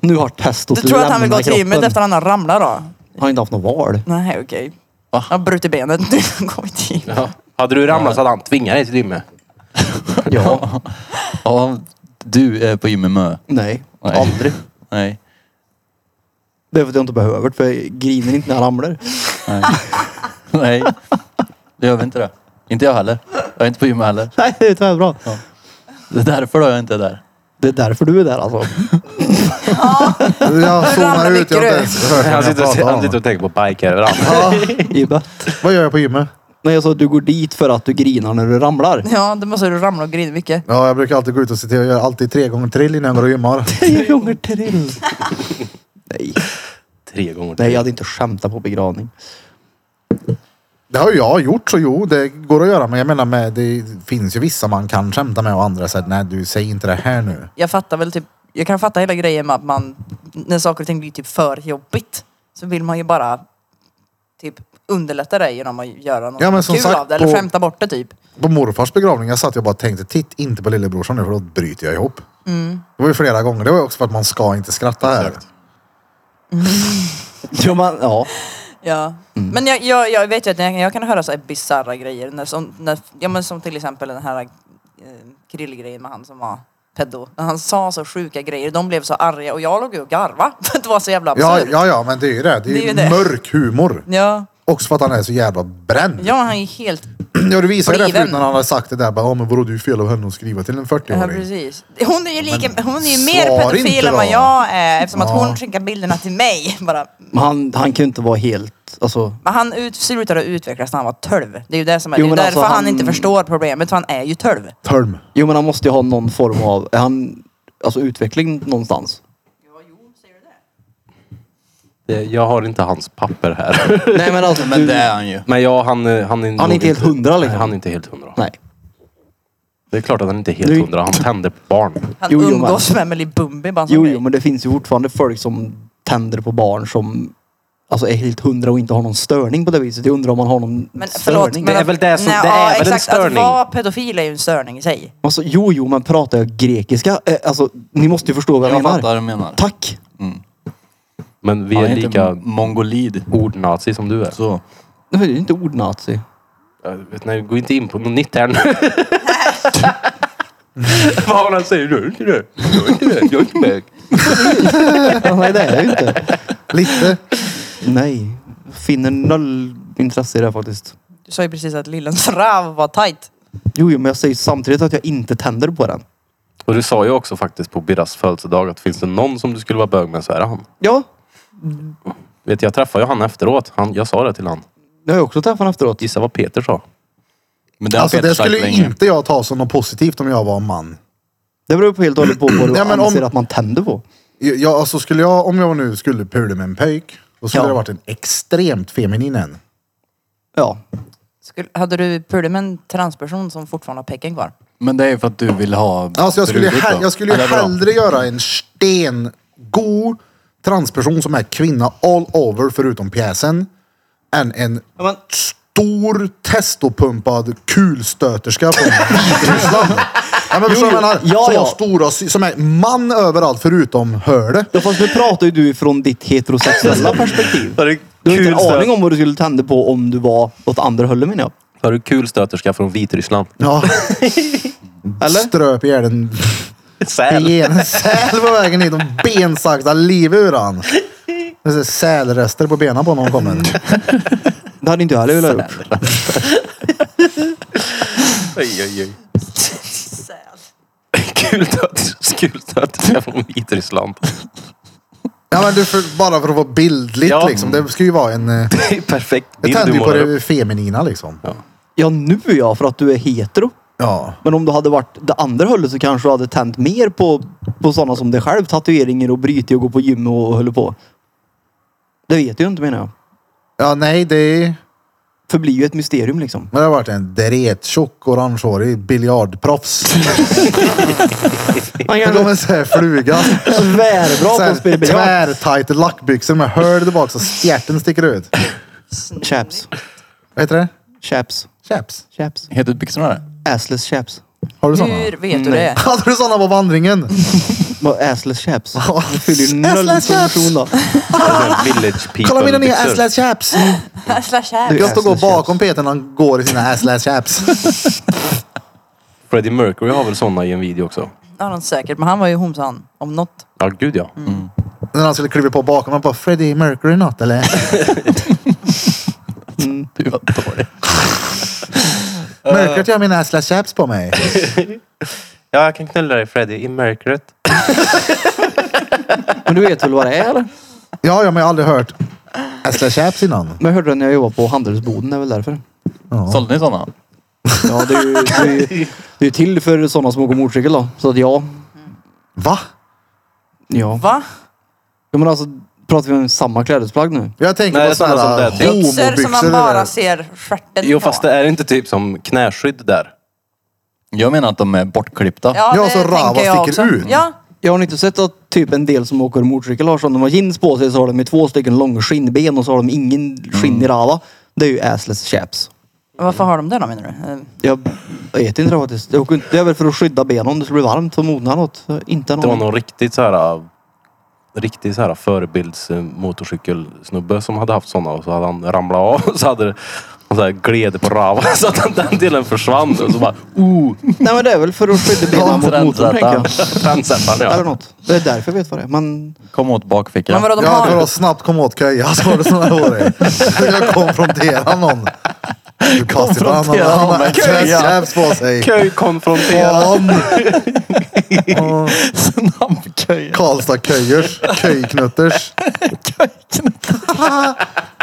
Speaker 5: Nu har testot
Speaker 4: Du tror att han vill gå
Speaker 5: lämnat
Speaker 4: till gymmet
Speaker 5: kroppen.
Speaker 4: efter att han har ramlat då?
Speaker 5: Han har inte haft något val.
Speaker 4: Nej, okej. Han har brutit benet. Nu går vi till gymmet.
Speaker 3: Ja. Hade du ramlat så hade han tvingat dig till gymmet.
Speaker 5: Ja.
Speaker 6: Ja, du är på gymmet Mö.
Speaker 5: Nej.
Speaker 6: Nej.
Speaker 5: Aldrig.
Speaker 6: Nej.
Speaker 5: Det är för att jag inte behöver det, för jag griner inte när jag ramlar.
Speaker 6: Nej. Det gör vi inte det. Inte jag heller. Jag är inte på gymmet heller.
Speaker 5: Nej, det är tvärbra.
Speaker 6: Det är därför då jag inte är där.
Speaker 5: Det är därför du är där alltså.
Speaker 1: Jag zonar
Speaker 4: ramlade
Speaker 1: ut, jag har inte ens hört
Speaker 3: Han
Speaker 1: henne
Speaker 3: sitter, och,
Speaker 1: prata
Speaker 3: han
Speaker 1: om
Speaker 3: sitter
Speaker 1: det.
Speaker 3: och tänker på bikeöverallt.
Speaker 1: Ja,
Speaker 5: Ibbe.
Speaker 1: Vad gör jag på gymmet?
Speaker 5: Nej, jag sa att du går dit för att du grinar när du ramlar.
Speaker 4: Ja, då måste du ramla och grina mycket.
Speaker 1: Ja, jag brukar alltid gå ut och se till. Jag gör alltid tre gånger trill innan jag går och gymmar.
Speaker 5: Tre gånger till. Nej.
Speaker 3: Tre gånger
Speaker 5: Nej,
Speaker 3: till.
Speaker 5: jag hade inte skämtat på begravning.
Speaker 1: Det har ju jag gjort, så jo, det går att göra. Men jag menar, med, det finns ju vissa man kan skämta med och andra säger nej, du säger inte det här nu.
Speaker 4: Jag fattar väl typ, jag kan fatta hela grejen med att man, när saker och ting blir typ för jobbigt, så vill man ju bara typ underlätta det genom att göra något
Speaker 1: Ja, men som
Speaker 4: kul
Speaker 1: sagt,
Speaker 4: av det eller
Speaker 1: på-
Speaker 4: skämta bort det typ.
Speaker 1: På morfars begravning jag satt jag bara och tänkte, titt inte på lillebrorsan nu för då bryter jag ihop.
Speaker 5: Mm.
Speaker 1: Det var ju flera gånger. Det var ju också för att man ska inte skratta här.
Speaker 5: Ja, man, ja.
Speaker 4: Ja.
Speaker 5: Mm.
Speaker 4: Men jag, jag, jag vet ju att jag, jag kan höra så här bisarra grejer, när, som, när, ja, men som till exempel den här eh, grillgrejen med han som var pedo. När han sa så sjuka grejer, de blev så arga och jag låg ju och garvade för att det var så jävla
Speaker 1: Ja,
Speaker 4: absurt.
Speaker 1: ja, ja, men det är ju det. Det är,
Speaker 4: Alltså, Det är ju
Speaker 1: ju
Speaker 4: det.
Speaker 1: mörk humor.
Speaker 4: ja.
Speaker 1: Också för att han är så jävla bränd.
Speaker 4: Ja, han är helt...
Speaker 1: Ja, du visade ju det
Speaker 4: Bliven.
Speaker 1: förut när han hade sagt det där. Bara, ja, men vadå, det är ju fel av henne att skriva till en
Speaker 4: Ja,
Speaker 1: 40-åring.
Speaker 4: precis. Hon är ju, lika, hon är ju mer
Speaker 1: svar
Speaker 4: pedofil
Speaker 1: inte
Speaker 4: än vad
Speaker 1: då.
Speaker 4: jag är eftersom att
Speaker 1: Ja.
Speaker 4: hon skickar bilderna till mig. Bara.
Speaker 5: Men Han, han kan ju inte vara helt... Alltså,
Speaker 4: Men han ut, slutade att utvecklas när han var 12. Det är ju det som är, det
Speaker 5: Jo,
Speaker 4: är ju
Speaker 5: men
Speaker 4: därför
Speaker 5: alltså
Speaker 4: han...
Speaker 5: han-
Speaker 4: inte förstår problemet, för han är ju 12.
Speaker 1: Tölm.
Speaker 5: jo, men han måste ju ha någon form av... Är han, alltså utveckling någonstans?
Speaker 3: Det- Eh, Jag har inte hans papper här.
Speaker 5: Nej, men alltså...
Speaker 6: Men
Speaker 5: du,
Speaker 6: det är han ju.
Speaker 3: Men jag, han, eh, han är nog
Speaker 5: inte helt hundra, liksom.
Speaker 3: Nej, han är inte helt hundra.
Speaker 5: Nej.
Speaker 3: Det är klart att han inte är helt
Speaker 5: Nu-
Speaker 3: hundra. Han tänder på barn.
Speaker 4: Han
Speaker 5: Jo, jo,
Speaker 4: umgås med Emily Bumbi bara en sån
Speaker 5: Jo,
Speaker 4: grej.
Speaker 5: jo, men det finns ju fortfarande folk som tänder på barn som alltså, är helt hundra och inte har någon störning på det viset. Jag undrar om man har någon
Speaker 4: Men förlåt,
Speaker 5: störning.
Speaker 4: men
Speaker 3: Det är
Speaker 4: att-
Speaker 3: väl det som- det är
Speaker 4: ja,
Speaker 3: väl en
Speaker 4: exakt,
Speaker 3: störning.
Speaker 4: Att vara pedofil är ju en störning i sig.
Speaker 5: Alltså, jo, jo, men pratar jag grekiska? Eh, Alltså, ni måste ju förstå vad jag,
Speaker 6: Jag
Speaker 5: menar.
Speaker 6: fattar vad du menar.
Speaker 5: Tack!
Speaker 3: Men vi
Speaker 6: Han
Speaker 3: är lika
Speaker 6: inte mongolid.
Speaker 3: ordnazi som du är.
Speaker 6: Så.
Speaker 5: Nej, men det är ju inte ordnazi.
Speaker 3: Jag vet, nej, gå inte in på något nytt här nu. Vad var det han säger? Du är inte det. Jag är inte det. Jag är inte bög.
Speaker 5: Nej, det är jag ju inte.
Speaker 1: Lite.
Speaker 5: Nej. Finner noll intresse i det här faktiskt.
Speaker 4: Du sa ju precis att Lillens rav var tight.
Speaker 5: Jo, jo, men jag säger samtidigt att jag inte tänder på den.
Speaker 3: Och du sa ju också faktiskt på Birras födelsedag att finns det någon som du skulle vara bög med så är det han.
Speaker 5: Ja,
Speaker 3: Vet, jag träffade ju han efteråt. Han, jag sa det till han.
Speaker 5: jag har ju också träffat honom efteråt.
Speaker 3: Gissa vad Peter sa.
Speaker 6: Men det har
Speaker 1: Alltså
Speaker 6: Peter
Speaker 1: det
Speaker 6: sagt
Speaker 1: skulle ju
Speaker 6: länge.
Speaker 1: inte jag ta som något positivt om jag var en man.
Speaker 5: Det beror ju på helt och hållet på vad du
Speaker 1: Ja, men om-
Speaker 5: anser att man tänder på.
Speaker 1: Jag, alltså skulle jag, om jag nu skulle pula med en pöjk, då skulle
Speaker 5: Ja.
Speaker 1: det varit en extremt feminin en.
Speaker 5: Ja.
Speaker 4: Skulle, hade du pulat med en transperson som fortfarande har pecken kvar?
Speaker 6: Men det är ju för att du vill ha
Speaker 1: Alltså jag skulle, ju
Speaker 6: brudet
Speaker 1: hell-
Speaker 6: då.
Speaker 1: jag skulle ju
Speaker 6: Eller vadå?
Speaker 1: hellre göra en stengod transperson som är kvinna all over förutom pjäsen, än en
Speaker 5: men-
Speaker 1: stor testopumpad kulstöterska från Vitryssland. Ja, men förstår du vad jag menar? som,
Speaker 5: ja,
Speaker 1: har
Speaker 5: ja.
Speaker 1: Stora, sy- som är man överallt förutom hörde.
Speaker 5: ja fast nu pratar ju du ifrån ditt heterosexuella perspektiv. Du har ju inte en aning om vad du skulle tända på om du var åt andra hållet menar jag.
Speaker 3: Har du kul stöterska från Vitryssland?
Speaker 1: Ja.
Speaker 5: Eller?
Speaker 1: Ströp ihjäl en en säl på vägen hit och bensaxar livet ur han. Det är så Sälrester på benen på honom kommer.
Speaker 5: Det hade inte jag heller velat ha gjort.
Speaker 3: Oj, oj, oj. Kul stöterska- kul stöterska från Vitryssland.
Speaker 1: Ja men du, för, bara för att vara bildligt
Speaker 3: Ja.
Speaker 1: liksom. Det ska ju vara en... eh,
Speaker 3: Det är perfekt
Speaker 1: Jag
Speaker 3: bild
Speaker 1: tänder
Speaker 3: du
Speaker 1: ju på
Speaker 3: målar upp.
Speaker 1: det feminina liksom.
Speaker 5: Ja, nu ja, för att du är hetero.
Speaker 1: Ja.
Speaker 5: Men om du hade varit det andra hållet så kanske du hade tänt mer på, på sådana som dig själv. Tatueringar och bryter och går på gym och, och håller på. Det vet du ju inte menar jag.
Speaker 1: Ja, nej, det är...
Speaker 5: förblir ju ett mysterium liksom.
Speaker 1: Men det har varit en drettjock orangehårig biljardproffs.
Speaker 5: Han
Speaker 1: Han går
Speaker 5: kan
Speaker 1: med så här fluga.
Speaker 5: svärbra
Speaker 1: Så
Speaker 5: på att
Speaker 1: här
Speaker 5: spela biljard.
Speaker 1: Tvärtajta lackbyxor med hål där bak så stjärten sticker ut.
Speaker 5: Chaps.
Speaker 1: Vad heter det?
Speaker 5: Chaps.
Speaker 1: Chaps.
Speaker 5: Chaps.
Speaker 6: Heter byxorna det?
Speaker 5: Assless chaps.
Speaker 1: Har du sådana?
Speaker 4: Hur vet du det?
Speaker 1: Hade du sådana på vandringen?
Speaker 5: Vad assless chaps?
Speaker 1: Ja.
Speaker 5: Det fyller ju noll
Speaker 1: Assless chaps.
Speaker 5: funktion då.
Speaker 3: Village people.
Speaker 1: Kolla mina nya assless chaps.
Speaker 4: Slash
Speaker 5: Du-
Speaker 4: här.
Speaker 1: Jag ska gå
Speaker 5: Assless
Speaker 1: bakom Peter när han går i sina assless chaps.
Speaker 3: Freddie Mercury har väl såna i en video också?
Speaker 4: Det har han säkert, men han var ju homsan. Om något.
Speaker 3: Ja, gud ja.
Speaker 1: när han skulle kliva på bakom. Han bara, Freddie Mercury något eller?
Speaker 6: Du var dålig.
Speaker 1: Mercury jag har mina assless chaps på mig.
Speaker 3: Ja, jag kan knulla dig Freddie i mörkret.
Speaker 5: Men du vet väl vad det är eller?
Speaker 1: Ja, ja, men jag har aldrig hört assless chaps innan.
Speaker 5: Men jag hörde det när jag jobbade på handelsboden, det är väl därför.
Speaker 6: Sålde ni sådana?
Speaker 5: Ja, det är ju, det är ju, det är ju till för sådana som åker motorcykel då. Så att ja.
Speaker 1: Va?
Speaker 5: Ja.
Speaker 4: Va?
Speaker 5: ja men alltså, pratar vi om samma klädesplagg nu?
Speaker 1: Jag tänker på
Speaker 3: Nej, det är
Speaker 1: sådana
Speaker 3: sådana som
Speaker 1: här
Speaker 3: det är.
Speaker 4: Byxor som man
Speaker 1: homobyxor.
Speaker 4: bara
Speaker 1: där.
Speaker 4: ser stjärten
Speaker 3: Jo,
Speaker 4: på.
Speaker 3: fast det är inte typ som knäskydd där.
Speaker 6: Jag menar att de är bortklippta.
Speaker 4: Ja,
Speaker 1: Ja,
Speaker 4: det
Speaker 1: så rava
Speaker 4: tänker jag
Speaker 1: sticker
Speaker 4: också.
Speaker 1: ut.
Speaker 4: Ja,
Speaker 5: Jag har inte sett att typ en del som åker motorcykel har sådana. De har jeans på sig så har de med två stycken långa skinnben och så har de ingen
Speaker 3: Mm.
Speaker 5: skinn i rava. Det är ju assless chaps.
Speaker 4: Varför har de det då menar du? Eh,
Speaker 5: Jag vet inte det faktiskt. Jag åker inte- Det är väl för att skydda benen om det skulle bli varmt och mogna något. Jag har Inte en
Speaker 3: Det var
Speaker 5: aning.
Speaker 3: någon riktigt så här riktig så här förebilds eh, motorcykelsnubbe som hade haft sådana och så hade han ramlat av och så hade det- han så här gled på ravan så att den, den delen försvann och så bara oh,
Speaker 5: Nej men det är väl för att skydda benen mot motorn tänker jag.
Speaker 3: trendsättaren
Speaker 5: Eller
Speaker 3: ja.
Speaker 5: något. Det är därför jag vet vad det är. Men
Speaker 6: Kom åt
Speaker 4: Men
Speaker 6: bakfickan.
Speaker 4: vadå, de
Speaker 1: Ja, för
Speaker 4: har...
Speaker 1: att snabbt komma åt köja så var det sådana hår i. Jag konfronterar någon. Du kastar varandra. Han har assless chaps på sig.
Speaker 3: Köjkonfronterad.
Speaker 1: Fan.
Speaker 6: Snabbköja.
Speaker 1: Karlstad köjers. Köjknutters.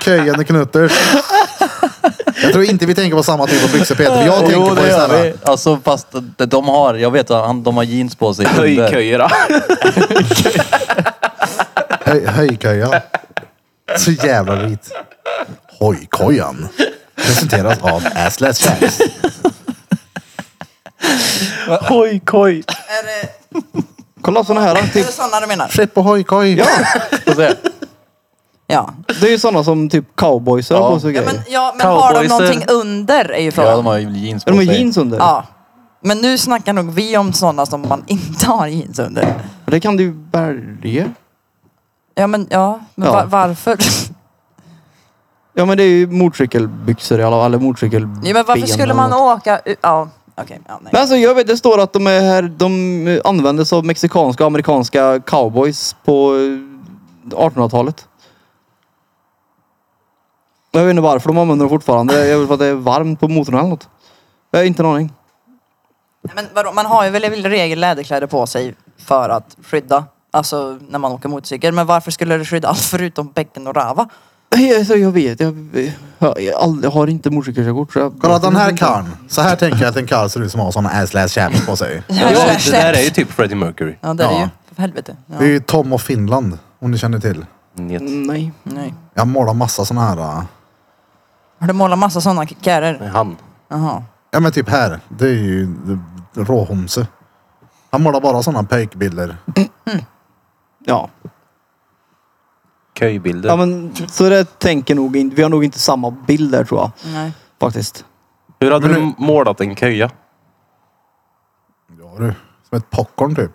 Speaker 1: Köjande knutters. Jag tror inte vi tänker på samma typ av byxor Peter. för Jag tänker
Speaker 6: Jo,
Speaker 1: på
Speaker 6: det gör
Speaker 1: sådana.
Speaker 6: vi. Alltså fast det de har, jag vet att han- de har jeans på sig under.
Speaker 3: Höjköjera.
Speaker 1: Höj, höjköja. Så jävla vit. Hojkojan. Presenteras av Assless Chaps.
Speaker 3: Hojkoj.
Speaker 4: Är det,
Speaker 5: kolla sådana här.
Speaker 4: är
Speaker 5: Typ,
Speaker 4: det sådana du menar?
Speaker 1: Skepp och hojkoj. Ja.
Speaker 6: Får se.
Speaker 4: Ja.
Speaker 5: det är ju sådana som typ cowboys har
Speaker 6: Ja.
Speaker 5: på sig och
Speaker 4: Ja,
Speaker 5: grejer.
Speaker 4: men, ja, men har
Speaker 3: Cowboyser.
Speaker 4: de någonting under är ju frågan.
Speaker 6: Ja, de har ju jeans på
Speaker 5: Är de
Speaker 6: sig.
Speaker 5: med jeans under?
Speaker 4: Ja. Men nu snackar nog vi om sådana som man inte har jeans under.
Speaker 5: Det kan du bärga.
Speaker 4: Ja men ja, men
Speaker 5: Ja.
Speaker 4: va- varför?
Speaker 5: Ja men det är ju motorcykelbyxor i alla fall. Eller motorcykelben.
Speaker 4: Ja, men varför skulle
Speaker 5: eller
Speaker 4: man
Speaker 5: något.
Speaker 4: åka... u- Ja, okej. ja,
Speaker 5: Men
Speaker 4: nej.
Speaker 5: alltså jag vet, det står att de är här, de eh, användes av mexikanska och amerikanska cowboys på eh, 1800-talet. Jag vet inte varför de använder dem fortfarande. Jag vet för att det är varmt på motorn eller något. Jag har inte en aning.
Speaker 4: Men vadå, man har ju väl i regel läderkläder på sig för att skydda. Alltså när man åker motorcykel. Men varför skulle det skydda allt förutom bäcken och rava?
Speaker 5: Nej, Alltså, jag vet, jag, jag, jag, aldrig- jag har inte motorcykelkörkort. så jag-
Speaker 1: Kolla den här karln. Så här tänker jag att en karl ser ut som har sådana Assless Chaps på sig.
Speaker 4: Ja,
Speaker 3: Det där är ju typ Freddie Mercury.
Speaker 4: Ja det är det ju.
Speaker 1: Ja.
Speaker 4: För helvete. Ja.
Speaker 1: Det är ju Tom och Finland. Om ni känner till.
Speaker 3: Njet.
Speaker 5: Nej.
Speaker 4: Nej.
Speaker 1: Jag målar massa sådana här. äh,
Speaker 4: Har du målat massa sådana kärer?
Speaker 3: Nej, Han.
Speaker 4: Jaha.
Speaker 1: Ja men typ här. Det är ju råhomse. Han målar bara sådana pöjkbilder.
Speaker 5: Ja.
Speaker 3: Köjbilder.
Speaker 5: ja men, så det tänker nog inte. Vi har nog inte samma bild där tror jag.
Speaker 4: Nej.
Speaker 5: Faktiskt.
Speaker 3: Hur hade
Speaker 1: Men
Speaker 3: du målat en köja?
Speaker 1: Ja du. Som ett popcorn typ.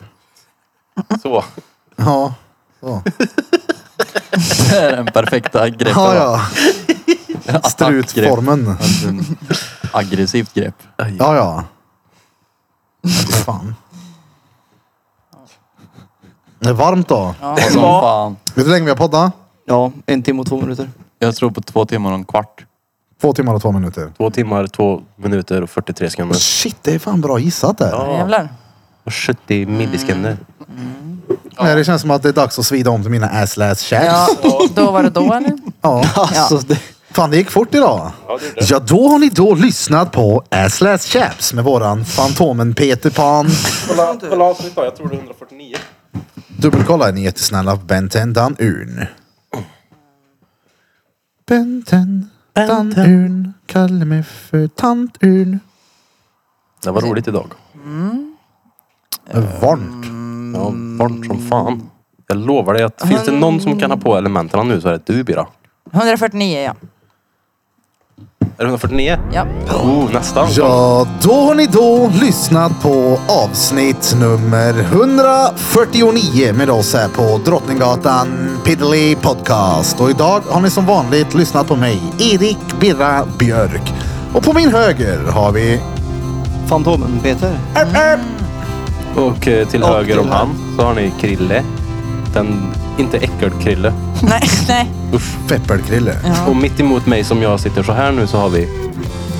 Speaker 3: Så.
Speaker 1: Ja. Så.
Speaker 6: Det är den perfekta greppet.
Speaker 1: Ja
Speaker 6: va?
Speaker 1: ja.
Speaker 6: Attackgrepp.
Speaker 1: Strutformen.
Speaker 6: Aggressivt grepp.
Speaker 1: Ja ja. Fan. Det är varmt då.
Speaker 6: Ja, som fan.
Speaker 1: Vet du hur länge vi har poddat?
Speaker 5: Ja, en timme och två minuter.
Speaker 6: Jag tror på två timmar och en kvart.
Speaker 1: Två timmar och två minuter.
Speaker 3: Två timmar, två minuter och 43 sekunder.
Speaker 1: Shit, det är fan bra gissat där.
Speaker 4: Jävlar.
Speaker 3: Och 70 millisekunder.
Speaker 1: Nej, det känns som att det är dags att svida om till mina assless chaps.
Speaker 4: Ja,
Speaker 1: Ja.
Speaker 4: då var det då eller?
Speaker 5: Alltså, det,
Speaker 1: Fan, det gick fort idag. Ja, då har ni då lyssnat på assless chaps med våran Fantomen Peter Pan.
Speaker 3: Kolla, kolla avsnitt då. Jag tror det är 149.
Speaker 1: Dubbelkolla är ni jättesnälla. Benten Dan Urn. Benten, tannurn, kallar mig för tanturn.
Speaker 3: Det var roligt idag.
Speaker 1: Varmt.
Speaker 5: Mm.
Speaker 3: Ja, varmt som fan. Jag lovar dig att finns det någon som kan ha på elementen nu så är det du Bira.
Speaker 4: 149 ja.
Speaker 3: Är det 149?
Speaker 4: ja.
Speaker 3: Oh, nästan.
Speaker 1: Ja, då har ni då lyssnat på avsnitt nummer 149 med oss här på Drottninggatan Piddly Podcast. Och idag har ni som vanligt lyssnat på mig, Erik Birra Björk. Och på min höger har vi...
Speaker 5: Fantomen Peter.
Speaker 1: Erp, erp,
Speaker 3: Och eh, till
Speaker 5: Och
Speaker 3: höger om
Speaker 5: till
Speaker 3: han så har ni Krille. Den, inte äckelkrille.
Speaker 4: Nej, nej.
Speaker 3: Usch.
Speaker 1: Pepparkrille.
Speaker 3: Och mitt emot mig som jag sitter så här nu så har vi...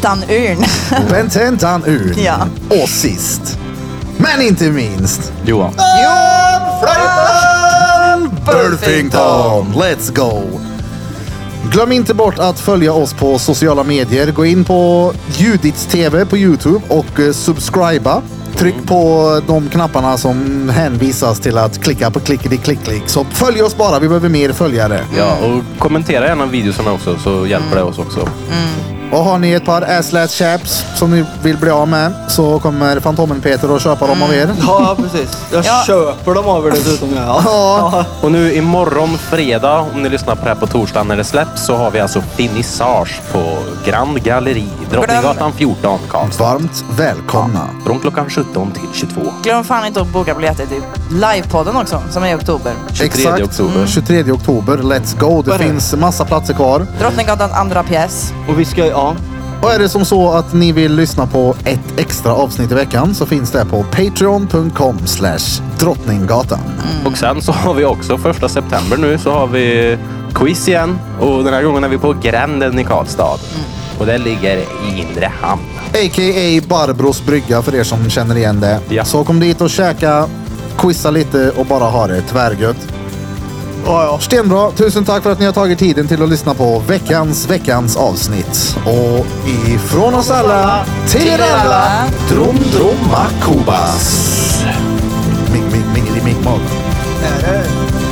Speaker 4: Tannurn.
Speaker 1: Benten, tannurn.
Speaker 4: Ja.
Speaker 1: Och sist, men inte minst,
Speaker 2: Johan.
Speaker 1: Flöjten Burfington! Let's go! Glöm inte bort att följa oss på sociala medier. Gå in på Judits TV på Youtube och eh, subscriba. Tryck på de knapparna som hänvisas till att klicka på klickety klick klick. Så följ oss bara, vi behöver mer följare.
Speaker 3: Ja, och kommentera gärna videosarna också så hjälper det oss också.
Speaker 1: Och har ni ett par asslats chaps som ni vill bli av med så kommer Fantomen Peter att köpa dem av er.
Speaker 5: Ja, precis. Jag
Speaker 4: Ja.
Speaker 5: köper dem av er dessutom. Ja.
Speaker 1: Ja,
Speaker 3: Och nu imorgon fredag, om ni lyssnar på det här på torsdag när det släpps, så har vi alltså finissage på Grand Galleri, Drottninggatan 14, Karlstad.
Speaker 1: varmt välkomna.
Speaker 3: Från klockan 17 till 22.
Speaker 4: Glöm fan inte att boka biljetter till livepodden också som är i oktober.
Speaker 3: 23 oktober.
Speaker 1: 23 Mm, oktober. Let's go. Det
Speaker 5: Vad är det?
Speaker 1: finns massa platser kvar.
Speaker 4: Drottninggatan andra pjäs.
Speaker 5: Och vi ska, ja.
Speaker 1: Och är det som så att ni vill lyssna på ett extra avsnitt i veckan så finns det på patreon.com slash drottninggatan.
Speaker 3: Och sen så har vi också första september nu så har vi quiz igen. Och den här gången är vi på Gränden i Karlstad. Och det ligger i inre hamn.
Speaker 1: A.k.a. Barbros brygga för er som känner igen det.
Speaker 3: Ja.
Speaker 1: Så kom dit och käka, quizza lite och bara ha det tvärgött. Stenbra. Tusen tack för att ni har tagit tiden till att lyssna på veckans, veckans avsnitt. Och ifrån oss alla, till er alla, Drom Drom Kubas. Ming, ming, mingeli, ming, mong.